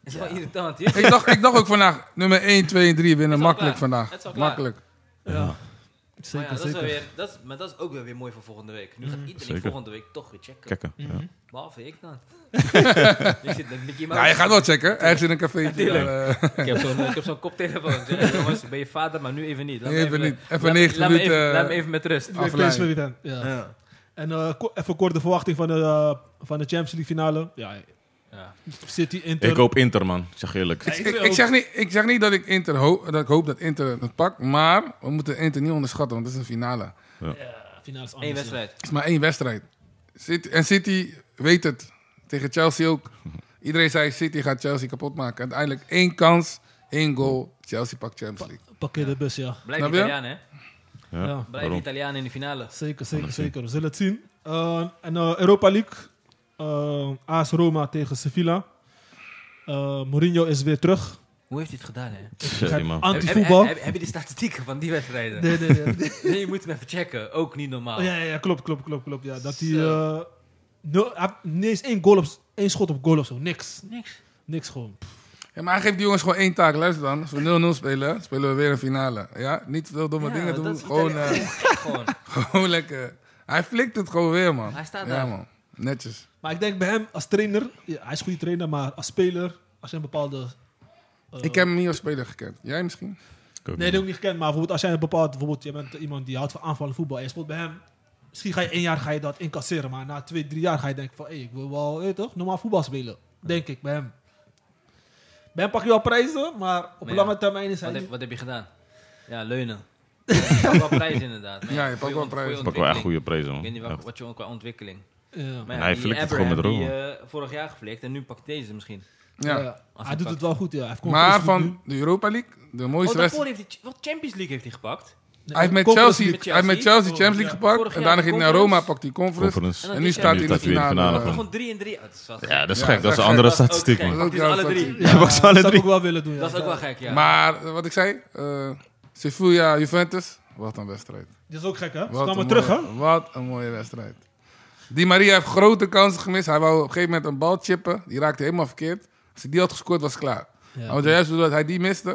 Het is gewoon (laughs) irritant, joh. Ik dacht, ik dacht ook vandaag, nummer 1, 2 en 3 winnen al makkelijk klaar. Het vandaag. is al klaar. Makkelijk. Ja. Maar ja, Zeker, dat is wel zeker. weer, dat is, maar dat is ook wel weer mooi voor volgende week. Nu Mm, gaat iedereen Zeker. volgende week toch weer checken. Kijken. ja. Behalve ik (laughs) dan. ik zit met Mickey Mouse. Ja, je gaat wel checken. Ergens in een cafeetje. Tuurlijk. eh, Ik heb zo'n ik heb zo'n koptelefoon. Ik (laughs) zeg, jongens, ben je vader, maar nu even niet. Laat me Even niet. Even laat me- 90 laat me even- minuten, eh, Oh. Laat me even met rust. Weer Afleiding. PSV weekend, Ja. En eh, ko- even kort de verwachting van de, eh, van de Champions League finale. Ja, Ja. City, Inter. Ik hoop Inter, man. Ik zeg eerlijk. Ik, ik- ik zeg niet, ik zeg niet dat, ik Inter ho- dat ik hoop dat Inter het pakt, maar we moeten Inter niet onderschatten, want het is een finale. Het Finale is anders, Eén ja. wedstrijd. is maar één wedstrijd. City, en City weet het. Tegen Chelsea ook. Iedereen zei City gaat Chelsea kapot maken. Uiteindelijk één kans, één goal. Chelsea pakt Champions League. Parkeer de bus, ja. Blijf Snap je? Italiaan, hè? Ja, Ja. Blijf waarom? Italiaan in de finale. Zeker, zeker, zeker. We zullen het zien. Eh, en eh, Europa League. Eh, AS Roma tegen Sevilla. Eh, Mourinho is weer terug. Hoe heeft hij het gedaan, hè? Sorry, man. Anti-voetbal. Heb, heb, heb je de statistieken van die wedstrijden? Nee, nee, nee. (laughs) Nee, je moet hem even checken. Ook niet normaal. Oh, ja, ja, ja, klopt, klopt, klopt, klopt. Ja, dat hij... Zo. eh, nul- hij heeft niet eens één, goal op, s- één schot op goal of zo. Niks. Niks. Niks gewoon. Ja, maar hij geeft die jongens gewoon één taak. Luister dan, als we 0-0 spelen, spelen we weer een finale. Ja? Niet veel domme Ja, dingen dat doen. is Gewoon, Italiaan. eh, (laughs) (laughs) Gewoon. gewoon lekker. Hij flikt het gewoon weer, man. Hij staat ja, daar. man. Netjes. Maar ik denk bij hem als trainer... ja, hij is een goede trainer, maar als speler... Als je een bepaalde... eh, Ik heb hem niet als speler gekend. Jij misschien? Ik ook Nee, niet. dat heb ik niet gekend. Maar bijvoorbeeld als jij een bepaald... Bijvoorbeeld, je bent iemand die houdt van aanvallen voetbal. En je speelt bij hem... Misschien ga je één jaar ga je dat incasseren. Maar na twee, drie jaar ga je denken van... Hé, ik wil wel, hé, toch, normaal voetbal spelen. Denk ik, bij hem. Ben pak je wel prijzen, maar op Maar ja, lange termijn is hij Wat heb, niet... wat heb je gedaan? Ja, leunen. Ja, je pakt wel prijs inderdaad. maar Ja, je pakt voor wel ont- voor prijs. je Pak wel echt ontwikkeling. goede prijzen, man. Ik weet niet wat, Echt. wat je qua ontwikkeling. Ja. Maar Nee, hij die flikt het Abra gewoon met heb de die, eh, vorig jaar geflikt en nu pakt deze misschien. Ja. Ja. hij Hij doet pakt. het wel goed, ja. Hij heeft Maar Conference van de Europa League, de Oh, mooiste daarvoor wedstrijd. heeft hij... ch- Wat Champions League heeft hij gepakt? League. Hij heeft met Conference Chelsea, League. hij heeft met Chelsea Champions League Ja. gepakt. Vorig En jaar daarna de ging hij naar Roma, conference. pakt hij conference. Conference. En nu staat hij in de staat hij in de finale. finale. eh. Gewoon 3 en 3. dat is wel Ja, dat is Ja, gek. Dat dat is is een gek. andere Dat is ook statistiek, gek. man. Dat Ook is ja, alle dat- drie. Ja, Pak ze alle dat zou drie. ik wel willen doen, ja. Dat is ook wel gek, ja. Maar eh, wat ik zei, eh Sevilla Juventus, wat een wedstrijd. Dit is ook gek, hè? Ze Wat een kwamen terug, hè? mooie- Wat een mooie wedstrijd. Di Maria heeft grote kansen gemist. Hij wou op een gegeven moment een bal chippen. Die raakte helemaal verkeerd. Als hij die had gescoord, was het klaar. Maar wat juist doordat hij die miste.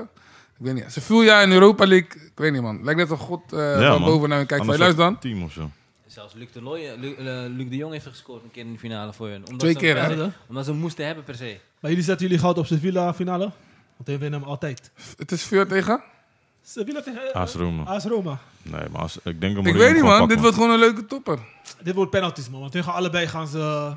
Ik weet niet. Sevilla in Europa League. Ik weet niet, man. Lijkt net of God eh, Ja, van man. boven naar hem kijkt. Van, Anders luister dan. Team of zo. Zelfs Luc de, Looy- Lu- eh, Luc de Jong heeft er gescoord een keer in de finale voor hun. Omdat Twee ze hem keer, per hè? se- Omdat ze hem moesten hebben per se. Maar jullie zetten jullie goud op Sevilla finale? Want die winnen hem altijd. Het is veel tegen. Sevilla tegen eh, AS Roma. AS Roma. Nee, maar als, ik denk dat Ik Mourinho weet niet, gewoon man. pakt, Dit wordt gewoon een leuke topper. Dit wordt penalties, man. Want tegen allebei gaan ze... eh,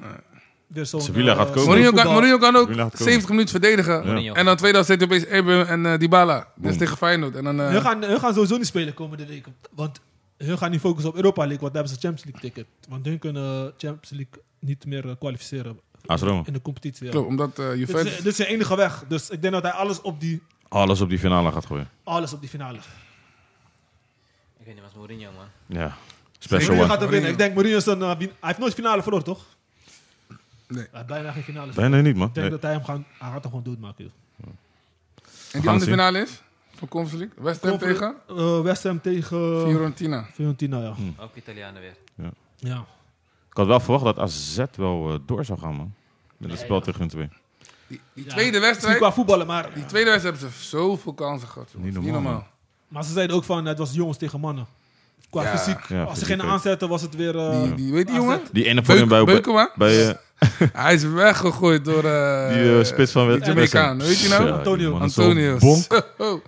weer zo'n, Sevilla eh, gaat komen. Mourinho kan, voetbal. Mourinho kan ook Mourinho gaat komen. 70 minuten verdedigen. Mourinho. En dan tweede helft zit hij opeens Abraham en eh, Dybala. Dus Boom. tegen Feyenoord. En dan, eh, Hun gaan, hun gaan sowieso niet spelen komende week. Want hun gaan niet focussen op Europa League, want daar hebben ze Champions League ticket. Want hun kunnen Champions League niet meer eh, kwalificeren AS Roma. in de competitie. ja. Klopt, omdat Dit, eh, is, Juventus... dit is zijn enige weg. Dus ik denk dat hij alles op die, Alles op die finale gaat gooien. alles op die finale. Ik weet niet, was Mourinho, man. Ja. Zeker. Special Mourinho one. gaat er winnen. Ik denk Mourinho is een... eh, win- hij heeft nooit finale verloren, toch? Nee. Hij heeft bijna geen finale. Bijna niet, man. Ik denk Nee. dat hij hem gaan, hij gaat hem gewoon doodmaken. joh. En We die gaan andere finale is? Van Conference League? West Ham Confer- tegen? eh, West Ham tegen... Fiorentina. Fiorentina, ja. Hmm. Ook Italianen weer. ja. Ik had wel verwacht dat AZ wel eh, door zou gaan, man. Met het spel joh. tegen hun twee. Die, die Ja, tweede Misschien wedstrijd... qua voetballen, maar... Die tweede wedstrijd hebben ze zoveel kansen gehad. jongens. Niet Niet normaal, normaal. Maar ze zeiden ook van, het was jongens tegen mannen. Qua Ja. fysiek. Ja, Als ze fysiek geen ook. aanzetten, was het weer... eh, Die, die, weet die AZ. jongen? Die ene voor Beuk, hun bij... (laughs) Beukema? bij eh, Hij is weggegooid door... eh, die eh, spits van... Die Jamaicaan, weet je nou? Ja, die Antonio. man is zo'n Antonio. bonk. Zo.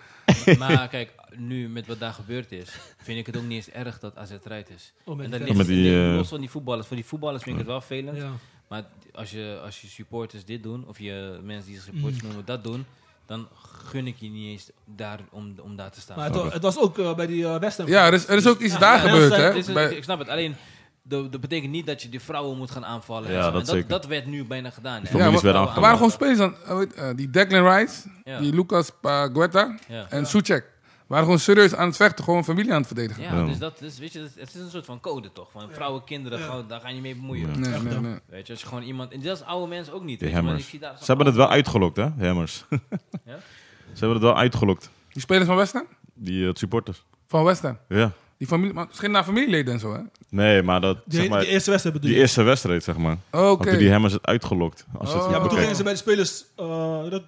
maar kijk, nu met wat daar gebeurd is, vind ik het ook niet eens erg dat AZ eruit is. Oh, met die en dat fans. ligt Met die, ligt eh, los van die voetballers. Voor die voetballers vind ik het wel vervelend. Ja. Maar t- als je, als je supporters dit doen, of je mensen die zich Hm. supporters noemen dat doen, dan gun ik je niet eens daar om, om daar te staan. Maar het, het was ook eh, bij die eh, West Ham. (laughs) Ja, er is, er is ook iets Ja, daar ja, gebeurd, dat is- hè? dat is- Bij- Ik snap het, alleen dat dat betekent niet dat je de vrouwen moet gaan aanvallen. en Ja, zo. En dat zeker. dat werd nu bijna gedaan. Ja, hè. Families maar- werden maar- aangevallen. Er waren gewoon spelers dan. eh, weet- eh, die Declan Rice, Ja. die Lucas Pagueta Ja. en Suchek. Waren gewoon serieus aan het vechten, gewoon familie aan het verdedigen. Ja, dus dat is, weet je, dat- het is een soort van code toch? Van vrouwen, kinderen, gewoon, daar ga je mee bemoeien. Nee, nee, nee. Weet je, als je gewoon iemand. En dat is oude mensen ook niet. Die weet je, maar ik hammers. zie daar Ze zo'n hebben het oude- wel uitgelokt, hè? Hammers. Ja? (laughs) Ze hebben het wel uitgelokt. Die spelers van West Ham? Die eh, supporters. Van West Ham. Ja. Die familie, maar misschien naar familieleden en zo, hè? Nee, maar dat... Die, zeg maar, die eerste wedstrijd bedoel Die je? eerste wedstrijd, zeg maar. Oké. Hadden die hammers het uitgelokt. Als het Oh. goed Ja, maar Toen bekijkt. gingen ze bij de spelers eh, dat,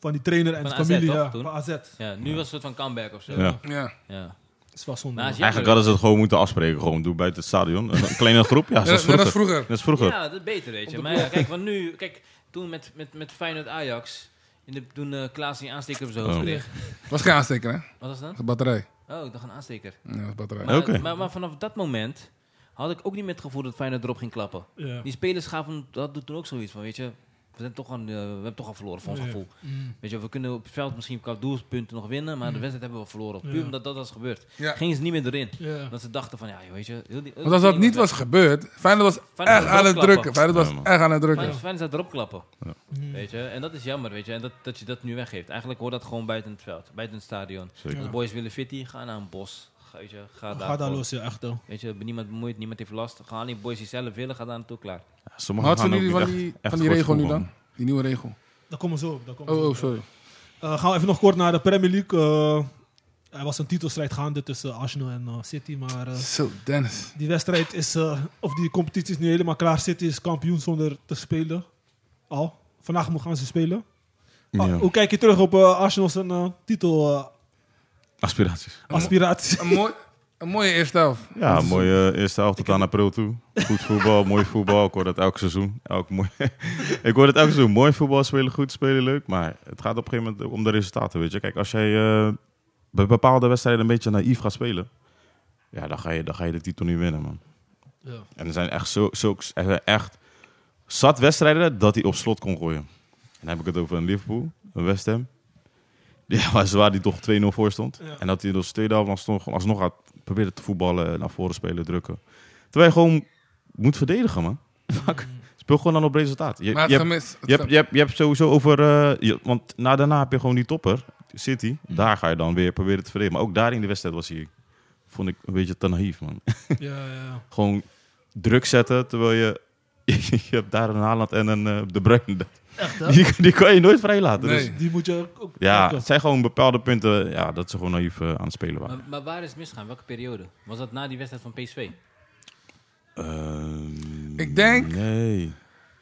van die trainer en Van de AZ, familie toch, ja, toen? van AZ. Dat Ja, nu was het een soort van comeback of zo. Ja. Ja. Ja. is wel zonde. Maar als man. jij- Eigenlijk hadden ze het gewoon moeten afspreken. Gewoon doen buiten het stadion. Een een kleine groep. (laughs) Ja, Net zoals als- vroeger. net als vroeger. Net als vroeger. Ja, dat is beter, weet je. Maar ja, kijk, want nu, kijk, toen met, met, met Feyenoord Ajax, in de, toen eh, Klaas die aansteker op zijn hoofd Oh. kreeg. Was geen aansteker, hè? Wat was dat? Was batterij. Oh, ik dacht een aansteker. Ja, was batterij. Maar, Oké. maar, maar vanaf dat moment had ik ook niet meer het gevoel dat Feyenoord erop ging klappen. Ja. Die spelers gaven, dat doet toen ook zoiets van, weet je, we, zijn toch aan, eh, we hebben toch al verloren voor ons Ja. Mm. gevoel. Weet je, we kunnen op het veld misschien qua doelpunten nog winnen, maar de wedstrijd hebben we verloren. Puur Ja. omdat dat was gebeurd. Ja. Gingen ze niet meer erin. Ja. Dat ze dachten van, ja, weet je... Heel die, heel Want als dat die- niet was gebeurd, Feyenoord was Feyenoord echt was aan het doodklappen. drukken. Feyenoord was Ja, man. echt aan het drukken. Fijn, fijn is dat erop klappen. Mm. Weet je? En dat is jammer, weet je. En dat, dat je dat nu weggeeft. Eigenlijk hoort dat gewoon buiten het veld, buiten het stadion. Zeker. Als boys willen fitty, ga naar een bos. Ga, weet je, ga daar. Ga daar gewoon. los, ja, echt. hoor. Weet je, niemand bemoeit, niemand heeft last. Ga alleen boys die zelf willen, ga daar naartoe klaar. Sommigen Wat gaan vinden ook jullie van niet die, echt- echt van die goed regel nu voetballen. dan? Die nieuwe regel. Daar komen ze op. Daar komen Oh, ze oh op. sorry. Eh, gaan we even nog kort naar de Premier League. eh, er was een titelstrijd gaande tussen Arsenal en eh, City, maar... eh, Zo, Dennis. Die wedstrijd is, eh, of die competitie is nu helemaal klaar. City is kampioen zonder te spelen. Al. Vandaag moet gaan ze spelen. Ah, Ja. hoe kijk je terug op eh, Arsenal's eh, titel Aspiraties. titelaspiratie? Een, mooi, een mooie eerste helft. Ja, mooie eh, eerste helft tot aan april toe. Goed voetbal, (laughs) mooi voetbal. Ik hoor dat elk seizoen. Elk mooi... (laughs) ik hoor dat elk seizoen. Mooi voetbal spelen, goed spelen, leuk. Maar het gaat op een gegeven moment om de resultaten, weet je. Kijk, als jij eh, bij bepaalde wedstrijden een beetje naïef gaat spelen... Ja, dan ga je, dan ga je de titel niet winnen, man. Ja. En er zijn echt, zo, zo, er zijn echt zat wedstrijden dat hij op slot kon gooien. En dan heb ik het over een Liverpool. West Ham. (laughs) Ja, maar ze waren die toch 2-0 voor stond. Ja. En dat hij dus tweede helft alsnog, alsnog had probeerde te voetballen, naar voren spelen, drukken. Terwijl je gewoon moet verdedigen, man. Fuck. Speel gewoon dan op resultaat. Je, Maar het je, hebt, gemis... het je, hebt, je, hebt, je hebt sowieso over... eh, je- want na daarna heb je gewoon die topper, City. Daar ga je dan weer proberen te verdedigen. Maar ook daar in de wedstrijd was hij... Vond ik een beetje te naïef, man Ja, ja, ja. gewoon druk zetten, terwijl je... (laughs) Je hebt daar een Haaland en een eh, De Bruyne. Echt, hè? Die, die kan je nooit vrij laten. Nee. Dus (laughs) Die moet je ook- ook ja, pakken. het zijn gewoon bepaalde punten ja, dat ze gewoon naïef eh, aan het spelen waren. Maar, maar waar is het misgaan? Welke periode? Was dat na die wedstrijd van PSV? Eh, Ehm, Ik denk- Nee.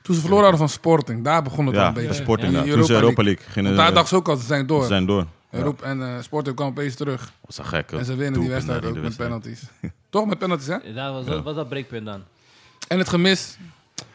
Toen ze verloren hadden van Sporting, daar begon het al Ja, een beetje. de Sporting. Ja, Ja, die Toen ze Europa Europa League gingen. Want daar eh, dacht ze ook al, ze zijn door. ze zijn door. Ja, Europa en eh, Sporting kwam opeens terug. was dat gek. en ze winnen die wedstrijd ook met penalties. (laughs) Toch met penalties, hè? Daar was, Ja. dat was dat breekpunt dan? En het gemis.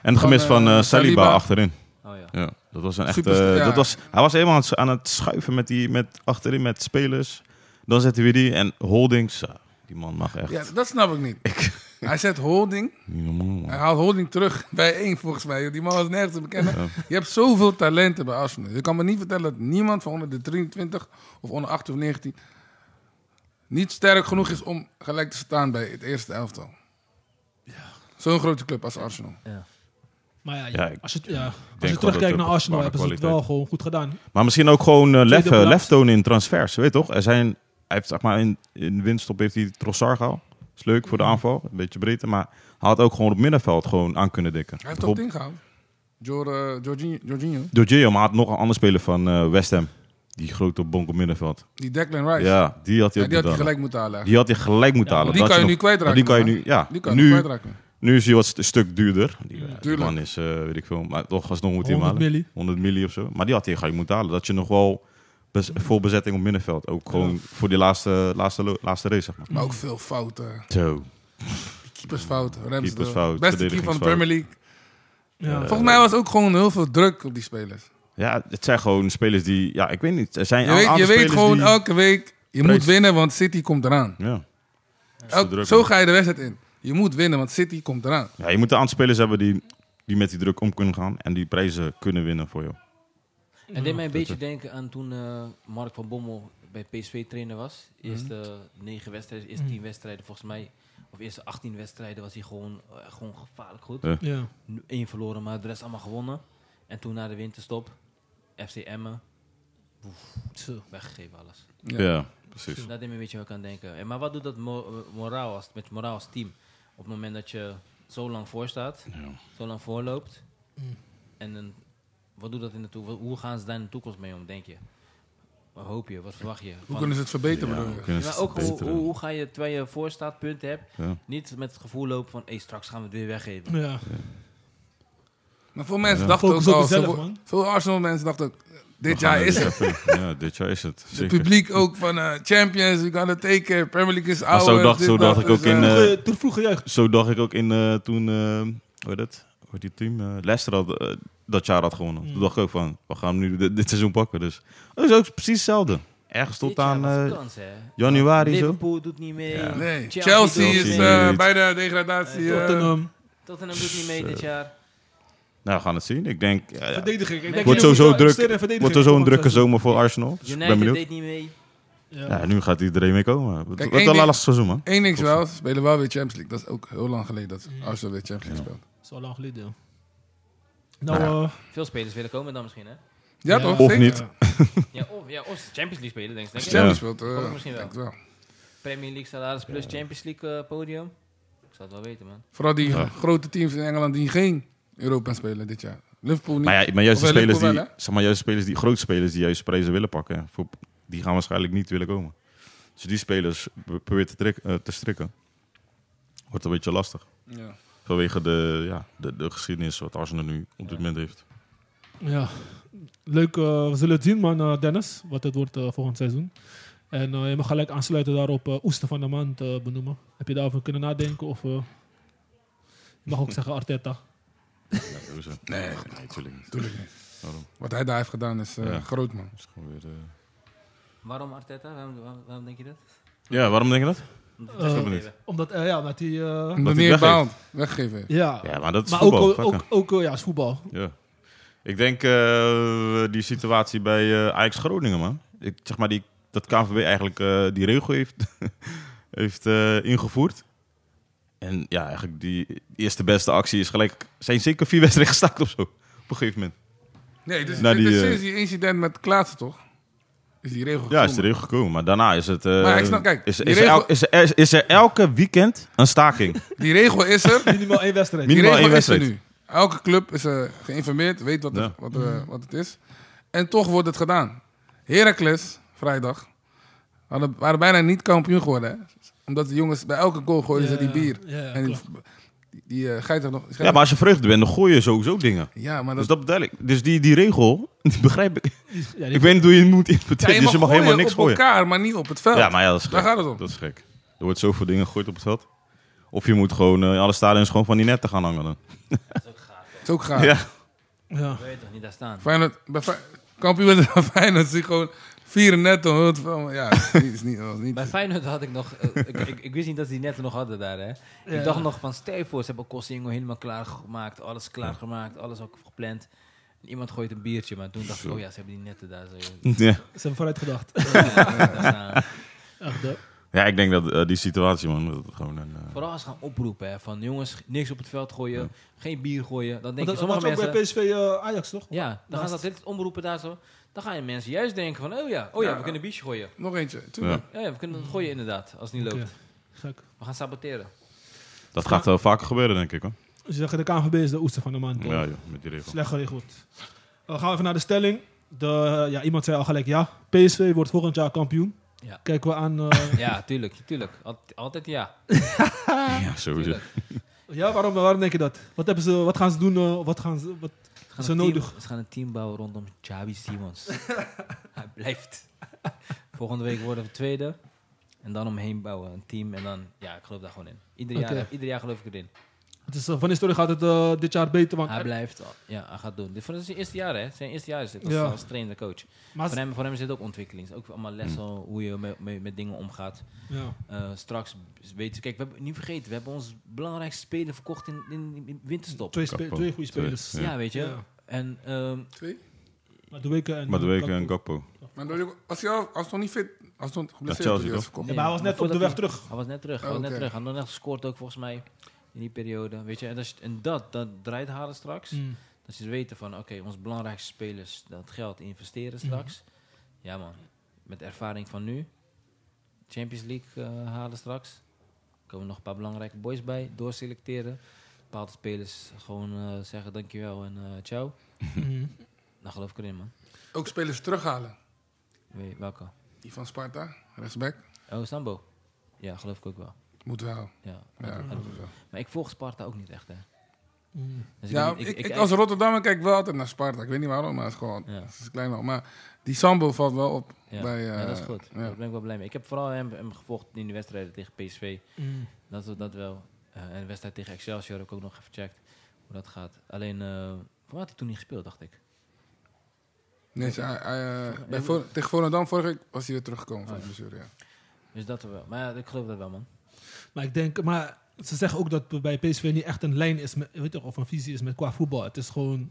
En het gemis Van, eh, van eh, Saliba, Saliba. achterin. Oh ja. Ja, dat was een echt. Superster- eh, ja. dat was, hij was helemaal aan het, aan het schuiven met die, met, achterin met spelers. Dan zetten we die en Holdings. ah, die man mag echt. Ja, dat snap ik (laughs) niet. Hij zet holding. Niet normaal, man. Hij haalt holding terug bij één, volgens mij. Die man was nergens te bekennen. Ja. Je hebt zoveel talenten bij Arsenal. Je kan me niet vertellen dat niemand van onder de 23 of onder 8 of 19 niet sterk genoeg is om gelijk te staan bij het eerste elftal. Zo'n grote club als Arsenal. Maar ja, Ja, ik als je, ja, als gewoon je dat het terugkijkt naar op Arsenal, bepaalde hebben ze het wel kwaliteit. gewoon goed gedaan. Maar misschien ook gewoon eh, lef, Tweede eh, plaats. lef tonen in transfers. Weet je toch? Er zijn, hij heeft, zeg maar, in, in winststop heeft hij Trossard gehaald. Is leuk Mhm. voor de aanval. Een beetje breedte. Maar hij had ook gewoon op middenveld gewoon aan kunnen dikken. Hij heeft top 10 gehaald. Jor, eh, Jorginho, Jorginho. Jorginho, maar hij had nog een ander speler van eh, West Ham. Die grote bonk op middenveld. Die Declan Rice. Ja, Ja, die had hij ook die had hij moeten halen. gelijk moeten halen. Die had hij gelijk moeten Ja, halen. die Dat kan je had nu nog- kwijtraken. Die kan je nu, ja. Die kan je nu, kwijtraken. nu is hij wat st- een stuk duurder. Die, eh, die Tuurlijk. man is, eh, weet ik veel, maar toch alsnog moet hij hem 100 halen. milli. 100 milli of zo. Maar die had hij gelijk moeten halen. Dat je nog wel bes- vol bezetting op middenveld. Ook gewoon voor die laatste, laatste, lo- laatste race, zeg maar. Maar ook veel fouten. Zo. Keepersfouten. Keepersfouten. Keepersfouten, Beste keeper van de verdedigingsfouten. Premier Ja. League. Eh, Volgens mij was ook gewoon heel veel druk op die spelers. Ja, het zijn gewoon spelers die... Ja, ik weet niet. Er zijn Je een weet, je aantal weet spelers gewoon die- elke week, je Prijs. moet winnen, want City komt eraan. Ja. Elk- druk, zo man. ga je de wedstrijd in. Je moet winnen, want City komt eraan. ja, je moet een aantal spelers hebben die, die met die druk om kunnen gaan. En die prijzen kunnen winnen voor jou. En deed mij een beetje denken aan toen eh, Mark van Bommel bij PSV trainer was. Mhm. Eerste eh, negen wedstrijden, eerste tien wedstrijden volgens mij. Of eerste 18 wedstrijden was hij gewoon, eh, gewoon gevaarlijk goed. Ja. Ja. Nu één verloren, maar de rest allemaal gewonnen. En toen na de winterstop, FC Emmen. Oef, Zo. weggegeven alles. Ja. Ja, precies. Dat deed me een beetje ook aan denken. En maar wat doet dat mo- eh, moraal als, met moraal als team? Op het moment dat je zo lang voor staat, Ja. zo lang voorloopt. Mm. En dan, wat doet dat in de toekomst? Hoe gaan ze daar in de toekomst mee om, denk je? Wat hoop je? Wat verwacht je? Hoe Van- kunnen ze het verbeteren? Ja, bedoel we je? kunnen Ja, maar het ook hoe, verbeteren. hoe, hoe ga je, terwijl je voor staat, punten hebt, Ja. niet met het gevoel lopen van, hé, straks gaan we het weer weggeven. Ja. Maar veel mensen dachten Focus ook op al, jezelf, ze wo- man. veel Arsenal mensen dachten ook, We gaan dit jaar naar is dit het. jaar toe. Ja, dit jaar is het. Het Zeker. publiek ook van eh, Champions, we gaan het tekenen, Premier League is Maar oud. zo dacht- zo dacht ik ook in, eh, Vroeger- Toen vroeg juist. Zo dacht ik ook in eh, toen, eh, hoe heet het? Hoe heet die team? Eh, Leicester had, eh, dat jaar had gewonnen. Hmm. Toen dacht ik ook van, we gaan hem nu dit, dit seizoen pakken. Dus dat is ook precies hetzelfde. Ergens tot Dit jaar aan was de eh, kans, hè? januari zo. Liverpool doet niet mee. Ja. Nee, Chelsea, doet is niet niet. mee. eh, niet. bij de degradatie. eh, Tottenham. Tottenham doet niet mee dit jaar. Nou, we gaan het zien. Ik denk, ja, ja. Verdediging. Ik denk Wordt jullie sowieso moeten druk. investeren in verdediging. wordt er zo'n Want, drukke eh, zomer voor Arsenal. Dus ik ben United benieuwd. deed niet mee. Ja, nu gaat iedereen mee komen. Het Kijk, wordt één een ding- lastig seizoen, man. Eén ding is wel, ze spelen wel weer Champions League. Dat is ook heel lang geleden dat Arsenal weer Champions League speelt. Dat is al lang geleden. ja. Nou, Nou eh, Veel spelers willen komen dan misschien, hè? Ja, Ja. toch? Of Zeker. niet. Ja, of, ja, of ze Champions League spelen, denk ik. Als Denk je Ja. ik. Champions speelt, eh, Komt het misschien wel. denk ik wel. Premier League salaris plus Champions League eh, podium. Ik zou het wel weten, man. Vooral die Ja. grote teams in Engeland die geen Europa spelen dit jaar. Liverpool niet. Maar, ja, maar juist, de Of wel spelers die, Liverpool wel, zeg maar juist de spelers die, grote spelers die juist prijzen willen pakken, hè, voor- die gaan waarschijnlijk niet willen komen. Dus die spelers pro- probeer te, trik- eh, te strikken. Wordt een beetje lastig. Ja. Vanwege de, ja, de, de geschiedenis wat Arsenal nu op dit moment heeft. ja. Leuk, eh, we zullen het zien, man, eh, Dennis, wat het wordt eh, volgend seizoen. En eh, je mag gelijk aansluiten daarop eh, Oester van de Maand eh, benoemen. Heb je daarover kunnen nadenken? Of eh, je mag ook zeggen Arteta. Nee, natuurlijk niet. natuurlijk niet. Waarom? Wat hij daar heeft gedaan is eh, Ja. groot, man. Dat is gewoon weer, eh, Waarom Arteta? Waarom, waarom, waarom denk je dat? Ja, waarom denk je dat? Omdat Eh, het ik niet. Omdat, eh, ja, met die... eh, Omdat hij hij weggeeft. baalt. Weggeven. ja. Ja, maar dat is maar voetbal. ook, vakken. ook, ook, eh, ja, is voetbal. ja. Ik denk eh, die situatie bij eh, Ajax Groningen, man. Ik, zeg maar die, dat KNVB eigenlijk eh, die regel heeft, (laughs) heeft eh, ingevoerd. En ja, eigenlijk die eerste beste actie is gelijk... Zijn zeker vier (laughs) wedstrijden gestaakt of zo, op een gegeven moment. Nee, dus, Nou, dit die, is eh, sinds die incident met Klaassen, toch? Is die regel Ja, gekomen. is de regel gekomen. Maar daarna is het... eh, Maar ik snap- kijk, is, die is, er regel- el- is, er, is er elke weekend een (laughs) staking. Die regel (laughs) is er. Minimaal één wedstrijd. Die Minimaal regel één is er wedstrijd. nu. Elke club is eh, geïnformeerd, weet wat, er- Ja. wat, er- wat het is. En toch wordt het gedaan. Heracles, vrijdag, hadden, waren bijna niet kampioen geworden. Hè? Omdat de jongens bij elke goal gooiden ze die bier. Ja, ja, en die, klopt. die, eh, geiter nog... Ja, maar als je vreugde bent, dan gooi je sowieso dingen. Ja, maar dat, Dus dat bedoel ik. Dus die, die regel, (laughs) die begrijp ik. Ja, die- Ik weet niet hoe je het moet Ja, interpreteren. dus je mag helemaal gooien niks op gooien. elkaar, maar niet op het veld. Ja, maar ja, dat is gek. Daar Oh. gaat het om. Dat is gek. Er wordt zoveel dingen gegooid op het veld. Of je moet gewoon eh, in alle stadions gewoon van die netten gaan hangen dan. Dat is ook gaaf. Het is ook gaaf. Ja. (laughs) ja. Wil je toch niet daar staan? Feyenoord, bij Fey- kampioen van (laughs) Feyenoord zie gewoon vier net om het van... Ja, dat is niet... Dat is niet Bij Feyenoord had ik nog... eh, ik, ik, ik wist niet dat ze die netten nog hadden daar, hè. Ja. Ik dacht nog van, stel je voor, ze hebben Kostingo helemaal klaargemaakt. Alles klaargemaakt, alles ook gepland. En iemand gooit een biertje, maar toen dacht ik, oh ja, ze hebben die netten daar. Zo, (laughs) ja. Ze hebben vooruit gedacht. daar staan. Echt, hè? ja, ik denk dat eh, die situatie, man, dat het gewoon een... eh, Vooral als ze gaan oproepen, hè. Van, jongens, niks op het veld gooien. Geen bier gooien. Dan Want denken Dat was sommige ook mensen... bij PSV eh, Ajax, toch? Ja, dan gaan ze dat dit omroepen daar zo. Dan gaan je mensen juist denken van, oh ja, oh ja, Ja. we kunnen een biertje gooien. Oh nog eentje. Tuurlijk. Ja, ja, we kunnen het gooien inderdaad, als het niet loopt. Oké. Gek. We gaan (laughs) saboteren. dat gaat wel vaker gebeuren, denk ik, hoor. Ze zeggen de KNVB is de oester van de maand. toch? Ja, joh, met die regel. Slecht geregeld. Dan gaan we even naar de stelling. De, ja, iemand zei al gelijk ja. PSV wordt volgend jaar kampioen. Ja. Kijken we aan. (laughs) eh, Ja, tuurlijk, tuurlijk. Alt- altijd ja. Ja, sowieso. Tuurlijk. ja, waarom, waarom denk je dat? Wat, hebben ze, wat gaan ze doen? eh, wat gaan ze, wat, Ze gaan, Zo een team- nodig. ze gaan een team bouwen rondom Xabi (laughs) Simons. Hij blijft. (laughs) Volgende week worden we tweede. En dan omheen bouwen, een team. En dan, ja, ik geloof daar gewoon in. Ieder, jaar, Oké. ieder jaar geloof ik erin. het is, eh, van historie gaat het eh, dit jaar beter. Want, Hij blijft, ja, hij gaat doen. Dit voor- dit is zijn eerste jaar, hè. Zijn eerste jaar is dit als, Ja. als trainer, coach. maar, Voor hem, voor hem zit ook ontwikkeling. Ook allemaal lessen, Hmm. hoe je met, met, met dingen omgaat. ja. Eh, straks weten ze... Kijk, we hebben, niet vergeten, we hebben ons belangrijkste speler verkocht in, in, in winterstop. Twee, spe- Gakpo. twee goede Twee, spelers. Ja, Ja. weet je. Ja. En ehm, Twee. Madueke en. Maar de weken en Gakpo. Gakpo. Maar door- als hij al- als hij nog niet fit... Als hij nog Chelsea, geblesseerd toch? is verkocht. Ja, maar hij was maar net op de voordat weg hij- terug. hij was net terug. Hij Oh, was net oké. terug. Hij had nog net gescoord ook, volgens mij, in die periode. Weet je, en, dat, is- en dat, dat draait halen straks. Mm. Dat ze dus weten van, oké, onze belangrijkste spelers, dat geld investeren Mhm. straks. Ja man, met de ervaring van nu. Champions League eh, halen straks. komen nog een paar belangrijke boys bij, doorselecteren. Bepaalde spelers gewoon eh, zeggen dankjewel en eh, ciao. Mhm. Dan geloof ik erin man. Ook spelers terughalen. Wie- Welke? Die van Sparta, rechtsback. Oh, Sambo. Ja, geloof ik ook wel. Moet wel. Ja. Ja, dat moet wel. Maar ik volg Sparta ook niet echt hè. Mm. Dus ja weet ik, niet, ik, als Rotterdammer kijk wel altijd naar Sparta. Ik weet niet waarom, maar het is gewoon... Ja. Het is klein wel. Maar die Sambo valt wel op. Ja. Bij, eh, ja, dat is goed. ja. Daar ben ik wel blij mee. Ik heb vooral hem, hem gevolgd in de wedstrijden tegen PSV. Mm. Dat, dat wel. Eh, en de wedstrijd tegen Excelsior heb ik ook nog gecheckt hoe dat gaat. Alleen, eh voor had hij toen niet gespeeld, dacht ik. Nee, ze- hij- hij, eh, bij Vol- tegen Volendam vorige week was hij weer teruggekomen van de blessure, ja. Dus dat wel. Maar ja, ik geloof dat wel, man. Maar ik denk, maar ze zeggen ook dat bij PSV niet echt een lijn is, met, weet je, of een visie is met qua voetbal. Het is gewoon.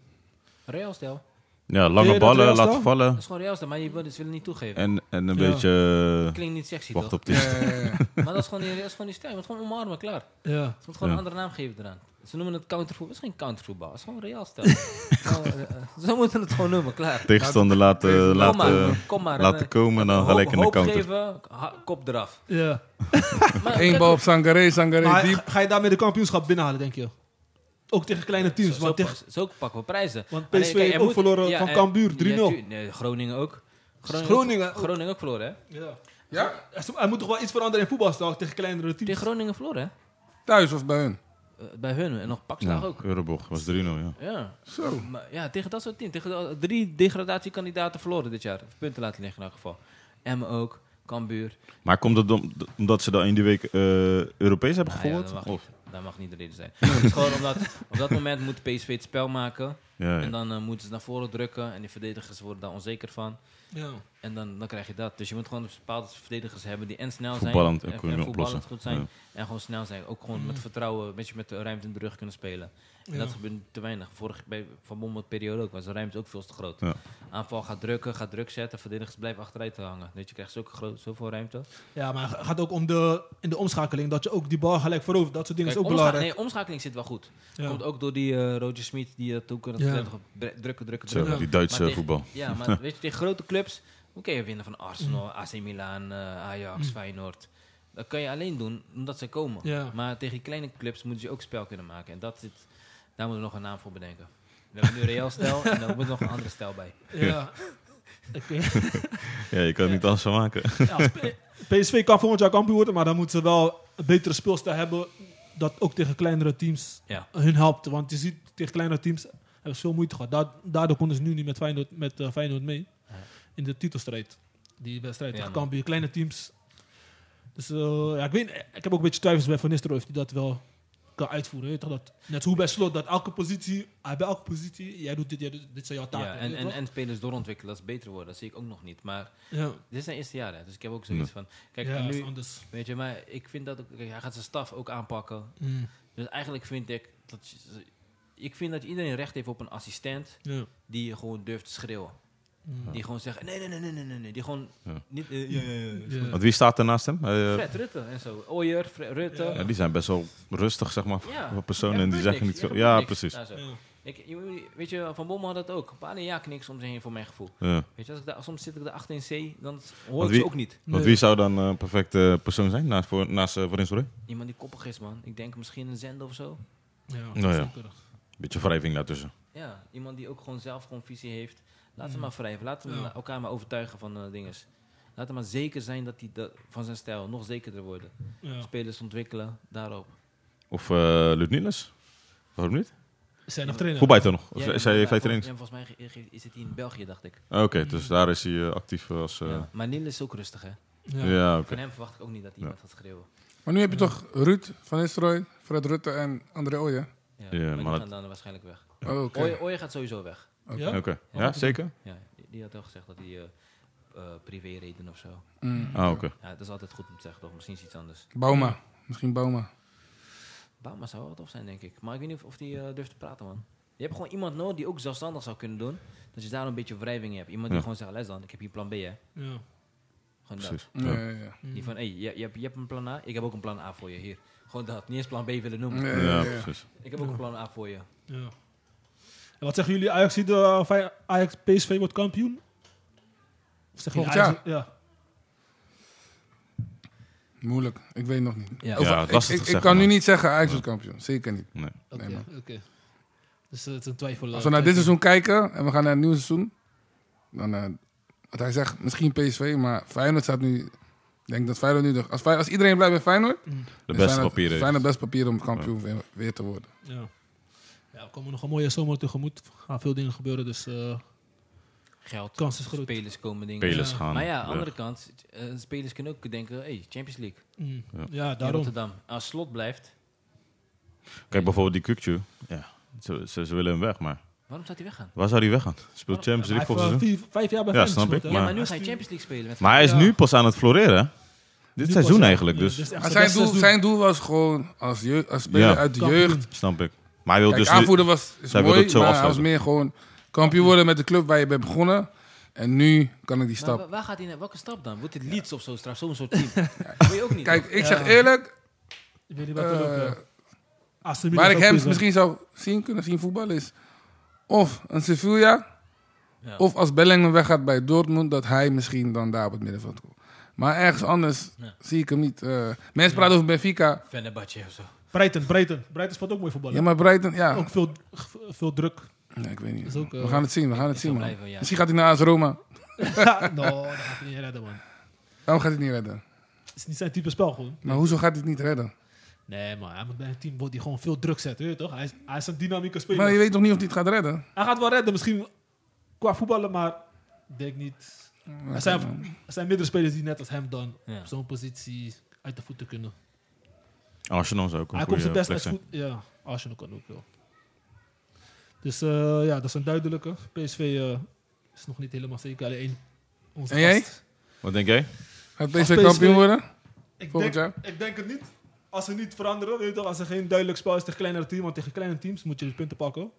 Real stel. Ja, Wil lange je dat ballen Real laten staan? Dat vallen. is gewoon Real stel, maar je wil dus willen niet toegeven. En, en een Ja. beetje... eh, Klinkt niet sexy, wacht toch? op Ja, dit. ja, ja, ja. (laughs) Maar dat is gewoon die, dat is gewoon die stijl. Je moet gewoon omarmen, klaar. Ja. Ze moet gewoon Ja. een andere naam geven eraan. Ze noemen het countervoetbal. Het is geen countervoetbal. Het is gewoon Real (laughs) stel. Nou, eh, eh, Zo moeten we het gewoon noemen, (laughs) klaar. Tegenstander laten, kom maar, laten, eh, kom maar. eh, laten komen, dan gelijk in de counter. geven, ha- kop eraf. ja. Maar Eén kijk, bal op Sangaré, Sangaré Maar diep. ga- ga je daarmee de kampioenschap binnenhalen, denk je? Ook tegen kleine teams. Zo, zo, want tegen, pak- zo pakken we prijzen. Want Alleen, PSV kijk, heeft er ook verloren van Cambuur, 3-0. ja, tu- nee, Groningen ook. Groningen ook. Groningen ook verloren, hè? ja. Ja? Er is- er moet toch wel iets veranderen in voetbalstijl tegen kleinere teams? Tegen Groningen verloren, hè? Thuis of bij hun? Eh, bij hun en nog Pakslag Ja, ook. Euroborg was 3-0, ja. Ja. Zo. Maar ja, tegen dat soort teams. Tegen de- drie degradatiekandidaten verloren dit jaar. Of punten laten liggen in elk geval. Emmen ook, Cambuur. Maar komt het om- omdat ze dan in die week eh, Europees hebben Nou ja, gevolgd? dan wacht Of- ik. dat mag niet de reden zijn. Het is gewoon omdat op dat moment moet PSV het spel maken. Ja, En ja. dan eh, moeten ze naar voren drukken. En die verdedigers worden daar onzeker van. Ja. En dan, dan krijg je dat. Dus je moet gewoon bepaalde verdedigers hebben die en snel zijn. Voetballend en, ook kunnen en oplossen. voetballend goed zijn. Ja. En gewoon snel zijn. Ook gewoon met vertrouwen, met, je met de ruimte in de rug kunnen spelen. Mhm. En Ja. dat gebeurt te weinig. Vorig, bij Van Bommel periode ook was de ruimte ook veel te groot. Ja. Aanval gaat drukken, gaat druk zetten. Verdedigers blijven achteruit hangen. Weet je, je krijgt zulke groot, zoveel ruimte. Ja, maar het gaat ook om de, in de omschakeling. Dat je ook die bal gelijk voorover. Dat soort dingen Kijk, is ook omscha- belangrijk. Nee, omschakeling zit wel goed. Ja. Komt ook door die eh, Roger Smit die dat toen kon. dat Ja. verdedigen, bre- Drukken, drukken, Zo, drukken. die Duitse Maar tegen- voetbal. Ja, (laughs) maar weet je, tegen grote clubs dan kun je winnen van Arsenal, AC Milan, eh, Ajax, Feyenoord. Dat kan je alleen doen omdat ze komen. Mm. Ja. Maar tegen die kleine clubs moeten ze ook spel kunnen maken. En dat zit, daar moeten we nog een naam voor bedenken. We hebben nu (laughs) Real-stijl en dan moet nog een andere stijl bij. Ja. Oké. Ja, je kan er niet alles van (laughs) maken. Ja, als P- PSV kan volgend jaar kampioen worden, maar dan moeten ze wel een betere speelstijl hebben. Dat ook tegen kleinere teams Ja. hun helpt. Want je ziet, tegen kleinere teams hebben ze veel moeite gehad. Da- Daardoor konden ze nu niet met Feyenoord, met, eh, Feyenoord mee in de titelstrijd. Die wedstrijd Ja, tegen man. Cambuur, kleine teams. Dus eh, ja, ik, weet, ik heb ook een beetje twijfels bij Van Nistelrooy of die dat wel kan uitvoeren. Weet je toch? dat, net hoe bij Slot, dat elke positie, hij bij elke positie, jij doet dit, jij doet, dit zijn jouw taken. Ja, en, weet je en, toch? en spelers doorontwikkelen, dat is beter worden. Dat zie ik ook nog niet. Maar ja, dit is zijn eerste jaar, hè, dus ik heb ook zoiets van... Kijk, ja, dat is nu, anders. weet je, maar ik vind dat ook... kijk, hij gaat zijn staf ook aanpakken. Mm, Dus eigenlijk vind ik dat... je- Ik vind dat iedereen recht heeft op een assistent... ja. die je gewoon durft te schreeuwen. Mm. Die gewoon zeggen, nee, nee, nee, nee, nee, nee, nee. Die gewoon Ja. niet... eh, ja, ja, ja. Ja. Want wie staat er naast hem? Eh, Fred Rutte en zo. Oyer, Fred Rutte. Ja. ja, die zijn best wel rustig, zeg maar, Ja. voor Er personen. En die gebeurt zeggen niks. niet veel. Er Ja, gebeurt niks. precies. Nou, zo. Ja. Ik, je moet- weet je, Van Bommel had dat ook. Een paar jaar niks om zich heen voor mijn gevoel. Ja. Weet je, als ik daar, soms zit ik daar achter in C, dan hoor Want ik wie- ze ook niet. Want Nee. wie zou dan een perfecte persoon zijn naast, voor, naast eh, Van Nistelrooy? Iemand die koppig is, man. Ik denk misschien een zender of zo. Ja, Nou ja. zeker. Beetje wrijving daartussen. Ja, iemand die ook gewoon zelf gewoon visie heeft. Laat ze maar wrijven. Laat ze Hmm. Ja. maar elkaar maar overtuigen van eh dingen. Laat hem maar zeker zijn dat hij dat- van zijn stijl nog zekerder worden. Ja. Spelers ontwikkelen, daarop. Of eh Ludnilis? Waarom niet? Zijn nog trainen? Voorbij toch nog? Of Ja, is ja, hij ja, heeft hij vol- trainings? ja, volgens mij ge- ge- is het hier in België, dacht ik. Ah, Oké, dus daar is hij eh, actief eh, als... eh, Ja. Maar Niel is ook rustig, hè. Ja. ja, oké. Van hem verwacht ik ook niet dat iemand gaat schreeuwen. Maar nu heb je toch Ruud van Nistelrooy, Fred Rutte en André Ooyen? Ja, Ja, maar maar die dat- gaan dan waarschijnlijk weg. Oh, oké. Ooyen Ooyen gaat sowieso weg. Ja? Oké, ja, zeker? Ja, die- die had al gezegd dat hij eh, eh, privé reden of zo. Mm. Ah, oké. Ja, dat is altijd goed om te zeggen, toch? Misschien is iets anders. Bauma. Misschien Bauma. Bama zou wel tof zijn, denk ik. Maar ik weet niet of- of die eh durft te praten, man. Je hebt gewoon iemand nodig die ook zelfstandig zou kunnen doen. Dat je daar een beetje wrijving in hebt. Iemand die Ja. gewoon zegt, les dan, ik heb hier plan B, hè. Ja. Gewoon dat. Precies. Ja, Ja. ja, ja. Die van, hé, je, je, hebt- je hebt een plan A, ik heb ook een plan A voor je, hier. Gewoon dat, niet eens plan B willen noemen. Nee. Ja, ja. precies. Ik heb ook een plan A voor je. ja. En wat zeggen jullie? Ajax, ziet, eh, Fey- Ajax PSV wordt kampioen? Of zeg jullie Volgend Ajax- Ja. Moeilijk. Ik weet nog niet. Ja. Ja, ik, lastig ik, te ik zeggen, kan nu man. niet zeggen Ajax wordt kampioen. Zeker niet. Nee. Oké. Nee, man. oké. Dus eh, het is een twijfel. Als we naar dit seizoen kijken en we gaan naar een nieuw seizoen, dan... eh, wat hij zegt, misschien PSV, maar Feyenoord staat nu... Ik denk dat Feyenoord nu... De, als, Fey- als iedereen blijft bij Feyenoord... De dan beste zijn het- papieren. Zijn het best papieren om kampioen weer, weer te worden. Ja. ja, we komen nog een mooie zomer tegemoet. Er gaan veel dingen gebeuren, dus eh, Geld, kans is groot. spelers komen dingen. Spelers Ja. gaan. Maar ja, aan weg. de andere kant, eh, spelers kunnen ook denken, hey, Champions League, in Mm. Ja. Ja, daarom. Rotterdam. Als slot blijft, Kijk, bijvoorbeeld die Kukju. Ja, ze, ze, ze willen hem weg, maar waarom zou hij weggaan? waar zou hij weggaan? Oh, Speelt Champions Hij League heeft volgens eh, hem? vier- vijf jaar bij Ja, Feyenoord snap ik, gespeeld, hè? Ja, Maar maar nu Hij ga je is Champions League spelen met Maar hij is Ja. nu pas aan het floreren. hè? Dit nu pas, seizoen ja. eigenlijk, Ja, dus dus. dit is echt Maar zijn zijn beste doel, seizoen. zijn doel was gewoon als, jeugd, als speler Ja. uit de Kampioen. jeugd. Snap ik. Maar hij wil Kijk, dus nu- aanvoerder was is Zij wil mooi, het zo maar hij was afsluiten. meer gewoon kampioen worden met de club waar je bent begonnen. En nu kan ik die Maar stap. wa- waar gaat hij naar? Welke stap dan? Wordt het Leeds of zo straks? Zo'n soort team. (laughs) Dat Wil je ook niet. Kijk, ik zeg Ja. eerlijk, Ik weet niet wat er ook, eh, ja. Aston Villa waar ik is ook hem goed, hè? misschien zou zien kunnen zien voetballen is of een Sevilla, Ja. of als Bellingham weggaat bij Dortmund, dat hij misschien dan daar op het middenveld komt. Maar ergens anders Ja. zie ik hem niet. eh, mensen praten over Benfica. Fenerbahce of zo. Breiten, Breiten. Breiten speelt ook mooi voetballen. Ja, maar Breiten, ja. Ook veel, veel druk. Nee, ik weet niet. is ook, eh, Ah. we (laughs) gaan het zien, we gaan het ik zien, zou man. blijven, ja. Misschien gaat hij naar AS Roma. Ja, no, Nou, dat gaat hij niet redden, man. Waarom gaat hij het niet redden? Het is niet zijn type spel, gewoon. Maar hoezo gaat hij het niet redden? Nee, maar hij moet bij een team worden die gewoon veel druk zet, weet je toch? Hij is, hij is een dynamieke speler. Maar je weet toch niet of hij het gaat redden? Hij gaat wel redden, misschien qua voetballen, maar ik denk niet. Er zijn, er zijn meerdere spelers die net als hem dan Ja. op zo'n positie uit de voeten kunnen. Oh, Arsenal zou ook een Hij komt goede zijn best plek uit zijn. voet. Ja, Arsenal kan ook wel. Dus eh, ja, dat is een duidelijke. PSV eh, is nog niet helemaal zeker. Alleen één. Onze En jij? gast. Wat denk jij? Gaat Als PSV PSV kampioen worden? Ik Volgend denk, jaar? ik denk het niet. Als ze niet veranderen, weet je, toch, als er geen duidelijk spel is tegen kleinere teams, want tegen kleine teams moet je de punten pakken.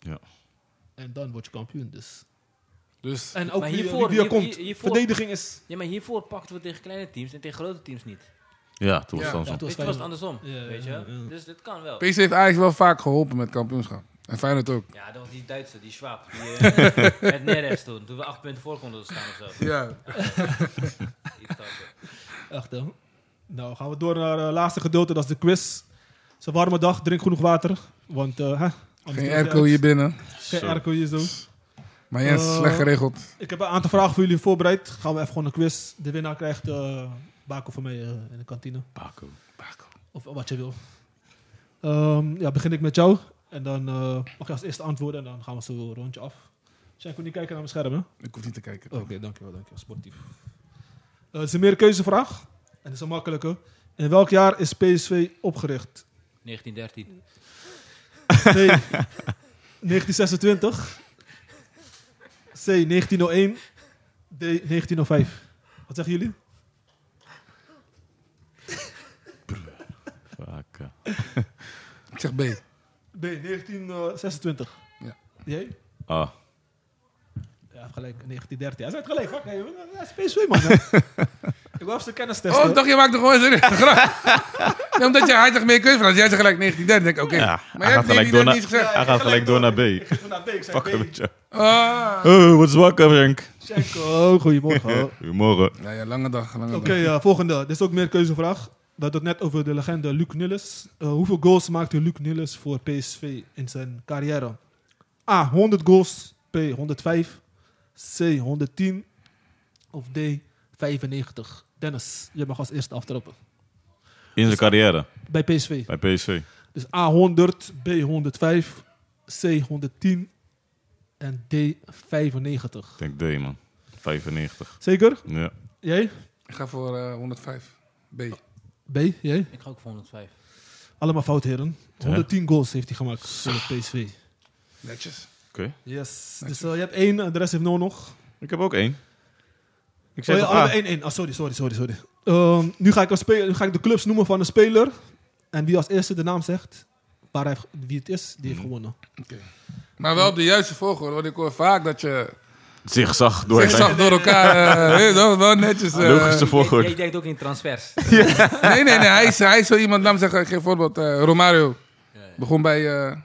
Ja. En dan word je kampioen. Dus. Dus En ook Maar wie, hiervoor- wie- wie er hier- komt. hier- hiervoor- Verdediging is. Ja, maar hiervoor pakten we tegen kleine teams en tegen grote teams niet. Ja, toen was Ja. het dan zo. Ja, toen Dit was was het Feyenoord. andersom, Ja, weet je. ja, ja. Dus dit kan wel. PSV heeft Ajax wel vaak geholpen met kampioenschap. En Feyenoord ook. Ja, dat was die Duitse, die Schwab. Die, eh, met Neres toen, toen we acht punten voor konden staan of zo. Ja. Iets dat. Echt, hè? eh, Nou, gaan we door naar het laatste gedeelte, dat is de quiz. Het is een warme dag, drink genoeg water. Want, eh, hè, anders Geen doe je airco het. hier binnen. Geen Zo. airco hier zo. Maar Jens, Eh, slecht geregeld. Ik heb een aantal vragen voor jullie voorbereid. Gaan we even gewoon een quiz. De winnaar krijgt eh bakel van mij eh, in de kantine. Paco. Of wat je wil. Ehm, ja, begin ik met jou. En dan eh, mag je als eerste antwoorden en dan gaan we zo een rondje af. Zijn we niet kijken naar mijn scherm, hè? Ik hoef niet te kijken. Oh. Oké, dankjewel, dankjewel. Sportief. Eh, het is een meerkeuzevraag. En het is een makkelijke. In welk jaar is PSV opgericht? 1913. Nee. 1926. C. 1901. D. 1905. Wat zeggen jullie? Paco. Ik zeg B. B. 1926. Ja. Jij? Ah, Ja, hij heeft gelijk. 1913. Hij zei het gelijk. Fuck, hey, jongen. dat is PSV, man. hè. (laughs) ik wil even zijn kennis testen. Oh, ik dacht, je maakt er gewoon (laughs) serieus een grap. Nee, omdat je hartig meer keuzes vraagt. Jij zegt gelijk 1930. Denk ik, Oké. Ja, hij Maar jij gaat hebt gelijk door 1930 naar, niet gezegd. hij gaat gelijk door naar Ik B. ging toen naar B. Ik zei Fuck B. met je. Ah. Oh, wat is wakker, Henk? Check. Oh, goedemorgen. Oké, Goedemorgen. Ja, ja, lange dag. Lange dag. ja, volgende. Dit is ook meer keuzevraag. We hadden het net over de legende Luc Nilles. Eh, hoeveel goals maakte Luc Nilles voor PSV in zijn carrière? A. 100 goals. B. 105. C. 110. Of D. 95. Dennis, je mag als eerste aftrappen. In zijn carrière Bij PSV. bij PSV. Dus A100, B105, C110 en D95. Ik denk D, man. 95. Zeker? Ja. Jij? Ik ga voor eh, 105. B. B? Jij? Ik ga ook voor 105. Allemaal fout, heren. 110 goals heeft hij gemaakt voor het PSV. Netjes. Oké. Yes. Dus eh, je hebt één, en de rest heeft nul nog. Ik heb ook één. Ik Oh zeg ja, toch allemaal A. één, één. Ah, sorry, sorry, sorry. sorry. Ehm, nu, ga ik een speler, nu ga ik de clubs noemen van een speler. En wie als eerste de naam zegt, waar hij, wie het is, die heeft gewonnen. Maar wel op de juiste volgorde. Want ik hoor vaak dat je Zigzag door zigzag zijn door elkaar... eh, (laughs) weet je wel, wel netjes... eh, logische volgorde. Jij, jij denkt ook in transfers. Nee, nee, nee. Hij is, hij is zo iemand, laat me zeggen, ik geef een voorbeeld. eh, Romario Ja, ja. begon bij, eh,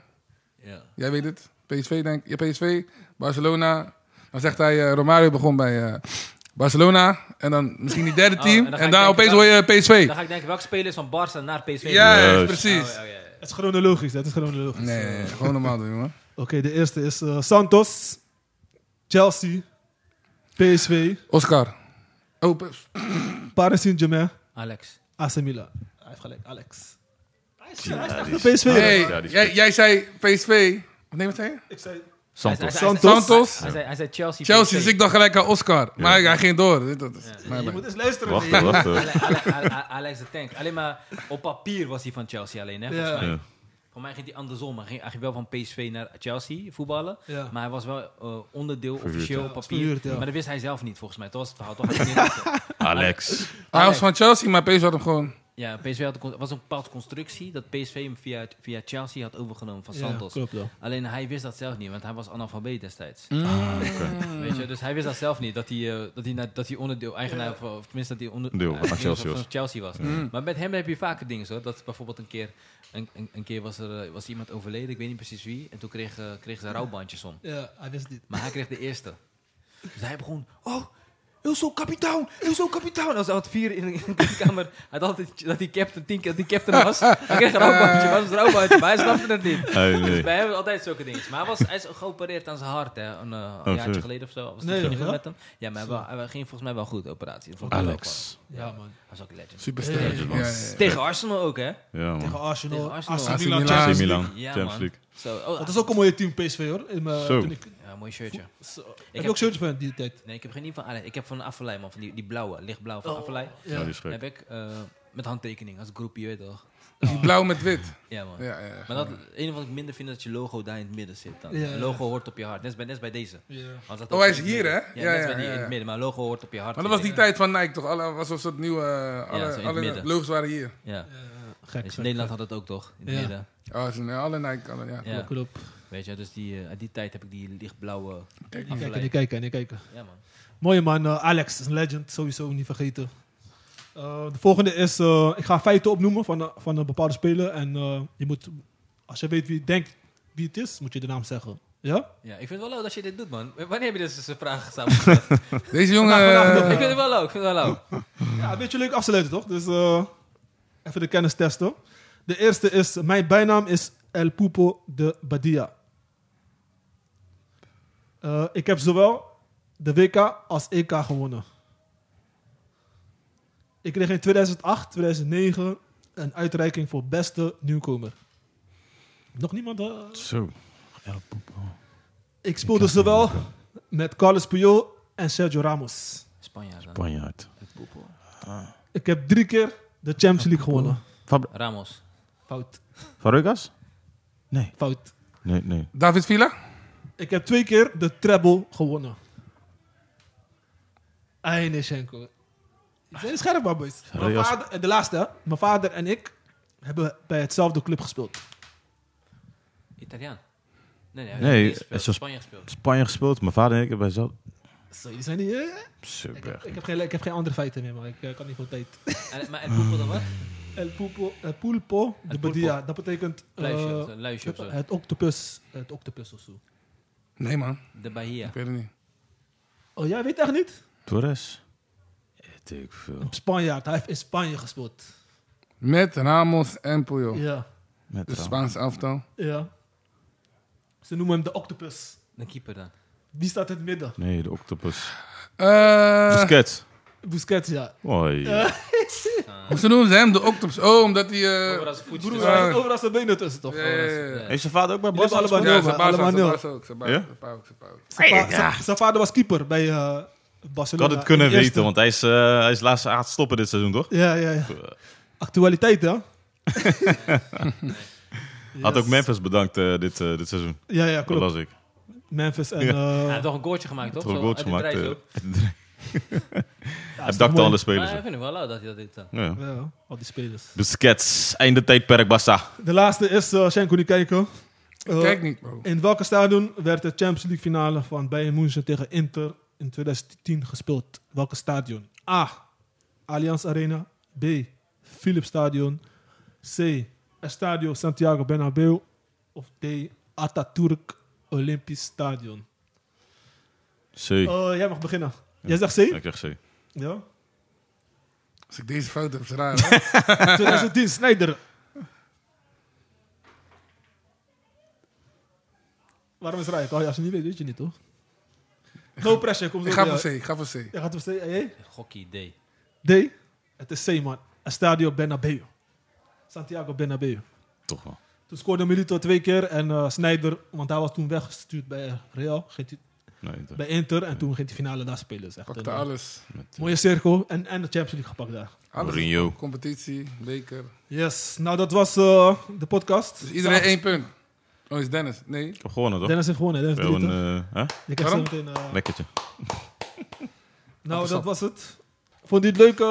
ja. jij weet het, PSV denk ik. Ja, PSV, Barcelona. Dan zegt hij, eh, Romario begon bij eh, Barcelona. En dan misschien die derde (laughs) Oh, team. en en dan dan, ga ik denken, opeens hoor je PSV. Dan ga ik denken, welke spelers van Barca naar PSV? Ja, Juist. precies. Oh, ja, ja, ja. Het is chronologisch, dat is chronologisch. Nee, nee, nee, gewoon normaal doen, jongen. Oké, de eerste is eh, Santos, Chelsea, PSV, Oscar. Oh, P- Paris Saint-Germain, Alex. AC Milan. Hij heeft gelijk, Alex. Hij is, hij is echt die is- een PSV. hey, hè? Ja, die is jij, jij zei PSV. Wat neem het zei je? Ik zei, Hij Santos. zei- hij zei- Santos. hij zei- Hij zei, hij zei Chelsea. Chelsea, PSV. dus ik dacht gelijk aan Oscar. Maar hij, hij ging door. Dit- Dat is Ja. mijn je bad. moet eens luisteren. Wacht, nee. wacht. eh. (laughs) Ale- Ale- Ale- Ale- Alex de Tank. Alleen maar op papier was hij van Chelsea alleen. Hè, volgens Ja. mij. Ja. Voor mij ging hij andersom. Hij ging, hij ging wel van PSV naar Chelsea voetballen. Ja. Maar hij was wel eh, onderdeel Verhuurd. officieel Ja, op papier. verhuurd, ja. Maar dat wist hij zelf niet volgens mij. Dat was het verhaal. Toch? Hij ging niet- Alex. Hij was van Chelsea, maar PSV had hem gewoon... ja, PSV had een, con- was een bepaalde constructie dat PSV hem via, via Chelsea had overgenomen van Ja, Santos. klopt wel. Alleen hij wist dat zelf niet, want hij was analfabeet destijds. Ah, Ah, Weet je, dus hij wist dat zelf niet, dat hij, eh, dat hij, na- dat hij onderdeel, eigenaar, van- of tenminste dat hij Deel onderdeel van Chelsea was. Chelsea was. Mm. Maar met hem heb je vaker dingen zo. Dat bijvoorbeeld een keer, een, een, een keer was er eh, was iemand overleden, ik weet niet precies wie, en toen kreeg, eh, kregen ze rouwbandjes om. Ja, hij wist niet. Maar hij kreeg de eerste. Dus hij begon, oh, heel zo kapitein, heel zo kapitein. Als hij had vier in de in de kamer, hij had altijd dat hij captain, tien keer dat hij captain was. Hij kreeg een rouwbandje, was een rouwbandje, maar hij snapte het niet. Hey, Dus nee. wij hebben altijd zulke dingen. Maar hij, was, hij is geopereerd aan zijn hart, hè. Een, eh, een Oh, jaartje zo. geleden of zo. Was het Nee, niet joh, goed ja? met hem? Ja, maar hij, wa- hij ging volgens mij wel goed, de operatie. Dat vond ik wel Alex. Ja, man. leuk. Hij was ook een legend. Superster. Hey. Ja, ja, ja. Tegen Arsenal ook, hè? Ja, Tegen man. Arsenal, Tegen Arsenal. AC Milan, AC Milan. Champions League. AC Milan. Ja, Champions man. League. Zo, oh, Dat is ook een mooie team, PSV, hoor. In mijn, Zo. Toen ik, Ja, mooi shirtje. zo. Heb heb- je ook shirtje van die tijd? Nee, ik heb geen niet van Alex. Ik heb van Affelij, Oh. man. Van die, die blauwe, lichtblauwe van Affelij. Ja, die is heb gek. ik eh, met handtekening als groepje, weet je toch? Die blauw met wit. Ja, man. Ja, ja, ja. Maar dat, het enige wat ik minder vind is dat je logo daar in het midden zit. Dan. Ja, ja. logo hoort op je hart. Net als bij, net als bij deze. Ja. Want dat Oh, ook hij is in het hier, midden. hè? Ja, Ja, net ja, bij die ja, in ja. het midden. Maar logo hoort op je hart. Maar dat was die Ja. tijd van Nike toch? Alle, alsof ze het nieuwe... eh, Ja, alle zo in het alle midden. logos waren hier. Ja. Eh, Gek. Dus gek, Nederland gek. had het ook toch? In het Ja. midden. Oh, ze- nee, alle Nike. Alle, ja. Ja. Klopt. Weet je, dus die, eh, uit die tijd heb ik die lichtblauwe En kijken, en afleiding. Ah, kijken, en kijken. Ja, man. Mooie man, eh, Alex is een legend, sowieso niet vergeten. Eh, de volgende is, eh, ik ga feiten opnoemen van, een- van een bepaalde speler. En eh, je moet, als je weet wie denkt wie het is, moet je de naam zeggen. Ja? Ja, ik vind het wel leuk dat je dit doet, man. W- Wanneer heb je dus een (laughs) vraag samengesteld? Deze jongen... Vandaag, ik eh, vind het wel leuk, ik vind het wel leuk. Ja, een beetje leuk afsluiten toch? Dus eh, even de kennis testen. De eerste is, mijn bijnaam is El Pupo de Badia. Eh, ik heb zowel de WK als EK gewonnen. Ik kreeg in 2008, 2009 een uitreiking voor beste nieuwkomer. Nog niemand? eh? Zo. Ik speelde zowel met Carlos Puyol en Sergio Ramos. Spanjaard, dan. Spanjaard. Poepel. Ik heb drie keer de Champions League gewonnen. Fab- Ramos. Fout, Fabregas? Nee. fout. Nee, nee. David Villa? Ik heb twee keer de treble gewonnen. Aineschenko. Je bent scherp, man, boys. Mijn Serieus? vader, en de laatste, hè. Mijn vader en ik hebben bij hetzelfde club gespeeld. Italiaan. Nee, nee, hij Nee, het heeft gespeeld, is wel- Spanje gespeeld. Spanje gespeeld. Mijn vader en ik hebben bij zelf... Zo, jullie zijn niet... eh, ik, heb, Super. ik, heb geen, ik heb geen andere feiten meer, maar ik eh, kan niet veel (laughs) tijd. En- Maar en Poepel dan wat? El Pulpo, el pulpo de pulpo. Badia. Dat betekent... eh, Luisje, of zo, luisje of zo. het octopus. Het octopus of zo. Nee, man. De Bahia. Ik weet het niet. Oh, jij weet echt niet? Torres? Weet ik veel. Spanjaard. Hij heeft in Spanje gespeeld. Met Ramos en Puyol. Ja. Met De Ram. Spaanse elftal. Ja. Ze noemen hem de octopus. De keeper dan. Die staat in het midden. Nee, de octopus. Eh Busquets. Busquets, ja. Mooi. ze noemen ze hem de Octopus. Oh, omdat hij... eh, Overal zijn voetjes. Broer, eh, tussen. hij zit overal zijn benen tussen, toch? ja, ja, ja, ja. Heeft zijn vader ook bij Jullie Bos? hebben allemaal Ja, nul, zijn man. baas Allemaal ook, zijn nul. baas ook. Zijn Ja? baas zijn baas ook, zijn baas ook. Zijn va- zijn- Zijn vader was keeper bij eh, Ik Barcelona. had het kunnen In de eerste. weten, want Eh. hij is, eh, hij is laatst aan het stoppen dit seizoen, toch? Ja, ja, ja. Actualiteit, hè? (laughs) Had Yes. ook Memphis bedankt eh, dit, eh, dit seizoen. Ja, ja, Dat klopt. las ik. Memphis en... Ja. eh, Hij ja, heeft toch een goaltje gemaakt, toch? Toch Zo, goals uit de gemaakt. drijf eh, (laughs) ook. is Hij toch dakte mooi. alle spelers. Maar ik op. vind het wel leuk dat hij dat eh, doet dan. Ja. Ja, al die spelers. Busquets, einde tijdperk, Bassa. De laatste is, eh Schenko, niet kijken. Eh, Kijk niet, bro. In welke stadion werd de Champions League finale van Bayern München tegen Inter in 2010 gespeeld? Welke stadion? A. Allianz Arena. B. Philips Stadion. C. Estadio Santiago Bernabeu. Of D. Atatürk Olympisch Stadion. C. Eh, jij mag beginnen. Jij zegt C? Ik zeg C. Ja. Als ik deze fout heb, is het raar. hè? 2010, Snyder. Waarom is het raar? Oh, ja, als je niet weet, weet je niet, toch? No pressure, kom zo Ik ga bij voor jou. C, ik ga voor C. Je gaat op C. eh, Gokkie idee. D. Het is C, man. Estadio Bernabeu. Santiago Bernabeu. Toch wel. Toen scoorde Milito twee keer en eh Snyder, want hij was toen weggestuurd bij Real, ging hij- Nee, Inter. bij Inter. En toen ging hij finale daar spelen. Zeg. Pakte alles. mooie cirkel en, en de Champions League gepakt daar. alles. Mourinho. Competitie, beker. Yes, nou dat was eh, de podcast. Dus iedereen één punt. Oh, is Dennis. Nee. Ik heb gewonnen, toch? Dennis heeft gewonnen. Dennis Wel heeft een drie, eh, hè? toch? Je krijgt zo meteen, eh, lekkertje. nou, dat appelsap. was het. Vond je het leuk? eh?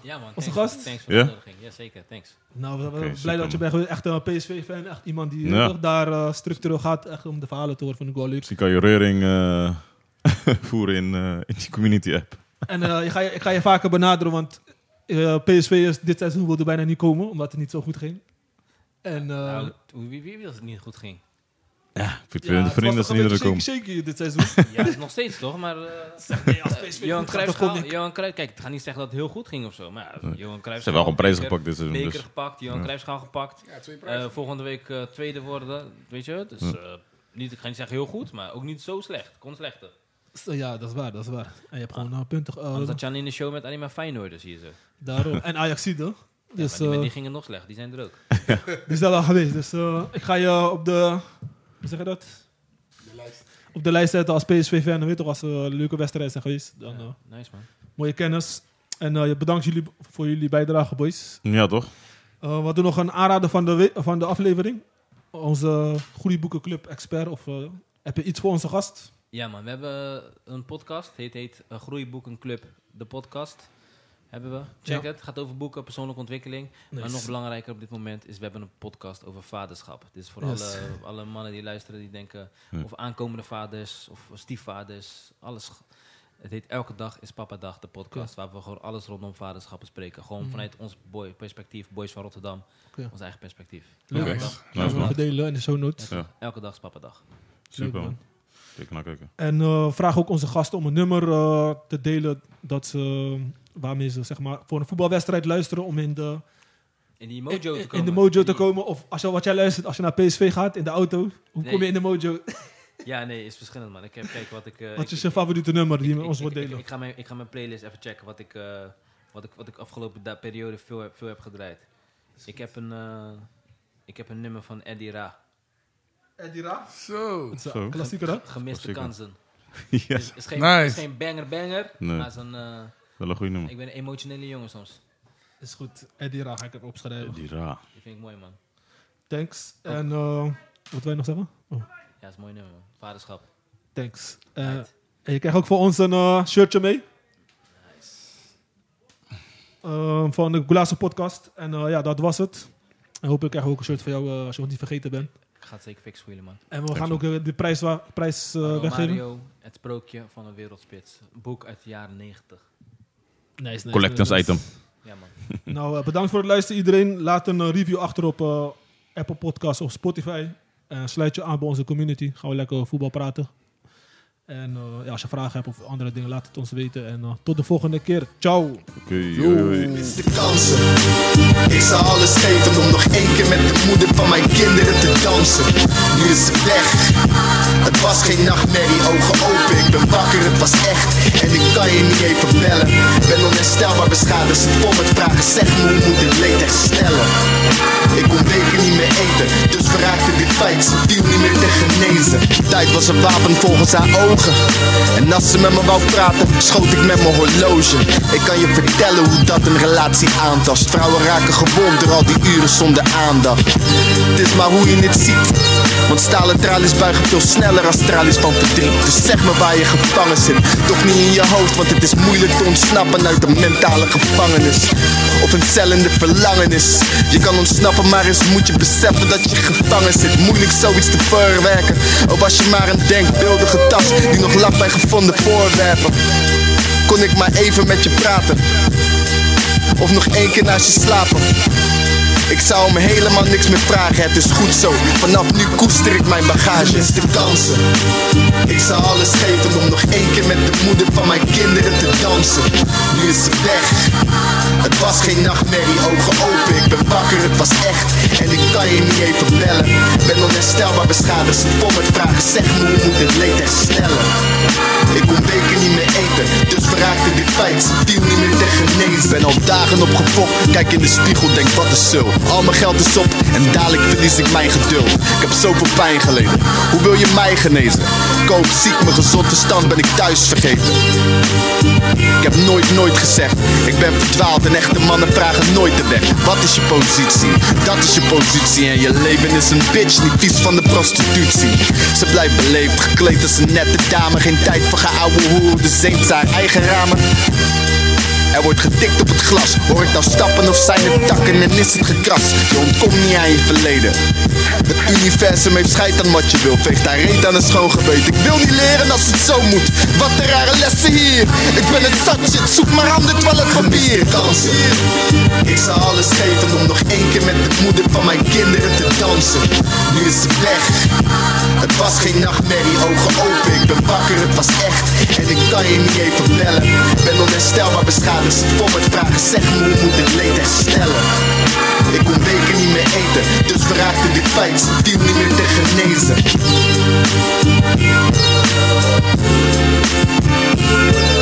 Ja, man. Onze thanks- gast? Thanks voor Ja? de uitnodiging. Ja, zeker. Thanks. Nou, we- we- Oké, blij dat super, je man. bent geweest. Echt een PSV-fan. Echt iemand die Ja. toch daar eh, structureel gaat. Echt om de verhalen te horen. Vond ik wel leuk. Misschien kan je reuring eh, (laughs) voeren in, eh, in die community app. En eh, je ga je, ik ga je vaker benaderen, want eh, PSV is dit seizoen wilde bijna niet komen, omdat het niet zo goed ging. En eh, Nou, hoe- wie, wie wil dat het niet goed (laughs) ging? Ik vind ja, het het vrienden was dat toch een ze niet beetje er komen. shaky- shaky dit seizoen. (laughs) Ja, dat is nog steeds toch, maar... (laughs) eh, Zeg, nee, als PSV Johan goed gaat, Cruijff, dan kom schaal- ik. Johan Cruijff, kijk, ik ga niet zeggen dat het heel goed ging of zo, maar ja, Johan Cruijff... Ze hebben wel gewoon prijzen beker- gepakt dit seizoen. Beker Dus. gepakt, Johan Cruijff schaal gepakt. Ja, twee Eh, volgende week eh, tweede worden, weet je, dus... eh, niet, ik ga niet zeggen heel goed, maar ook niet zo slecht. Kon slechter. Zo, eh, Ja, dat is waar, dat is waar. En je hebt gewoon eh, punten. eh, Anders zat je aan in de show met alleen maar Feyenoorders hier zo. daarom. En Ajaxide. Ja, Dus maar die, eh, die gingen nog slecht, die zijn er ook. die is daar wel geweest. Dus eh, ik ga je op de. Hoe zeg je dat? Op de lijst zetten als PSV-fan. Weet je toch, als er leuke wedstrijden zijn geweest. Dan, eh, Ja, nice man. mooie kennis. En eh, bedankt jullie voor jullie bijdrage, boys. Ja, toch? Eh, Eh, we doen nog een aanrader van de, we- van de aflevering. Onze Goede Boekenclub expert. Of, eh, heb je iets voor onze gast? Ja man, we hebben eh, een podcast. Het heet, heet eh, Groeiboekenclub, de podcast. Hebben we. Check Ja. het. Gaat over boeken, persoonlijke ontwikkeling. Maar nog belangrijker op dit moment is, we hebben een podcast over vaderschap. Dit is voor Yes. alle, alle mannen die luisteren, die denken... Ja. of aankomende vaders, of stiefvaders, alles. Het heet Elke Dag is Papa Dag, de podcast... waar we gewoon alles rondom vaderschap bespreken. Gewoon Mm. vanuit ons boy, perspectief, Boys van Rotterdam. Oké. Ons eigen perspectief. Leuk, Oké. man. Nice, Gaan we man. verdelen in de show notes. Ja, Elke dag is Papa Dag. super man. man. Kijk naar (laughs) kijken. En eh, vraag ook onze gasten om een nummer eh, te delen dat ze, waarmee ze zeg maar, voor een voetbalwedstrijd luisteren om in de, In die mojo te in, komen. de mojo te Die- komen. Of als je, wat jij luistert als je naar PSV gaat in de auto, hoe Nee. kom je in de mojo? Ja, nee, is verschillend, man. Ik heb kijken wat ik... eh, Wat ik- is je favoriete nummer die je met ik- ons ik- wilt ik- delen? Ik, ga mijn, ik ga mijn playlist even checken wat ik, eh, wat ik, wat ik afgelopen da- periode veel, heb- veel heb gedraaid. Ik heb, een, eh, ik heb een nummer van Eddie Ra. Eddie Ra? Zo. Dat is Zo. een klassieker, hè? Gemiste Klassieker. kansen. yes. Is, is, geen, Nice. is geen banger banger, Nee. maar is een, eh, Wel een goede nummer. ik ben een emotionele jongen soms. Is goed. Eddie Ra ga ik even opschrijven. Die ra. Die vind ik mooi, man. Thanks. En eh, wat wil je nog zeggen? Oh, Ja, dat is een mooi nummer, man. Vaderschap. thanks. Eh, Right. en je krijgt ook voor ons een eh, shirtje mee. Eh, van de Goulasse podcast. En eh, ja, dat was het. En hopelijk krijg ik ook een shirt van jou eh, als je het niet vergeten bent. Ik ga het zeker fixen voor jullie, man. En we gaan ook eh, de prijs, wa- prijs eh, Manuel weggeven. Mario, het sprookje van een wereldspits. Een boek uit de jaren 90. Nice, nice, Collectors nice. item. Ja, man. Nou, eh, bedankt voor het luisteren iedereen. Laat een eh, review achter op eh, Apple Podcasts of Spotify. En sluit je aan bij onze community. Gaan we lekker voetbal praten. En eh, ja, als je vragen hebt of andere dingen, laat het ons weten. En eh, tot de volgende keer. Ciao. Oké, hoi, hoi. Mis de kansen. Ik zou alles geven om nog één keer met de moeder van mijn kinderen te dansen. Nu is ze weg. Het was geen nachtmerrie, ogen open. Ik ben wakker, het was echt. En ik kan je niet even bellen. Ben onherstelbaar beschadigd. Zit vol met vragen. Zeg me hoe moet dit leed herstellen? Ik kon weken niet meer eten. Dus verraakte dit feit. Ze viel niet meer te genezen. Tijd was een wapen volgens haar ogen. En als ze met me wou praten, schoot ik met mijn horloge. Ik kan je vertellen hoe dat een relatie aantast. Vrouwen raken gewond door al die uren zonder aandacht. Het is maar hoe je het ziet. Want stalen tralies buigen veel sneller als tralies van verdriet. Dus zeg me waar je gevangen zit. Toch niet in je hoofd, want het is moeilijk te ontsnappen uit een mentale gevangenis. Of een cellende verlangenis. Je kan ontsnappen, maar eens moet je beseffen dat je gevangen zit. Moeilijk zoiets te verwerken. Of was je maar een denkbeeldige tas die nog lag bij gevonden voorwerpen. Kon ik maar even met je praten. Of nog één keer naast je slapen. Ik zou hem helemaal niks meer vragen, het is goed zo. Vanaf nu koester ik mijn bagage. Mis de kansen. Ik zou alles geven om nog één keer met de moeder van mijn kinderen te dansen. Nu is ze weg. Het was geen nachtmerrie, ogen open. Ik ben wakker, het was echt. En ik kan je niet even bellen. Ben onherstelbaar beschadigd, zit vol met vragen. Zeg me hoe moet dit leed herstellen? Ik kon weken niet meer eten, dus verraakte dit feit. Ze viel niet meer te genezen. Ben al dagen opgefokt, kijk in de spiegel, denk wat een zul. Al mijn geld is op en dadelijk verlies ik mijn geduld. Ik heb zoveel pijn geleden, hoe wil je mij genezen? Koop ziek, mijn gezond verstand ben ik thuis vergeten. Ik heb nooit, nooit gezegd, ik ben verdwaald en echte mannen vragen nooit de weg. Wat is je positie? Dat is je positie en je leven is een bitch, niet vies van de prostitutie. Ze blijft beleefd, gekleed als een nette dame. Geen tijd voor geouwe hoer, dus zeemt haar eigen ramen. Er wordt getikt op het glas. Hoor ik nou stappen of zijn het takken en is het gekras? Je ontkomt niet aan je verleden. Het universum heeft scheid aan wat je wil. Veegt haar reet aan een schoon geweten. Ik wil niet leren als het zo moet. Wat een rare lessen hier. Ik ben het zat shit. Zoek maar aan dit toiletpapier. Dansen. Ik zou alles geven om nog één keer met de moeder van mijn kinderen te dansen. Nu is ze weg. Het was geen nachtmerrie, ogen open, ik ben wakker, het was echt En ik kan je niet even bellen Ben onherstelbaar beschadigd, zit vol met vragen Zeg me hoe moet ik leed herstellen Ik kon weken niet meer eten Dus we raakten dit feit, ze viel niet meer te genezen